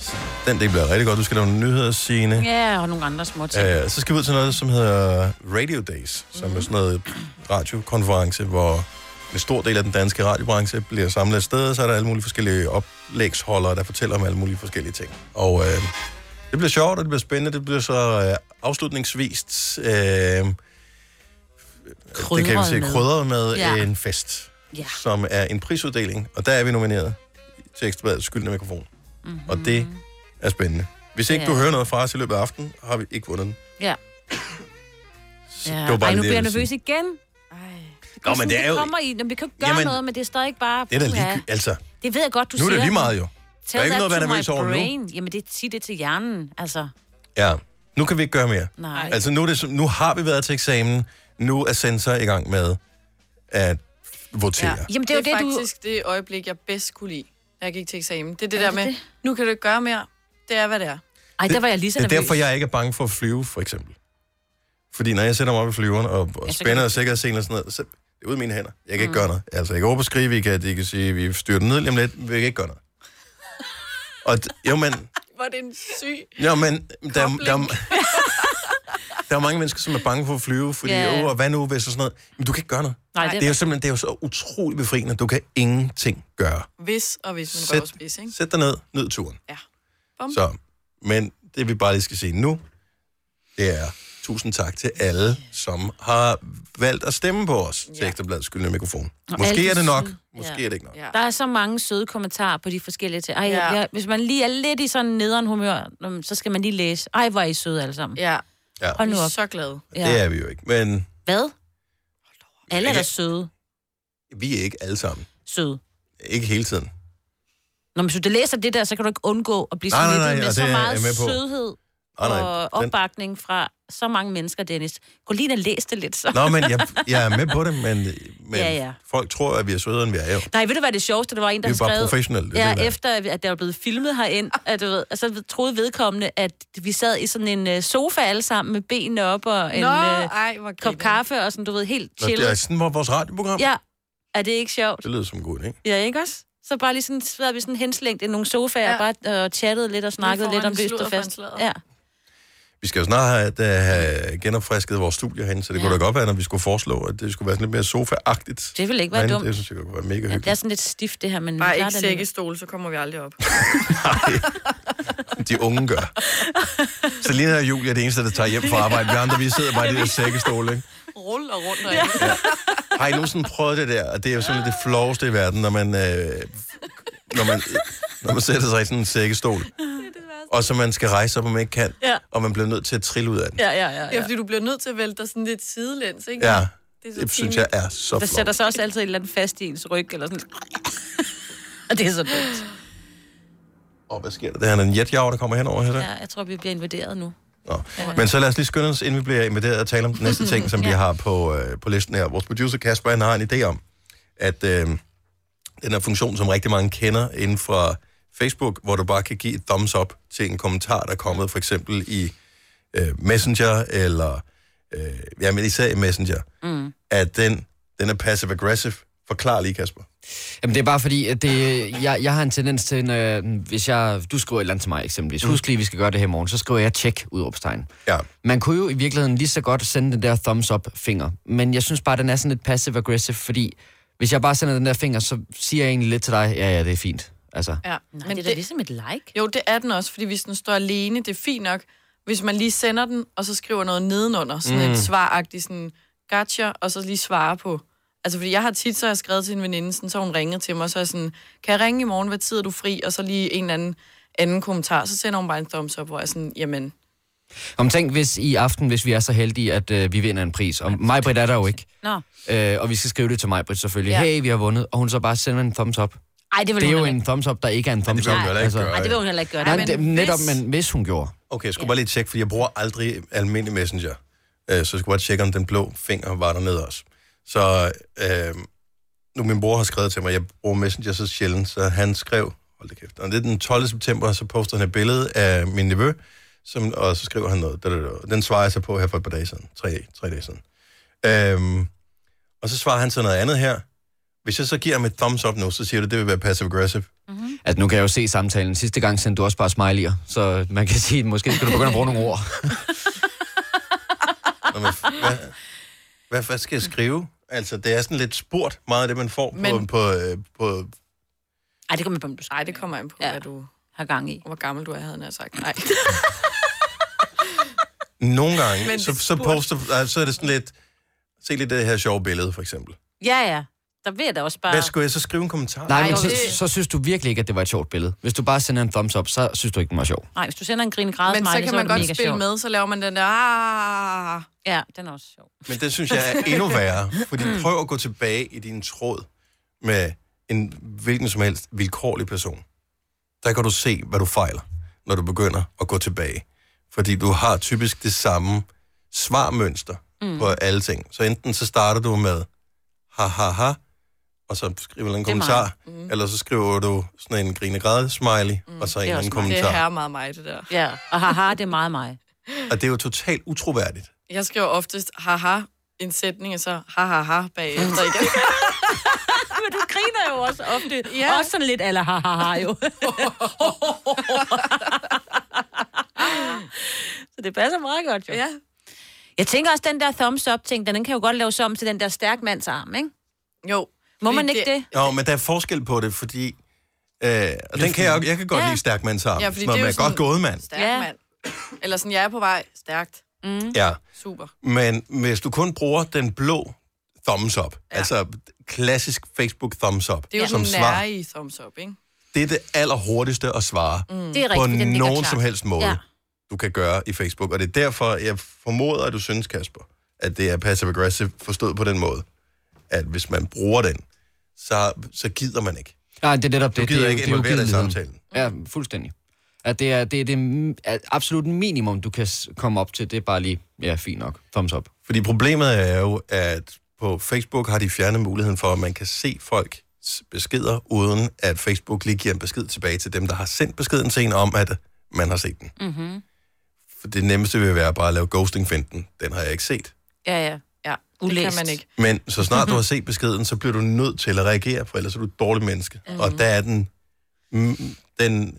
[SPEAKER 1] så den del bliver rigtig godt. Du skal lave nogle nyheder, Signe.
[SPEAKER 2] Ja, og nogle andre små ting.
[SPEAKER 1] Øh, så skal vi ud til noget, som hedder Radio Days, som er sådan noget radiokonference, hvor en stor del af den danske radiobranche bliver samlet et sted, og så er der alle mulige forskellige oplægsholdere, der fortæller om alle mulige forskellige ting. Og øh, det bliver sjovt, og det bliver spændende. Det bliver så øh, afslutningsvist... Øh, det kan vi
[SPEAKER 11] Krydret
[SPEAKER 1] se
[SPEAKER 11] med.
[SPEAKER 1] krydret med
[SPEAKER 11] Ja.
[SPEAKER 1] ja. en fest,
[SPEAKER 11] Ja.
[SPEAKER 1] som er en prisuddeling, og der er vi nomineret til Ekstrabladets skyldende mikrofon.
[SPEAKER 2] Mhm.
[SPEAKER 1] Og det er spændende. Hvis ikke
[SPEAKER 2] Det
[SPEAKER 1] ja. du
[SPEAKER 2] er
[SPEAKER 1] hører noget fra os i løbet af aftenen, har vi ikke vundet den.
[SPEAKER 2] Ja. ja.
[SPEAKER 1] det
[SPEAKER 2] Ej,
[SPEAKER 1] var bare
[SPEAKER 2] nu
[SPEAKER 1] lige det, jeg
[SPEAKER 2] bliver jeg
[SPEAKER 1] ville
[SPEAKER 2] nervøs igen.
[SPEAKER 1] Nå, men det er jo...
[SPEAKER 2] Kommer I, Nå, vi kan jo ikke gøre
[SPEAKER 1] Jamen,
[SPEAKER 2] noget, men det er stadig ikke bare...
[SPEAKER 1] Det er da
[SPEAKER 2] Puha.
[SPEAKER 1] ligegyldigt. Altså,
[SPEAKER 2] Det ved jeg godt, du
[SPEAKER 1] nu er
[SPEAKER 2] siger.
[SPEAKER 1] det lige meget jo. Der
[SPEAKER 2] Tell
[SPEAKER 1] er ikke
[SPEAKER 2] that
[SPEAKER 1] noget
[SPEAKER 2] to
[SPEAKER 1] at være
[SPEAKER 2] my
[SPEAKER 1] nervøs over nu.
[SPEAKER 2] brain. Jamen, det, sig det til hjernen, altså.
[SPEAKER 1] Ja, nu kan vi ikke gøre mere.
[SPEAKER 2] Nej.
[SPEAKER 1] Altså, nu, er det, som- nu har vi været til eksamen. Nu er sensor i gang med at votere. Ja.
[SPEAKER 2] Jamen, det er jo det, du-
[SPEAKER 3] faktisk det øjeblik, jeg bedst kunne lide, da jeg gik til eksamen. Det er det
[SPEAKER 2] Er
[SPEAKER 3] der
[SPEAKER 2] det
[SPEAKER 3] med,
[SPEAKER 2] det?
[SPEAKER 3] nu kan du ikke gøre mere. Det er, hvad det er.
[SPEAKER 2] Ej, der var jeg lige så
[SPEAKER 1] Det er
[SPEAKER 2] nervøs.
[SPEAKER 1] derfor, jeg ikke er bange for at flyve, for eksempel. Fordi når jeg sætter mig op i flyveren og, og
[SPEAKER 2] kan
[SPEAKER 1] spænder
[SPEAKER 2] du-
[SPEAKER 1] og sikkerhedsselen og sådan noget, så det er ud af mine hænder. Jeg kan ikke
[SPEAKER 2] Mm.
[SPEAKER 1] gøre noget. Altså, jeg kan overbeskrive, vi kan, de kan sige, vi styrer den ned lige om lidt, men vi kan ikke gøre noget. Og d- jo, men,
[SPEAKER 3] Hvor er det en syg...
[SPEAKER 1] jo, men der, der, der, der er mange mennesker, som er bange for at flyve, fordi,
[SPEAKER 3] Ja.
[SPEAKER 1] yeah. oh, hvad nu hvis og sådan noget. Men du kan ikke gøre noget.
[SPEAKER 3] Nej, det er
[SPEAKER 1] det er jo
[SPEAKER 3] rigtigt.
[SPEAKER 1] simpelthen det er jo så utrolig befriende. Du kan ingenting gøre.
[SPEAKER 3] Hvis og hvis man
[SPEAKER 1] Sæt-
[SPEAKER 3] røvspids, ikke?
[SPEAKER 1] Sæt dig ned, nyd turen.
[SPEAKER 3] Ja. Bum.
[SPEAKER 1] Så, men det vi bare lige skal sige nu, det er tusind tak til alle, som har valgt at stemme på os til Ekstrabladets skyldende mikrofon.
[SPEAKER 2] Og alle
[SPEAKER 1] Måske er det
[SPEAKER 2] de
[SPEAKER 1] nok,
[SPEAKER 2] søde-
[SPEAKER 1] måske
[SPEAKER 2] Ja.
[SPEAKER 1] er det ikke nok.
[SPEAKER 2] Der er så mange søde kommentarer på de forskellige ting. Ej,
[SPEAKER 3] Ja.
[SPEAKER 2] ja. jeg, hvis man lige er lidt i sådan nederen humør, mm, så skal man lige læse. Ej, hvor er I søde alle sammen.
[SPEAKER 3] Ja.
[SPEAKER 1] Ja.
[SPEAKER 2] Hold nu
[SPEAKER 1] Vi er
[SPEAKER 2] op.
[SPEAKER 3] så glade.
[SPEAKER 2] Ja.
[SPEAKER 1] Det er vi jo ikke, men
[SPEAKER 2] Hvad? Alle er da
[SPEAKER 1] Jeg-
[SPEAKER 2] søde.
[SPEAKER 1] vi er ikke alle sammen.
[SPEAKER 2] Søde.
[SPEAKER 1] Ikke hele tiden.
[SPEAKER 2] Når man så du læser det der, så kan du ikke undgå at blive
[SPEAKER 1] Nej, nej,
[SPEAKER 2] smittet
[SPEAKER 1] nej,
[SPEAKER 2] med
[SPEAKER 1] og
[SPEAKER 2] så
[SPEAKER 1] det er jeg
[SPEAKER 2] meget
[SPEAKER 1] med på.
[SPEAKER 2] sødhed
[SPEAKER 1] Nej, nej,
[SPEAKER 2] og
[SPEAKER 1] den-
[SPEAKER 2] opbakning fra så mange mennesker, Dennis. Gå lige ind og læs det lidt, så.
[SPEAKER 1] Nå, men jeg, jeg er med på det, men, men
[SPEAKER 2] Ja, ja.
[SPEAKER 1] folk tror, at vi er sødere, end vi er jo.
[SPEAKER 2] Nej, ved du hvad det sjoveste, der var en, der
[SPEAKER 1] Vi er bare
[SPEAKER 2] skrev...
[SPEAKER 1] professionelle, det er
[SPEAKER 2] ja,
[SPEAKER 1] det, der er.
[SPEAKER 2] efter at der var blevet filmet herind, at, du ved, og så troede vedkommende, at vi sad i sådan en øh, sofa alle sammen med benene op og en
[SPEAKER 3] Nå,
[SPEAKER 2] øh,
[SPEAKER 3] ej, hvor
[SPEAKER 2] kop kaffe og sådan, du ved, helt
[SPEAKER 1] Nå,
[SPEAKER 2] chill.
[SPEAKER 1] det er sådan var vores radioprogram.
[SPEAKER 2] Ja, er det ikke sjovt?
[SPEAKER 1] Det lyder som en god idé.
[SPEAKER 2] Ja, ikke også? Så bare lige sådan, så havde vi sådan henslængt i nogle sofaer ja. og bare øh, chattede lidt og snakkede
[SPEAKER 3] foran
[SPEAKER 2] lidt om løst og
[SPEAKER 3] sludder
[SPEAKER 2] fast. Ja.
[SPEAKER 1] Vi skal jo snart have, at, uh, have genopfrisket vores studie herinde, så det ja. kunne da godt være, når vi skulle foreslå, at det skulle være sådan lidt mere sofa-agtigt.
[SPEAKER 2] Det ville ikke være
[SPEAKER 1] Men
[SPEAKER 2] dumt.
[SPEAKER 1] Det synes jeg kunne være mega
[SPEAKER 2] Ja,
[SPEAKER 1] hyggeligt.
[SPEAKER 2] det er sådan lidt stift det her, men... vi
[SPEAKER 3] Bare
[SPEAKER 2] klarer
[SPEAKER 3] ikke
[SPEAKER 2] det alligevel.
[SPEAKER 3] sækkestol, så kommer vi aldrig op.
[SPEAKER 1] De unge gør. Selina og Julia er det eneste, der tager hjem fra arbejde. Vi andre, vi sidder bare i de der sækkestole, ikke?
[SPEAKER 3] Rulle og rundt og ja.
[SPEAKER 1] Har I nogensinde prøvet det der? Og det er jo sådan lidt det floveste i verden, når man, øh, når man når man sætter sig i sådan en sækkestol. Og så man skal rejse op, om man ikke kan.
[SPEAKER 3] Ja.
[SPEAKER 1] Og man bliver nødt til at trille ud af den.
[SPEAKER 3] Ja, ja, ja, ja. ja, fordi du bliver nødt til at vælte dig sådan lidt sidelæns, ikke?
[SPEAKER 1] Ja,
[SPEAKER 3] så
[SPEAKER 1] det synes
[SPEAKER 3] pinligt.
[SPEAKER 1] jeg er så
[SPEAKER 2] Der
[SPEAKER 1] flot.
[SPEAKER 2] sætter sig også altid et eller andet fast i ens ryg, eller sådan. Og det er så dumt.
[SPEAKER 1] Og hvad sker der? Det er en jetjager, der kommer henover her.
[SPEAKER 2] Ja, jeg tror, vi bliver invaderet nu.
[SPEAKER 1] Men så lad os lige skynde os, inden vi bliver inviteret og tale om den næste ting, som vi har på, øh, på listen her. Vores producer Kasper, han har en idé om, at øh, den her funktion, som rigtig mange kender inden fra Facebook, hvor du bare kan give et thumbs up til en kommentar, der er kommet for eksempel i øh, Messenger, eller øh, jamen især i Messenger,
[SPEAKER 7] Mm.
[SPEAKER 1] at den, den er passive-aggressive. Forklar lige, Kasper.
[SPEAKER 7] Jamen, det er bare fordi, at det, jeg, jeg har en tendens til, når jeg, hvis jeg, du skriver et eller andet til mig eksempelvis, husk lige, vi skal gøre det her i morgen, så skriver jeg tjek udråbstegn.
[SPEAKER 1] Ja.
[SPEAKER 7] Man kunne jo i virkeligheden lige så godt sende den der thumbs up finger, men jeg synes bare, den er sådan lidt passive aggressive, fordi hvis jeg bare sender den der finger, så siger jeg egentlig lidt til dig, ja, ja, det er fint. Altså,
[SPEAKER 3] Ja. Nej, men
[SPEAKER 2] det er da ligesom et like.
[SPEAKER 3] Jo, det er den også, fordi hvis den står alene, det er fint nok, hvis man lige sender den, og så skriver noget nedenunder, sådan
[SPEAKER 7] Mm.
[SPEAKER 3] mm. et svaragtigt sådan, gotcha, og så lige svare på. Altså, fordi jeg har tit, så har jeg skrevet til en veninde, sådan, så har hun ringet til mig, og så er jeg sådan, kan jeg ringe i morgen, hvad tid er du fri? Og så lige en eller anden, anden kommentar, så sender hun bare en thumbs up, hvor jeg er sådan, jamen,
[SPEAKER 7] om tænk, hvis i aften, hvis vi er så heldige, at øh, vi vinder en pris, og mig er der jo ikke,
[SPEAKER 2] Nå.
[SPEAKER 7] øh, og vi skal skrive det til mig selvfølgelig,
[SPEAKER 2] Ja.
[SPEAKER 7] ja. hey, vi har vundet, og hun så bare sender en thumbs up.
[SPEAKER 2] Ej, det vil
[SPEAKER 7] det er
[SPEAKER 2] hun
[SPEAKER 7] jo
[SPEAKER 2] heller
[SPEAKER 7] en thumbs up, der ikke er en thumbs up. Altså,
[SPEAKER 1] vil hun heller ikke gøre,
[SPEAKER 2] Nej, det
[SPEAKER 7] Nej,
[SPEAKER 2] vil hun heller ikke gøre.
[SPEAKER 7] men det, netop, men hvis hun gjorde.
[SPEAKER 1] Okay, jeg skulle bare lige tjekke, fordi jeg bruger aldrig almindelig messenger. Øh, Så jeg skulle bare tjekke, om den blå finger var dernede også. Så øh, nu min bror har skrevet til mig, jeg bruger messenger så sjældent, så han skrev, hold da kæft, og det er den 12. september, så poster han et billede af min nevø, som, og så skriver han noget. Da, da, da. Den svarer jeg så på her for et par dage siden. Tre, tre dage siden. Øhm, og så svarer han så noget andet her. Hvis jeg så giver ham et thumbs up nu, så siger du, det vil være passive-aggressive.
[SPEAKER 7] Altså, nu kan jeg jo se samtalen. Sidste gang sendte du også bare smiley'er, så man kan sige, at måske skal du begynde at bruge nogle ord.
[SPEAKER 1] Nå, men f- hvad, hvad, hvad skal jeg skrive? Altså, det er sådan lidt spurgt, meget af det, man får men... på,
[SPEAKER 3] Men-
[SPEAKER 1] på, øh, på...
[SPEAKER 2] Ej, det kommer an på, om du
[SPEAKER 3] Ej, det kommer an på, ja. hvad du
[SPEAKER 2] har gang i.
[SPEAKER 3] Hvor gammel du er, havde jeg sagt. Nej.
[SPEAKER 1] Nogle gange,
[SPEAKER 3] Men
[SPEAKER 1] så,
[SPEAKER 3] det er
[SPEAKER 1] så, poster, ej, så er det sådan lidt... Se lige det her sjove billede, for eksempel.
[SPEAKER 2] Ja, ja. Der vil jeg da også bare...
[SPEAKER 1] Hvad skulle jeg så skrive en kommentar?
[SPEAKER 7] Nej, men så, så synes du virkelig ikke, at det var et sjovt billede. Hvis du bare sender en thumbs up, så synes du ikke, den var sjov.
[SPEAKER 2] Nej, hvis du sender en grine græd
[SPEAKER 3] Men så
[SPEAKER 2] smiley,
[SPEAKER 3] kan
[SPEAKER 2] så er
[SPEAKER 3] man
[SPEAKER 2] det
[SPEAKER 3] godt
[SPEAKER 2] mega
[SPEAKER 3] spille
[SPEAKER 2] sjovt.
[SPEAKER 3] med, så laver man den der... "Ah."
[SPEAKER 2] Ja, den er også sjov.
[SPEAKER 1] Men det synes jeg er endnu værre, fordi
[SPEAKER 2] Mm.
[SPEAKER 1] prøv at gå tilbage i din tråd med en hvilken som helst vilkårlig person. Der kan du se, hvad du fejler, når du begynder at gå tilbage. Fordi du har typisk det samme svarmønster mm.
[SPEAKER 2] Mm.
[SPEAKER 1] på alle ting. Så enten så starter du med ha ha ha, og så skriver du en
[SPEAKER 3] Det er mig.
[SPEAKER 1] kommentar, mm. eller så skriver du sådan en grinegræde smiley, mm. og så
[SPEAKER 2] Det er
[SPEAKER 1] en eller anden
[SPEAKER 2] også mig.
[SPEAKER 1] kommentar.
[SPEAKER 3] Det er meget mig, det der.
[SPEAKER 2] Ja, og haha, det er meget mig.
[SPEAKER 1] Og det er jo totalt utroværdigt.
[SPEAKER 3] Jeg skriver oftest haha, en sætning, og så haha bagefter igen.
[SPEAKER 2] Men du griner jo også ofte. Ja. Også sådan lidt eller haha jo. så det passer meget godt jo.
[SPEAKER 3] Ja.
[SPEAKER 2] Jeg tænker også, den der thumbs up ting, den den kan jo godt laves om til den der stærk mands arm, ikke?
[SPEAKER 3] Jo.
[SPEAKER 2] Må man ikke det?
[SPEAKER 1] Nå, men der er forskel på det, fordi... Øh, og den kan jeg, jo- jeg kan godt
[SPEAKER 3] Ja.
[SPEAKER 1] lide stærk mands arm.
[SPEAKER 3] Ja, fordi
[SPEAKER 1] når
[SPEAKER 3] det er
[SPEAKER 1] man
[SPEAKER 3] jo
[SPEAKER 1] er
[SPEAKER 3] sådan-
[SPEAKER 1] godt gået, mand.
[SPEAKER 3] Stærk ja. mand. Eller sådan, jeg er på vej stærkt.
[SPEAKER 2] Mm.
[SPEAKER 1] Ja.
[SPEAKER 3] Super.
[SPEAKER 1] Men hvis du kun bruger den blå thumbs up, ja. altså klassisk Facebook thumbs up,
[SPEAKER 3] Det er jo
[SPEAKER 1] som
[SPEAKER 3] den
[SPEAKER 1] svar,
[SPEAKER 3] nære i thumbs up,
[SPEAKER 2] Mm.
[SPEAKER 3] ikke?
[SPEAKER 1] det er det allerhurtigste at svare
[SPEAKER 3] Mm. Det er
[SPEAKER 1] på
[SPEAKER 3] rigtigt, den ligger
[SPEAKER 1] nogen
[SPEAKER 3] klart.
[SPEAKER 1] som helst måde,
[SPEAKER 3] Ja.
[SPEAKER 1] du kan gøre i Facebook. Og det er derfor, jeg formoder, at du synes, Kasper, at det er passive-aggressive forstået på den måde, at hvis man bruger den, så, så gider man ikke.
[SPEAKER 7] Nej, det er netop det.
[SPEAKER 1] Du gider
[SPEAKER 7] det, er jo-
[SPEAKER 1] ikke
[SPEAKER 7] det er jo
[SPEAKER 1] involvere dig i
[SPEAKER 7] ugideligheden.
[SPEAKER 1] samtalen.
[SPEAKER 7] Ja, fuldstændig. At det er det, er det m- at absolut minimum, du kan s- komme op til. Det er bare lige, ja, fint nok. Thumbs up.
[SPEAKER 1] Fordi problemet er jo, at på Facebook har de fjernet muligheden for, at man kan se folks beskeder, uden at Facebook lige giver en besked tilbage til dem, der har sendt beskeden til en om, at man har set den.
[SPEAKER 2] Mm-hmm.
[SPEAKER 1] For det nemmeste vil være bare at lave ghosting-finden. Den har jeg ikke set.
[SPEAKER 2] Ja, ja.
[SPEAKER 3] Ja,
[SPEAKER 2] Ulæst.
[SPEAKER 3] det kan man ikke.
[SPEAKER 1] Men så snart du har set beskeden, så bliver du nødt til at reagere, for ellers er du et dårligt menneske. Mm. Og der er den, mm, den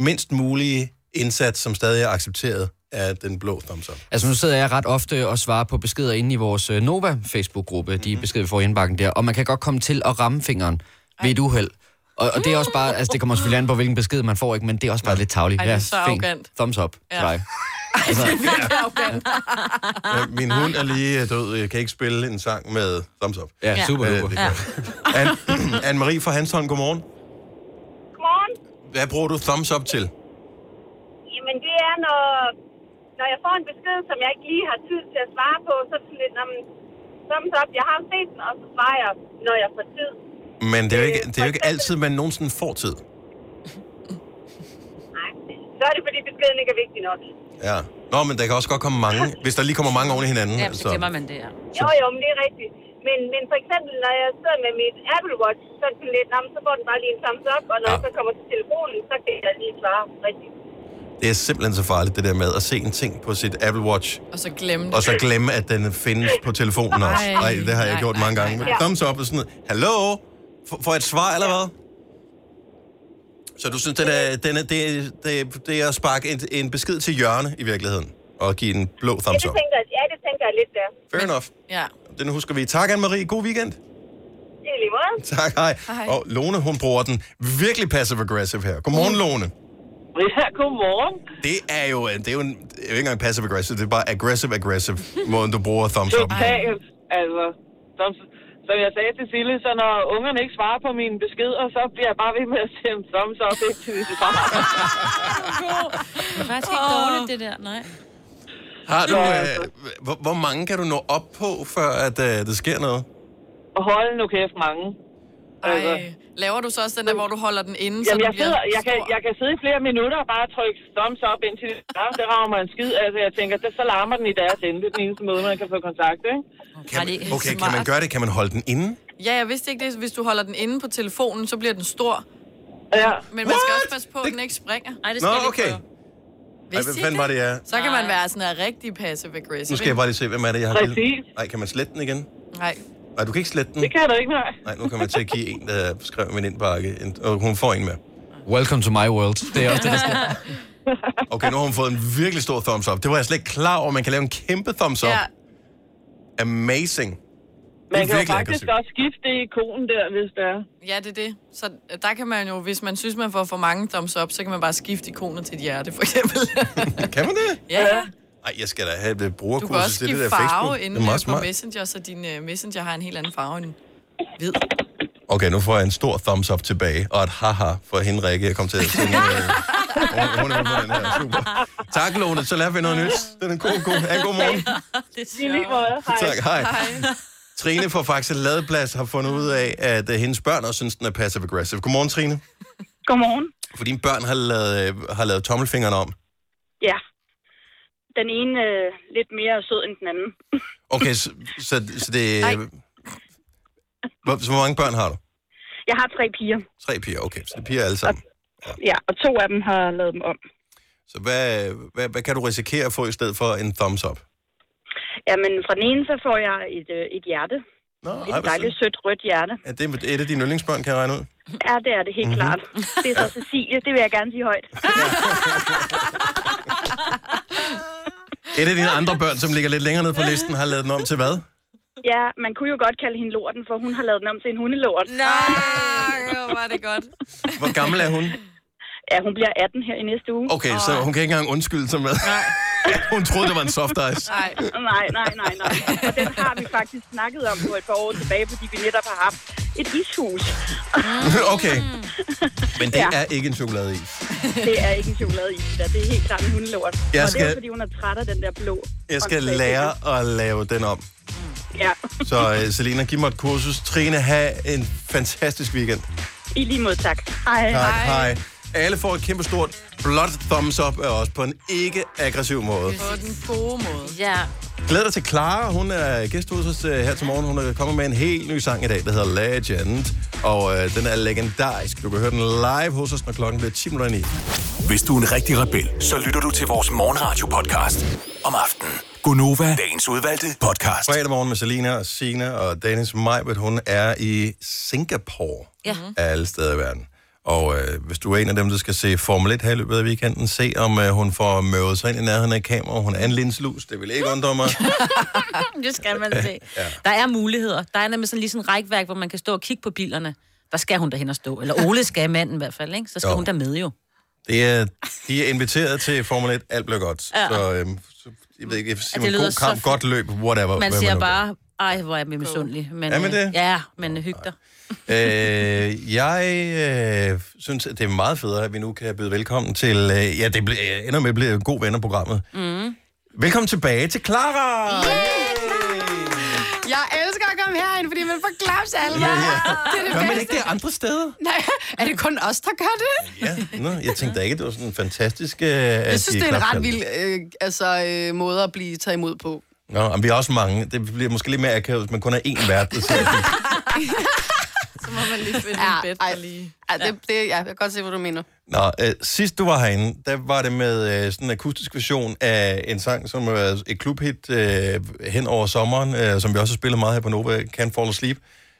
[SPEAKER 1] mindst mulige indsats, som stadig er accepteret, er den blå thumbs up.
[SPEAKER 7] Altså nu sidder jeg ret ofte og svarer på beskeder inde i vores øh, Nova Facebook-gruppe, de
[SPEAKER 1] Mhm.
[SPEAKER 7] beskeder, vi får i indbakken der, og man kan godt komme til at ramme fingeren ved et uheld. Og, og det er også bare, altså det kommer selvfølgelig an på, hvilken besked man får, ikke, men det er også bare lidt tavligt.
[SPEAKER 1] Ej, det er så arrogant.
[SPEAKER 7] Thumbs up ja.
[SPEAKER 1] Ja.
[SPEAKER 7] til dig.
[SPEAKER 1] Altså,
[SPEAKER 3] arrogant.
[SPEAKER 1] Ja, min hund er lige øh, død. Jeg kan ikke spille en sang med thumbs up. Øh,
[SPEAKER 7] Ja, Ja. super duper.
[SPEAKER 1] det kan jeg. Anne- Anne-Marie fra Hanstholm, godmorgen.
[SPEAKER 4] Godmorgen.
[SPEAKER 1] Hvad- Hvad bruger du thumbs up til?
[SPEAKER 4] Jamen, det er, når, når jeg får en besked, som jeg ikke lige har tid til at svare på, så er det sådan lidt, om, thumbs up, jeg har set den, og så svarer jeg, når jeg får tid.
[SPEAKER 1] Men det er jo ikke, det er jo ikke altid, man nogensinde får tid.
[SPEAKER 4] Så er det, fordi beskeden ikke er vigtig nok.
[SPEAKER 1] Ja. Nå, men der kan også godt komme mange, hvis der lige kommer mange oven i hinanden.
[SPEAKER 2] Ja, så glemmer man det, ja.
[SPEAKER 4] Jo, jo, men det er rigtigt. Men, men for eksempel, når jeg sidder med mit Apple Watch, så er det sådan lidt, "Nå, men så får den bare lige en thumbs up, og når ja. jeg så kommer til telefonen, så kan jeg lige svare rigtigt.
[SPEAKER 1] Det er simpelthen så farligt, det der med at se en ting på sit Apple Watch,
[SPEAKER 3] Og så glemme det.
[SPEAKER 1] og så glemme, at den findes på telefonen også.
[SPEAKER 3] Nej.
[SPEAKER 1] Nej, det har jeg
[SPEAKER 3] Nej,
[SPEAKER 1] gjort
[SPEAKER 3] nej,
[SPEAKER 1] mange gange.
[SPEAKER 3] nej, nej.
[SPEAKER 1] Thumbs up og sådan noget. Hallo? F- Får jeg et svar, eller hvad? Så du synes, den er, den er, det, er- det, er- det er at sparke en, en besked til hjørne i virkeligheden, og give en blå
[SPEAKER 4] Ja,
[SPEAKER 1] thumbs
[SPEAKER 4] det
[SPEAKER 1] up.
[SPEAKER 4] tænker jeg, ja, det tænker jeg lidt der.
[SPEAKER 1] Fair enough.
[SPEAKER 3] Ja.
[SPEAKER 1] Den husker vi. Tak, Anne-Marie. God weekend.
[SPEAKER 4] Det er lige måde.
[SPEAKER 1] Tak, hej.
[SPEAKER 4] Hej.
[SPEAKER 1] Og Lone, hun bruger den virkelig passive-aggressive her. Godmorgen, Lone.
[SPEAKER 13] Ja, godmorgen.
[SPEAKER 1] Det er jo, det er jo, en, det er jo ikke engang passive-aggressive, det er bare aggressive-aggressive, måden du bruger thumbs up.
[SPEAKER 13] Totalt. Altså, som, som jeg sagde til Sille, så når ungerne ikke svarer på mine beskeder, så bliver jeg bare ved med at sende thumbs up ikke til de svarer.
[SPEAKER 2] Det er faktisk ikke dårligt, det der. Nej.
[SPEAKER 1] Har du,
[SPEAKER 13] Ja,
[SPEAKER 3] altså.
[SPEAKER 1] øh, hvor, hvor mange kan du nå op på, før at, øh, det sker noget?
[SPEAKER 13] Og hold nu kæft mange. Altså,
[SPEAKER 3] Ej. Laver du så også den der, hvor du holder den inde? så
[SPEAKER 13] Jamen,
[SPEAKER 3] den
[SPEAKER 13] jeg,
[SPEAKER 3] bliver
[SPEAKER 13] sidder, jeg, kan,
[SPEAKER 3] stor?
[SPEAKER 13] jeg kan sidde i flere minutter og bare trykke thumbs up indtil det larmer. Det rager mig en skid. Altså, jeg tænker, det, så larmer den i deres ende. Det er den eneste måde, man kan få kontakt, ikke?
[SPEAKER 1] Kan man, okay, kan man gøre det? Kan man holde den inde?
[SPEAKER 3] Ja, jeg vidste ikke det. Hvis du holder den inde på telefonen, så bliver den stor.
[SPEAKER 13] Ja.
[SPEAKER 3] Men man skal også passe på, at den ikke springer. Nej,
[SPEAKER 1] Nå, okay. Ej,
[SPEAKER 3] Vidste
[SPEAKER 1] hvem
[SPEAKER 3] I
[SPEAKER 1] fanden var det, ja?
[SPEAKER 3] Så kan man være sådan en rigtig passive-aggressive.
[SPEAKER 1] Nu skal jeg bare lige se, hvem er det, jeg har
[SPEAKER 3] Præcis.
[SPEAKER 1] Nej, kan man slette den igen?
[SPEAKER 3] Nej.
[SPEAKER 1] Nej, du kan ikke slette den.
[SPEAKER 13] Det kan jeg da ikke, nej.
[SPEAKER 1] Nej, nu kommer jeg til at give en, der skrev i min indbakke, en- og hun får en med.
[SPEAKER 7] Welcome to my world. Det er også det, der sker.
[SPEAKER 1] Okay, nu har hun fået en virkelig stor thumbs up. Det var jeg slet ikke klar over. Man kan lave en kæmpe thumbs up.
[SPEAKER 13] Ja.
[SPEAKER 1] Amazing.
[SPEAKER 13] Man
[SPEAKER 1] Det er
[SPEAKER 13] kan jo
[SPEAKER 1] virkelig
[SPEAKER 13] faktisk
[SPEAKER 1] aggressivt.
[SPEAKER 13] også skifte det ikon der, hvis det er.
[SPEAKER 3] Ja, det er det. Så øh, der kan man jo, hvis man synes, man får for mange thumbs up, så kan man bare skifte ikonet til et hjerte, for eksempel.
[SPEAKER 1] Kan man det?
[SPEAKER 3] Ja, ja.
[SPEAKER 1] Nej, jeg skal da have et
[SPEAKER 3] Du kan
[SPEAKER 1] øh,
[SPEAKER 3] også
[SPEAKER 1] brugerkursus til det
[SPEAKER 3] skifte
[SPEAKER 1] der
[SPEAKER 3] farve
[SPEAKER 1] Facebook.
[SPEAKER 3] inde
[SPEAKER 1] Det er meget
[SPEAKER 3] øh, på
[SPEAKER 1] smart.
[SPEAKER 3] Messenger, så din øh, Messenger har en helt anden farve end hvid.
[SPEAKER 1] Okay, nu får jeg en stor thumbs up tilbage, og et haha for Henrikke. Jeg kom til at sende... øh, hun- hun er på den her. Super. Tak, Lone. Så lærer vi noget nyt. Den er en god, god, en god morgen.
[SPEAKER 13] I lige måde. Hej.
[SPEAKER 1] Tak, hej. Trine fra Faxe Ladeplads har fundet ud af, at øh, hendes børn også synes, den er passive-aggressive. Godmorgen, Trine.
[SPEAKER 12] Godmorgen.
[SPEAKER 1] For dine børn har lavet, øh, har lavet tommelfingeren om.
[SPEAKER 12] Ja. Den ene øh, lidt mere sød end den anden.
[SPEAKER 1] Okay, så, så, så det... øh, Hvor, så hvor mange børn har du?
[SPEAKER 12] Jeg har tre piger,
[SPEAKER 1] Tre piger, okay. Så det er piger alle sammen.
[SPEAKER 12] ja, og to af dem har lavet dem om.
[SPEAKER 1] Så hvad, hvad, hvad kan du risikere at få i stedet for en thumbs up?
[SPEAKER 12] Jamen, fra den ene, så får jeg et, øh, et hjerte.
[SPEAKER 1] Nå,
[SPEAKER 12] et
[SPEAKER 1] ej, hvor
[SPEAKER 12] dejligt sødt rødt hjerte.
[SPEAKER 1] Er det et af dine yndlingsbørn, kan jeg regne ud?
[SPEAKER 12] Ja, det er det helt
[SPEAKER 1] Mhm.
[SPEAKER 12] mm-hmm. klart. Det er så Cecilie, det vil jeg gerne sige højt.
[SPEAKER 1] Et af dine andre børn, som ligger lidt længere nede på listen, har lavet den om til hvad?
[SPEAKER 12] Ja, man kunne jo godt kalde hende lorten, for hun har lavet den om til en hundelort.
[SPEAKER 3] Nej, hvor var det godt.
[SPEAKER 1] Hvor gammel er hun?
[SPEAKER 12] Ja, hun bliver 18 her i næste uge.
[SPEAKER 1] Okay, så hun kan ikke engang undskylde sig med. Hun troede, det var en soft ice.
[SPEAKER 12] Nej. nej, nej, nej, nej. Og den har vi faktisk snakket om på et par år tilbage, fordi vi netop har haft et ishus.
[SPEAKER 1] Okay. Men det
[SPEAKER 12] Ja.
[SPEAKER 1] er ikke en chokoladeis.
[SPEAKER 12] Det er ikke en chokolade i, det, det er helt klart en hundelort.
[SPEAKER 1] Jeg
[SPEAKER 12] Og det
[SPEAKER 1] skal-
[SPEAKER 12] er fordi, hun er træt af den der blå.
[SPEAKER 1] Jeg skal
[SPEAKER 12] åndssvage
[SPEAKER 1] lære at lave den om.
[SPEAKER 12] finger. Ja,
[SPEAKER 1] Så uh, Selina, giv mig et kursus. Trine, have en fantastisk weekend.
[SPEAKER 12] i lige mod tak. Hej.
[SPEAKER 1] Tak, hej. Alle får et kæmpe stort blåt thumbs up af os på en ikke-aggressiv måde.
[SPEAKER 3] På den gode måde.
[SPEAKER 2] Ja.
[SPEAKER 1] Glæder dig til Clara. Hun er gæst hos os øh, her til morgen. Hun er kommet med en helt ny sang i dag, der hedder Legend. Og øh, den er legendarisk. Du kan høre den live hos os, når klokken bliver 10 minutter i.
[SPEAKER 11] Hvis du er en rigtig rebel, så lytter du til vores morgenradio-podcast om aftenen. Gunova, dagens udvalgte podcast.
[SPEAKER 1] Fredag morgen med Selina og Sina og Dennis Majbert. Hun er i Singapore
[SPEAKER 2] Ja.
[SPEAKER 14] Mm.
[SPEAKER 1] af alle steder i verden. Og øh, hvis du er en af dem, der skal se Formel 1 her i løbet af weekenden, se om øh, hun får møvet sig ind i nærheden af kameraet. Hun er en linslus, det vil ikke undre mig.
[SPEAKER 2] det skal man se. Ja. Der er muligheder. Der er nemlig sådan lige sådan en rækværk, hvor man kan stå og kigge på bilerne. Der skal hun derhen og stå. Eller Ole skal manden i hvert fald, ikke? Så skal
[SPEAKER 1] Jo.
[SPEAKER 2] jo. hun der med jo.
[SPEAKER 1] Det er, de er inviteret til Formel 1, alt bliver godt.
[SPEAKER 2] Ja.
[SPEAKER 1] Så, øhm, så jeg ved ikke, jeg siger,
[SPEAKER 2] lyder
[SPEAKER 1] god
[SPEAKER 2] så
[SPEAKER 1] kamp,
[SPEAKER 2] fedt.
[SPEAKER 1] godt løb, whatever.
[SPEAKER 2] Man
[SPEAKER 1] hvad
[SPEAKER 2] siger
[SPEAKER 1] nu gør.
[SPEAKER 2] bare, Ej, hvor er jeg misundelig. Men,
[SPEAKER 1] Er man
[SPEAKER 2] øh,
[SPEAKER 1] det?
[SPEAKER 2] Ja, men hyg dig.
[SPEAKER 1] øh, jeg øh, synes, at det er meget federe, at vi nu kan byde velkommen til... Øh, ja, det ble, øh, ender med at blive god venner-programmet.
[SPEAKER 19] Mm.
[SPEAKER 1] Velkommen tilbage til Clara!
[SPEAKER 8] Jeg elsker at komme herind, fordi man får klaps af alle.
[SPEAKER 1] Ja, ja.
[SPEAKER 8] Det er det
[SPEAKER 1] Gør man
[SPEAKER 8] bedste.
[SPEAKER 1] ikke det andre steder?
[SPEAKER 8] Nej, er det kun os, der gør det?
[SPEAKER 1] Ja, nå, jeg tænkte da ikke, at det var sådan en fantastisk... Øh,
[SPEAKER 8] Jeg synes, det er en ret vild øh, altså, øh, måde at blive taget imod på.
[SPEAKER 1] Nå, men vi er også mange. Det bliver måske lidt mere akavet, hvis man kun er én vært. Der sidder sådan.
[SPEAKER 8] Så må man lige finde ja, en bed ej, lige. Ej, det, det, ja, jeg kan godt se, hvad du mener.
[SPEAKER 1] Nå, øh, sidst du var herinde, der var det med øh, sådan en akustisk version af en sang, som har været et klubhit øh, hen over sommeren, øh, som vi også har spillet meget her på Nova, Can't Fall Asleep.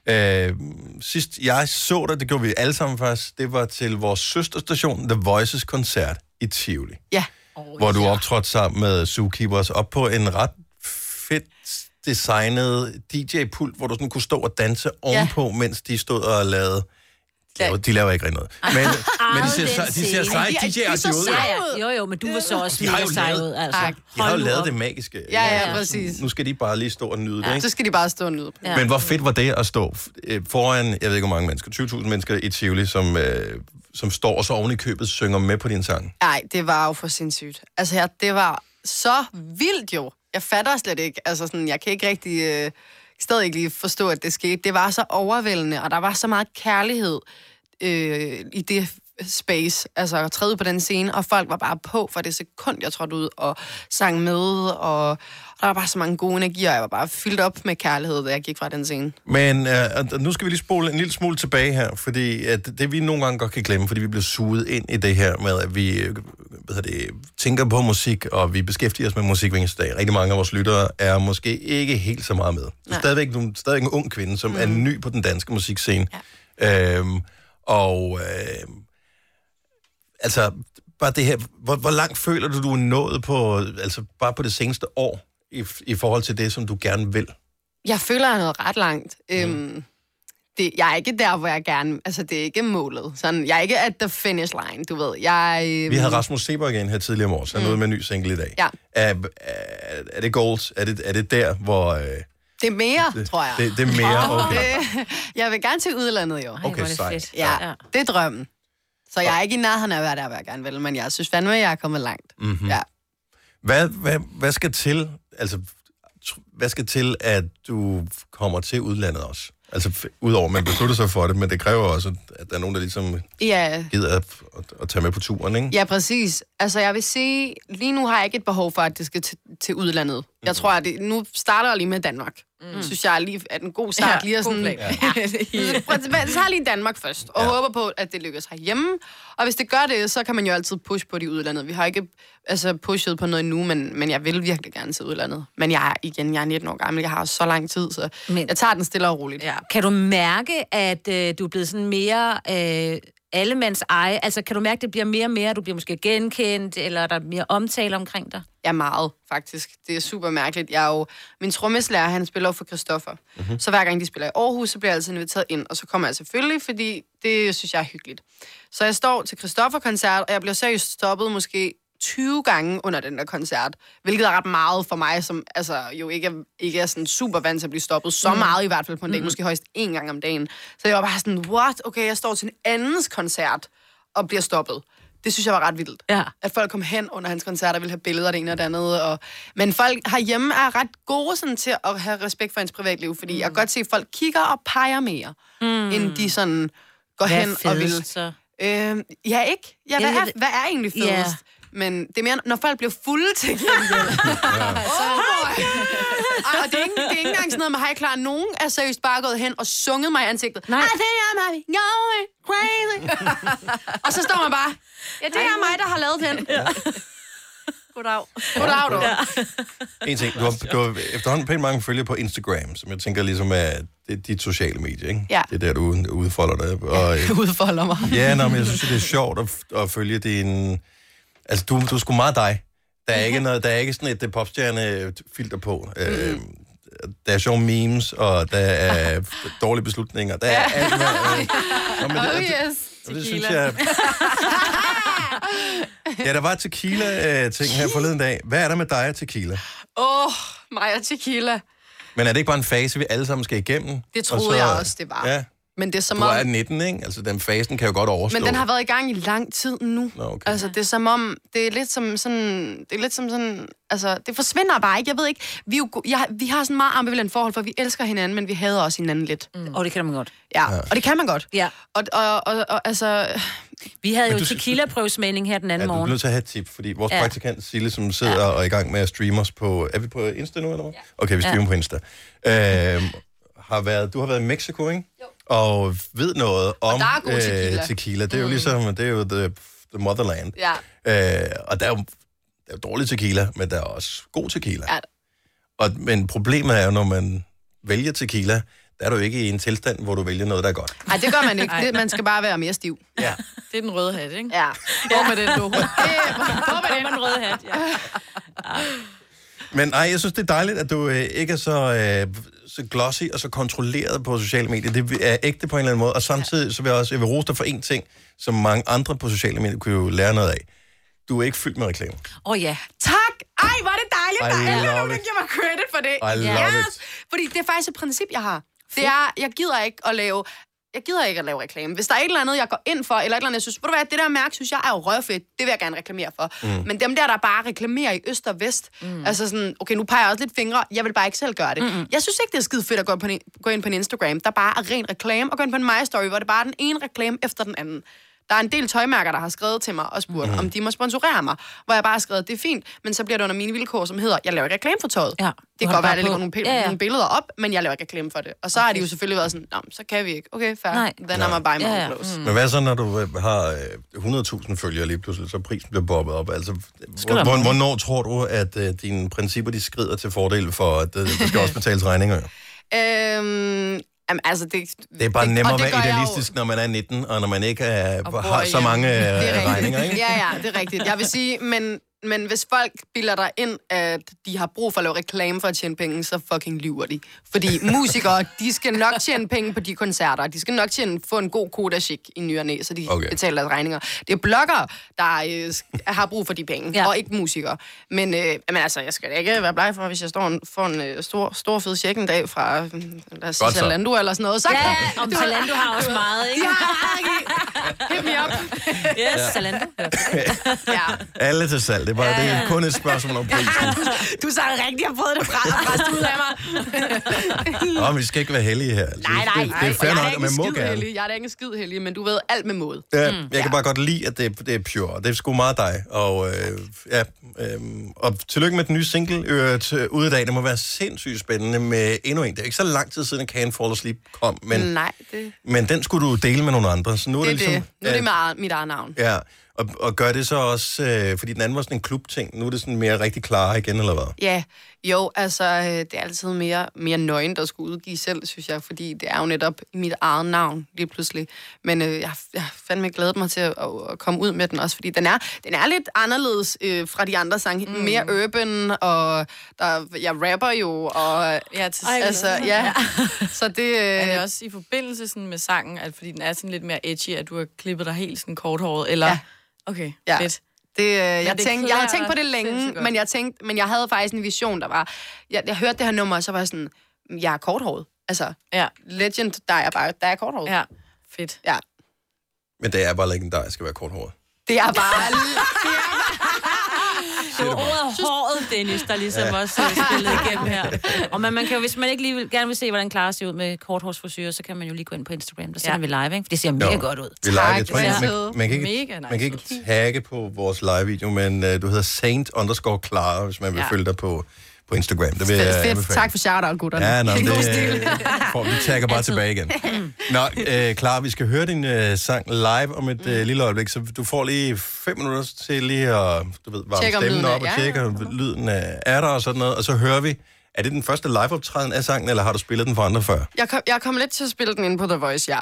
[SPEAKER 1] Øh, sidst jeg så dig, det gjorde vi alle sammen faktisk, det var til vores søsterstation, The Voices koncert i Tivoli.
[SPEAKER 8] Ja.
[SPEAKER 1] Oh, hvor du optrådte sammen med Zookeepers op på en ret fedt designet DJ-pult, hvor du sådan kunne stå og danse ovenpå, mens de stod og lavede... Ja. De laver ikke rigtig noget. Men, men de ser,
[SPEAKER 2] Arve,
[SPEAKER 1] sej-
[SPEAKER 2] den
[SPEAKER 1] de ser
[SPEAKER 2] scene.
[SPEAKER 1] seje
[SPEAKER 2] Ej, de er- de er så
[SPEAKER 1] DJ-agtige ud.
[SPEAKER 2] seje.
[SPEAKER 1] jo.
[SPEAKER 2] Ja, Jo, jo, men du var så også
[SPEAKER 1] De har
[SPEAKER 2] mega
[SPEAKER 1] jo
[SPEAKER 2] sej
[SPEAKER 1] lavet-
[SPEAKER 2] ud, altså.
[SPEAKER 8] Ej,
[SPEAKER 1] De har jo
[SPEAKER 8] hold nu
[SPEAKER 1] lavet
[SPEAKER 8] op.
[SPEAKER 1] det magiske.
[SPEAKER 8] Ja, ja,
[SPEAKER 1] ikke?
[SPEAKER 8] præcis.
[SPEAKER 1] Nu skal de bare lige stå og nyde det,
[SPEAKER 8] Ja.
[SPEAKER 1] ikke?
[SPEAKER 8] Så skal de bare stå og nyde.
[SPEAKER 1] Ja. Men hvor fedt var det at stå øh, foran, jeg ved ikke hvor mange mennesker, 20.000 mennesker i Tivoli, som, øh, som står og så oven i købet synger med på din sang?
[SPEAKER 8] Nej, det var jo for sindssygt. Altså, jeg, det var så vildt jo. Jeg fatter slet ikke. Altså, sådan, jeg kan ikke rigtig... Øh, stadig ikke lige forstå, at det skete. Det var så overvældende, og der var så meget kærlighed øh, i det space, altså at træde på den scene, og folk var bare på for det sekund, jeg trådte ud og sang med, og, og der var bare så mange gode energier, og jeg var bare fyldt op med kærlighed, da jeg gik fra den scene.
[SPEAKER 1] Men øh, og nu skal vi lige spole en lille smule tilbage her, fordi at det vi nogle gange godt kan glemme, fordi vi bliver suget ind i det her med, at vi øh, hvad hedder det, tænker på musik, og vi beskæftiger os med musik hver eneste dag. Rigtig mange af vores lyttere er måske ikke helt så meget med. Du er stadigvæk, du er stadigvæk en ung kvinde, som mm. er ny på den danske musikscene. Ja. Øhm, og øh, altså, bare det her, hvor, hvor langt føler du, du er nået på, altså bare på det seneste år, i, i forhold til det, som du gerne vil?
[SPEAKER 8] Jeg føler, jeg er nået ret langt.
[SPEAKER 1] Mhm.
[SPEAKER 8] Øhm, det, jeg er ikke der, hvor jeg gerne... Altså, det er ikke målet. Sådan, jeg er ikke at the finish line, du ved. Jeg, øhm, Mm.
[SPEAKER 1] Vi havde Rasmus Seberg igen her tidligere om året, så han er ude med en ny single i dag.
[SPEAKER 8] Ja,
[SPEAKER 1] Er, er, er det goals? Er det, er det der, hvor... Øh,
[SPEAKER 8] det er mere, det, tror jeg.
[SPEAKER 1] det, det er mere, okay.
[SPEAKER 8] Det, jeg vil gerne til udlandet, jo.
[SPEAKER 1] hvor er det sejt. fedt.
[SPEAKER 8] Ja, det er drømmen. Så jeg er ikke i nærheden af at være der, hvor jeg gerne vil, men jeg synes fandme, at jeg er kommet langt.
[SPEAKER 1] Mm-hmm.
[SPEAKER 8] Ja.
[SPEAKER 1] Hvad, hvad, hvad skal til, altså, tr- hvad skal til, at du kommer til udlandet også? Altså, f- udover at man beslutter sig for det, men det kræver også, at der er nogen, der ligesom
[SPEAKER 8] Ja,
[SPEAKER 1] gider at, at, at tage med på turen, ikke?
[SPEAKER 8] ja præcis. Altså, jeg vil sige, lige nu har jeg ikke et behov for, at det skal til, til udlandet. Jeg tror, at det, nu starter jeg lige med Danmark. Mm. Synes jeg lige er en god start.
[SPEAKER 3] Ja,
[SPEAKER 8] Ja, lige at
[SPEAKER 3] god
[SPEAKER 8] sådan,
[SPEAKER 3] plan. Ja.
[SPEAKER 8] ja. Så prøv at tilbage- så har jeg lige Danmark først, og ja. håber på, at det lykkes herhjemme. Og hvis det gør det, så kan man jo altid pushe på det i udlandet. Vi har ikke altså, pushet på noget nu, men, men jeg vil virkelig gerne til udlandet. Men jeg er, igen, jeg er 19 år gammel, jeg har så lang tid, så men, jeg tager den stille og roligt. Ja.
[SPEAKER 2] Kan du mærke, at øh, du er blevet sådan mere øh, allemands eje? Altså, kan du mærke, at det bliver mere og mere, du bliver måske genkendt, eller er der mere omtale omkring dig?
[SPEAKER 8] Ja, meget, faktisk. Det er super mærkeligt. Jeg er jo, min trommeslager, han spiller jo for Christoffer.
[SPEAKER 1] Mhm.
[SPEAKER 8] Mm-hmm. Så hver gang de spiller i Aarhus, så bliver jeg altid inviteret ind, og så kommer jeg selvfølgelig, fordi det synes jeg er hyggeligt. Så jeg står til Christoffer-koncert, og jeg bliver seriøst stoppet måske 20 gange under den der koncert, hvilket er ret meget for mig, som altså, jo ikke er, ikke er sådan super vant til at blive stoppet så
[SPEAKER 3] Mm.
[SPEAKER 8] meget i hvert fald på en dag,
[SPEAKER 3] Mm.
[SPEAKER 8] måske højst én gang om dagen. Så jeg var bare sådan, what? Okay, jeg står til en andens koncert og bliver stoppet. Det synes jeg var ret vildt.
[SPEAKER 2] Ja.
[SPEAKER 8] At folk kom hen under hans koncert og ville have billeder af det ene og det andet. Og... Men folk herhjemme er ret gode sådan, til at have respekt for hans privatliv, fordi mm. jeg kan godt se, at folk kigger og peger mere, mm. end de sådan går
[SPEAKER 2] Hmm. Hvad er
[SPEAKER 8] hen og vil.
[SPEAKER 2] fedest, så?
[SPEAKER 8] Øhm, ja, ikke? Ja, hvad,
[SPEAKER 2] Jamen, jeg
[SPEAKER 8] er,
[SPEAKER 2] ved-
[SPEAKER 8] hvad er egentlig fedest?
[SPEAKER 2] Ja.
[SPEAKER 8] Men det er mere, når folk bliver fulde til gengæld. Ej, og det er, ikke, det er ikke engang sådan noget med, hej klar, nogen er seriøst bare gået hen og sunget mig i ansigtet. Nej. det er mig. No, crazy. og så står man bare, ja, det er mig, der har lavet den. Ja. Goddag. Goddag, du. Ja.
[SPEAKER 1] En ting, du har, du har efterhånden pænt mange følgere på Instagram, som jeg tænker ligesom er det er dit sociale medie, ikke?
[SPEAKER 8] Ja.
[SPEAKER 1] Det er der, du ud- udfolder dig. Og, øh,
[SPEAKER 8] Udfolder mig.
[SPEAKER 1] ja, nå, men jeg synes, det er sjovt at, at følge din... Altså, du, du er sgu meget dig. Der er
[SPEAKER 8] Mhm.
[SPEAKER 1] ikke, noget, der er ikke sådan et øh, popstjerne-filter på. Øh,
[SPEAKER 8] Mhm.
[SPEAKER 1] der er sjove memes, og der er dårlige beslutninger. Der er alt, hvad, Nå, men det-
[SPEAKER 8] oh,
[SPEAKER 1] det-
[SPEAKER 8] yes.
[SPEAKER 1] og det synes jeg- ja, der var et tequila-ting her forleden dag. Hvad er der med dig og tequila?
[SPEAKER 8] Åh, oh, mig og tequila.
[SPEAKER 1] Men er det ikke bare en fase, vi alle sammen skal igennem?
[SPEAKER 8] Det
[SPEAKER 1] Og
[SPEAKER 8] troede jeg også, det var.
[SPEAKER 1] Ja.
[SPEAKER 8] Men det er som
[SPEAKER 1] du
[SPEAKER 8] om...
[SPEAKER 1] er 19, ikke? Altså, den fasen kan jo godt overstå.
[SPEAKER 8] Men den har været i gang i lang tid nu.
[SPEAKER 1] Nå, okay.
[SPEAKER 8] Altså, det er som om, det er lidt som sådan, det er lidt som sådan, altså, det forsvinder bare ikke. Jeg ved ikke, vi, er jo, go- jeg, vi har sådan meget ambivalent forhold, for vi elsker hinanden, men vi hader også hinanden lidt.
[SPEAKER 2] Mm. Og det kan man godt.
[SPEAKER 8] Ja, og det kan man godt.
[SPEAKER 2] Ja.
[SPEAKER 8] Og, og, og, og altså...
[SPEAKER 2] Vi havde
[SPEAKER 1] Men
[SPEAKER 2] jo
[SPEAKER 1] du-
[SPEAKER 2] tequila-prøvesmagning her den
[SPEAKER 1] Ja,
[SPEAKER 2] anden
[SPEAKER 1] du er
[SPEAKER 2] morgen.
[SPEAKER 1] nødt til at have et tip, fordi vores
[SPEAKER 2] Ja.
[SPEAKER 1] ja. praktikant Sille, som sidder ja. og er i gang med at streame os på... Er vi på Insta nu, eller hvad? Ja. Okay, vi streamer
[SPEAKER 2] Ja.
[SPEAKER 1] ja. på Insta. Øhm, har været, du har været i Mexico, ikke? Jo. Og ved noget om
[SPEAKER 8] der er god
[SPEAKER 1] øh,
[SPEAKER 8] tequila.
[SPEAKER 1] tequila. Det er jo ligesom, det er jo the, the motherland.
[SPEAKER 8] Ja.
[SPEAKER 1] Øh, og der er jo der er jo dårlig tequila, men der er også god tequila.
[SPEAKER 8] Ja.
[SPEAKER 1] Og, men problemet er jo, når man vælger tequila, der er du ikke i en tilstand, hvor du vælger noget, der er godt.
[SPEAKER 8] Nej, det gør man ikke. Det, man skal bare være mere stiv.
[SPEAKER 1] Ja.
[SPEAKER 8] Det er den røde hat, ikke? Ja. Hvor med den, du? Hvor med den røde hat, ja.
[SPEAKER 1] Men nej, jeg synes, det er dejligt, at du øh, ikke er så, øh, så glossy og så kontrolleret på sociale medier. Det er ægte på en eller anden måde. Og samtidig så vil jeg også jeg vil rose dig for en ting, som mange andre på sociale medier kunne jo lære noget af. Du er ikke fyldt med reklamer.
[SPEAKER 2] Åh oh, ja.
[SPEAKER 8] Tak! Ej, hvor er det dejligt,
[SPEAKER 1] I
[SPEAKER 8] der er
[SPEAKER 1] love
[SPEAKER 8] alle nogen, der
[SPEAKER 1] it.
[SPEAKER 8] giver mig credit for det.
[SPEAKER 1] I love it.
[SPEAKER 8] Fordi det er faktisk et princip, jeg har. Det er, jeg gider ikke at lave jeg gider ikke at lave reklame. Hvis der er et eller andet, jeg går ind for, eller et eller andet, jeg synes, ved du hvad, det der mærke, synes jeg er jo røvfedt, det vil jeg gerne reklamere for. Mm.
[SPEAKER 9] Mm.
[SPEAKER 8] Men dem der, der bare reklamerer i øst og vest, mm. altså sådan, okay, nu peger jeg også lidt fingre, jeg vil bare ikke selv gøre det. Mm-hmm. Jeg synes ikke, det er skide fedt at gå, på en, gå ind på en Instagram, der bare er ren reklame, og gå ind på en My Story, hvor det bare er den ene reklame efter den anden. Der er en del tøjmærker, der har skrevet til mig og spurgt,
[SPEAKER 1] Mhm.
[SPEAKER 8] mm. om de må sponsorere mig, hvor jeg bare har skrevet, det er fint, men så bliver det under mine vilkår, som hedder, jeg laver ikke reklame for tøjet. Ja, det kan
[SPEAKER 2] har det
[SPEAKER 8] godt være,
[SPEAKER 2] bare
[SPEAKER 8] at der ligger
[SPEAKER 2] på.
[SPEAKER 8] nogle, p-
[SPEAKER 2] Ja,
[SPEAKER 8] ja,
[SPEAKER 2] ja.
[SPEAKER 8] ja. nogle billeder op, men jeg laver ikke reklame for det. Og så har de jo selvfølgelig været sådan, Nå, men så kan vi ikke. Okay, fair. Nej. Then I'm a buy my
[SPEAKER 2] Ja,
[SPEAKER 8] ja,
[SPEAKER 2] ja.
[SPEAKER 8] ja. clothes.
[SPEAKER 1] Mm. Men hvad så, når du øh, har øh, 100.000 følgere lige pludselig, så prisen bliver bobbet op? Altså,
[SPEAKER 2] der
[SPEAKER 1] hvor, hvor,
[SPEAKER 2] mange.
[SPEAKER 1] hvornår tror du, at øh, dine principper de skrider til fordel for, at øh, der skal også betales regninger? jo?
[SPEAKER 8] Øhm, jamen, altså, det,
[SPEAKER 1] Det er bare
[SPEAKER 8] det-
[SPEAKER 1] nemmere
[SPEAKER 8] og
[SPEAKER 1] at
[SPEAKER 8] det
[SPEAKER 1] være
[SPEAKER 8] gør jeg jo.
[SPEAKER 1] idealistisk, når man er 19, og når man ikke er, har så
[SPEAKER 8] hjemme.
[SPEAKER 1] mange øh,
[SPEAKER 8] Det er rigtigt.
[SPEAKER 1] regninger. Ikke?
[SPEAKER 8] Ja, ja, det er rigtigt. Jeg vil sige, men, men hvis folk bilder dig ind, at de har brug for at lave reklame for at tjene penge, så fucking lyver de. Fordi musikere, de skal nok tjene penge på de koncerter, og de skal nok tjene, få en god kodachik i ny og næ, så de okay.
[SPEAKER 9] Okay.
[SPEAKER 8] betaler deres regninger. Det er bloggere, der øh, sk- har brug for de penge, ja. og ikke musikere. Men, øh, men altså, jeg skal da ikke være bleg for, hvis jeg står en, får en øh, stor, stor fed check en dag fra, øh, lad os sige,
[SPEAKER 2] Godt så.
[SPEAKER 8] Zalando eller sådan noget. Så
[SPEAKER 2] Ja, om Zalando har også meget, ikke?
[SPEAKER 8] De har Hit me up.
[SPEAKER 2] Yes,
[SPEAKER 1] Ja.
[SPEAKER 2] Zalando.
[SPEAKER 1] Alle til salg. Det er, bare, ja, ja. det er kun et spørgsmål om pris.
[SPEAKER 8] Du sagde rigtigt, jeg prøvede det fra, fra ud af mig.
[SPEAKER 1] Nå, men vi skal ikke være heldige her. Altså,
[SPEAKER 8] nej, nej.
[SPEAKER 1] Det, det er fair
[SPEAKER 8] jeg
[SPEAKER 1] nok,
[SPEAKER 8] ikke
[SPEAKER 1] at man må
[SPEAKER 8] skid
[SPEAKER 1] gerne.
[SPEAKER 8] Heldig. Jeg er da ikke en skid heldig, men du ved alt med måde.
[SPEAKER 1] Ja, mm, jeg kan bare godt lide, at det, det er pure. og Det er sgu meget dig. Og, øh, ja, øh, og tillykke med den nye single øh, til- ude i dag. Det må være sindssygt spændende med endnu en. Det er ikke så lang tid siden, at Can Fall Asleep kom, men,
[SPEAKER 8] Nej, det,
[SPEAKER 1] men den skulle du dele med nogle andre. Så nu er
[SPEAKER 8] det
[SPEAKER 1] det,
[SPEAKER 8] er
[SPEAKER 1] ligesom...
[SPEAKER 8] det. Nu er det
[SPEAKER 1] øh,
[SPEAKER 8] mit eget, mit eget navn.
[SPEAKER 1] Ja, og, og gør det så også... Øh, fordi den anden var sådan en klubting. Nu er det sådan mere rigtig klare igen, eller hvad?
[SPEAKER 8] Ja, jo, altså, øh, det er altid mere, mere nøgen, der skulle udgive selv, synes jeg, fordi det er jo netop mit eget navn lige pludselig. Men øh, jeg, jeg har fandme glædet mig til at, at, at komme ud med den også, fordi den er, den er lidt anderledes øh, fra de andre sange. Mm. Mere urban, og der, jeg rapper jo, og...
[SPEAKER 3] Ja, til,
[SPEAKER 8] Ej, altså, ja. Så det... Øh...
[SPEAKER 3] Er det også i forbindelse sådan med sangen, at fordi den er sådan lidt mere edgy, at du har klippet dig helt sådan korthåret, eller? Ja. Okay,
[SPEAKER 8] Ja.
[SPEAKER 3] ja. fedt.
[SPEAKER 8] Det, øh, jeg,
[SPEAKER 3] det
[SPEAKER 8] tænkte, jeg havde
[SPEAKER 3] klæder
[SPEAKER 8] tænkt på det
[SPEAKER 3] dig
[SPEAKER 8] længe,
[SPEAKER 3] sindssygt godt.
[SPEAKER 8] men jeg, tænkte, men jeg havde faktisk en vision, der var... Jeg, jeg hørte det her nummer, og så var jeg sådan, "Mm, jeg er korthåret. Altså,
[SPEAKER 3] ja.
[SPEAKER 8] legend, der er jeg bare, der er jeg korthåret.
[SPEAKER 3] Ja, fedt.
[SPEAKER 8] Ja,
[SPEAKER 1] Men det er bare ikke en der, jeg skal være korthåret.
[SPEAKER 8] det er bare...
[SPEAKER 2] Det var ordet håret, Dennis, der ligesom
[SPEAKER 1] Ja.
[SPEAKER 2] også øh, spillede igennem her. Og man, man kan jo, hvis man ikke lige vil, gerne vil se, hvordan Clara ser ud med korthårsforsyre, så kan man jo lige gå ind på Instagram, der sender ja. vi live, ikke? For det ser mega
[SPEAKER 1] Jo,
[SPEAKER 2] godt ud.
[SPEAKER 1] Vi live. Jeg tror,
[SPEAKER 2] det
[SPEAKER 1] ikke,
[SPEAKER 2] ser
[SPEAKER 1] man, man, kan ikke,
[SPEAKER 2] mega nice
[SPEAKER 1] man kan ikke tagge på vores live-video, men uh, du hedder Saint underscore Clara, hvis man vil
[SPEAKER 8] Ja.
[SPEAKER 1] ja. følge dig på, på Instagram. Det vil jeg
[SPEAKER 8] Fedt, fedt.
[SPEAKER 1] anbefale.
[SPEAKER 8] Tak for shout-out, gutterne.
[SPEAKER 1] Ja, nå,
[SPEAKER 8] I god
[SPEAKER 1] det,
[SPEAKER 8] stil.
[SPEAKER 1] for, vi tagger bare tilbage igen. Nå, øh, Clara, vi skal høre din øh, sang live om et øh, lille øjeblik, så du får lige fem minutter til lige at du ved, varme
[SPEAKER 6] Tjekke, om
[SPEAKER 1] stemmen
[SPEAKER 6] lyden er-
[SPEAKER 1] op og
[SPEAKER 6] ja, ja,
[SPEAKER 1] tjekke, om lyden er, er der og sådan noget, og så hører vi, er det den første liveoptræden af sangen, eller har du spillet den for andre før?
[SPEAKER 8] Jeg kom, jeg kom lidt til at spille den inde på The Voice, ja.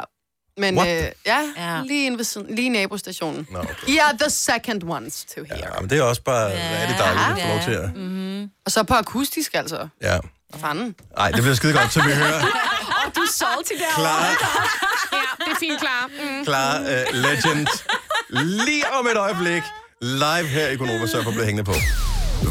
[SPEAKER 8] Men øh,
[SPEAKER 1] What
[SPEAKER 8] ja,
[SPEAKER 1] the-
[SPEAKER 8] ja, lige inde ved siden, lige i nabostationen.
[SPEAKER 1] Nå, okay.
[SPEAKER 8] I are the second ones to hear. Ja.
[SPEAKER 1] Jamen, det er også bare ja. rigtig dejligt, at få lov til at...
[SPEAKER 8] Mm-hmm. Og så på akustisk, altså.
[SPEAKER 1] Ja.
[SPEAKER 8] Hvad fanden?
[SPEAKER 1] Ej, det bliver skide godt, så vi hører
[SPEAKER 8] Og du er salty derovre.
[SPEAKER 1] Clara.
[SPEAKER 8] ja, det er fint, klar. Mm.
[SPEAKER 1] Clara uh, Legend lige om et øjeblik live her i Konoba, så jeg får blive hængende på.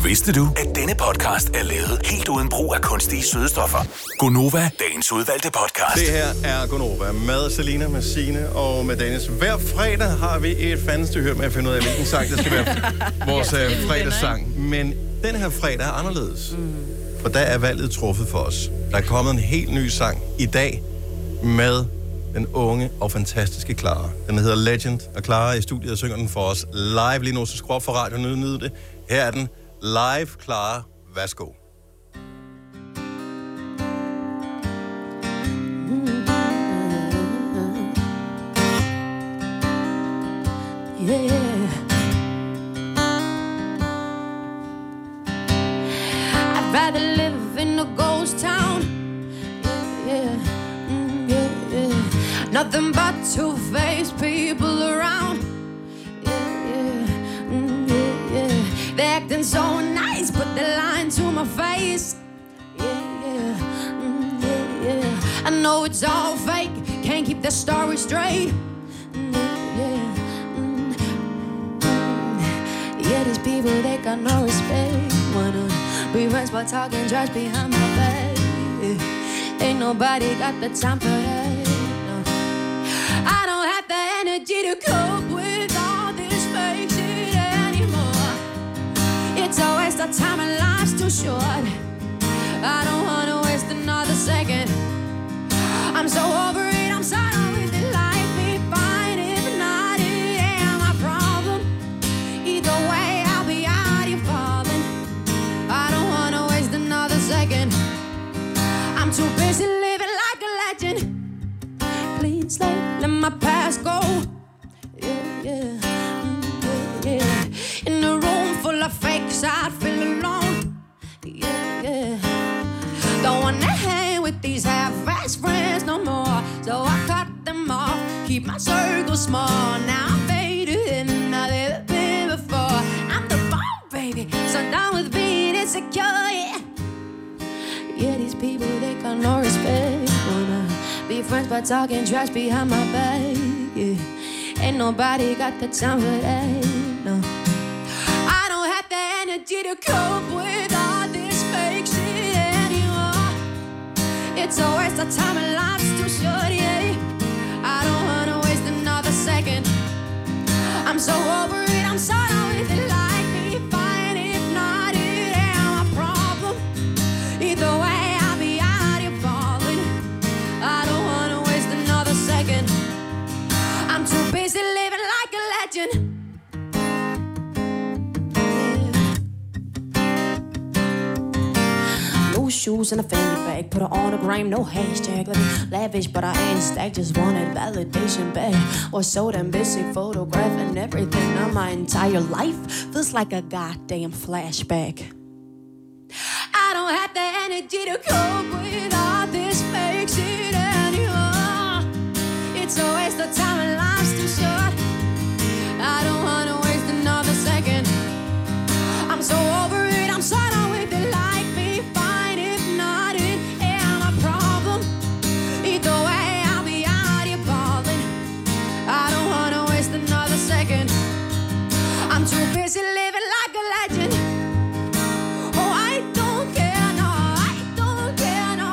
[SPEAKER 11] Vidste du, at denne podcast er lavet helt uden brug af kunstige sødestoffer? Gonova, dagens udvalgte podcast.
[SPEAKER 1] Det her er Gonova med Selina, med Signe og med Dennis. Hver fredag har vi et fandestyr med at finde ud af, hvilken sang der skal være vores øh, fredagssang. Men den her fredag er anderledes. For der er valget truffet for os. Der er kommet en helt ny sang i dag med den unge og fantastiske Clara. Den hedder Legend, og Clara er i studiet og synger den for os live lige nu. Så skru op for radioen og nyd det. Her er den live, Clara. Værsgo.
[SPEAKER 9] Yeah. I'd rather live in a ghost town. Yeah, yeah, mm, yeah, yeah. Nothing but two-faced people around. Yeah, yeah, mm, yeah, yeah. They're acting so nice, but they're lying to my face. Yeah, yeah, mm, yeah, yeah. I know it's all fake. Can't keep the story straight. Mm, yeah, yeah. mm, Yeah, these people, they got no respect. Wanna be friends while talking trash behind my back. Yeah. Ain't nobody got the time for that. no. I don't have the energy to cope with all this fake shit anymore. It's a waste of time and life's too short. I don't wanna waste another second. I'm so over it, I'm sorry with it. Life be fine if not, it ain't my problem. Either way, I'll be out here falling. I don't wanna waste another second. I'm too busy living like a legend. Clean slate, let my past go. Yeah, yeah, mm, yeah, yeah. In a room full of fakes, I'd feel alone. Yeah, yeah. Don't wanna hang with these half-ass friends no more. So I cut them off, keep my circle small. Now I'm faded in, I've never been before. I'm the bomb, baby, so down with being insecure. Yeah, yeah these people they got no respect. Wanna be friends but talking trash behind my back. Yeah. Ain't nobody got the time for that. No. I don't have the energy to cope with all this fake shit anymore. It's a waste of time and life's too short, yeah. I don't wanna waste another second. I'm so over it, I'm sorry with it. Like me, fine, if not, it ain't my problem. Either way, I'll be out here falling. I don't wanna waste another second. I'm too busy living like a legend. No shoes and a fanny bag, put her on a gram, no hashtag. Like lavish, but I ain't stacked, just wanted validation, babe. Or so damn busy photographing everything. Now my entire life feels like a goddamn flashback. I don't have the energy to cope with all this fake shit anymore. It's a waste of time and life's too short. I don't wanna waste another second. I'm so over it, I'm so done with it. Like me, fine, if not, it ain't my problem. Either way, I'll be out here balling. I don't wanna waste another second. I'm too busy living like a legend. Oh, I don't care, no, I don't care, no.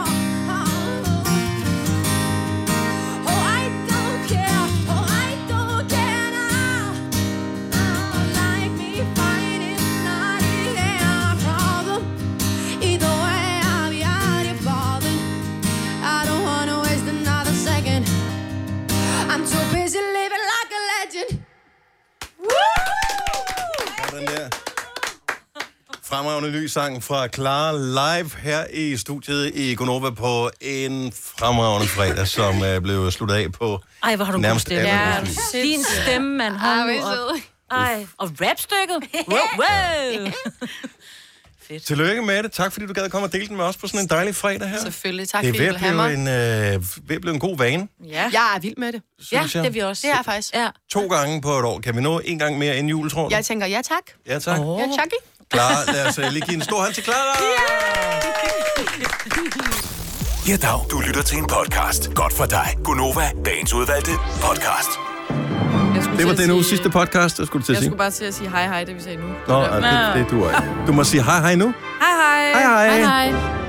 [SPEAKER 9] Oh, I don't care, oh, I don't care, no. Like me, fine, if not, it ain't my problem. Either way, I'll be out here balling. I don't wanna waste another second. I'm too busy living like a legend.
[SPEAKER 1] Den der fremragende ny sang fra Clara live her i studiet i Gonova på en fremragende fredag, som uh, blev sluttet af på
[SPEAKER 2] Ej, hvor har du god
[SPEAKER 1] nærmest
[SPEAKER 2] stemme.
[SPEAKER 1] alle
[SPEAKER 2] Ja,
[SPEAKER 1] mulige.
[SPEAKER 2] din stemme, mand. Hold nu op. Ej, og rapstykket. Wow, wow.
[SPEAKER 1] Tillykke med det. Tak fordi du gad komme og dele den med os på sådan en dejlig fredag her.
[SPEAKER 8] Selvfølgelig. Tak,
[SPEAKER 1] det er
[SPEAKER 8] fordi
[SPEAKER 1] ved
[SPEAKER 8] I
[SPEAKER 1] at
[SPEAKER 8] ville have mig.
[SPEAKER 1] blive en, øh, ved at blive en god vane.
[SPEAKER 8] Ja. Jeg er vild med det.
[SPEAKER 1] Synes jeg. det er vi
[SPEAKER 8] også. Det er jeg faktisk.
[SPEAKER 2] Ja.
[SPEAKER 1] To gange på et år. Kan vi nå en gang mere inden jul, tror du?
[SPEAKER 8] Jeg tænker, ja tak.
[SPEAKER 1] Ja, tak.
[SPEAKER 8] Oh. Ja, Chucky.
[SPEAKER 1] Clara, lad os øh, lige give en stor hånd til Clara.
[SPEAKER 11] Ja, dag. Du lytter til en podcast. Godt for dig. Gonova, dagens udvalgte podcast.
[SPEAKER 2] Jeg
[SPEAKER 1] Det var den uges sidste podcast, jeg skulle til at
[SPEAKER 3] Jeg
[SPEAKER 1] sige.
[SPEAKER 3] skulle bare til at sige hej hej, det vi sagde nu.
[SPEAKER 1] Nå, ja, det, det duer ikke. Du må sige hej hej nu.
[SPEAKER 3] Hej hej.
[SPEAKER 1] Hej, hej.
[SPEAKER 3] hej, hej.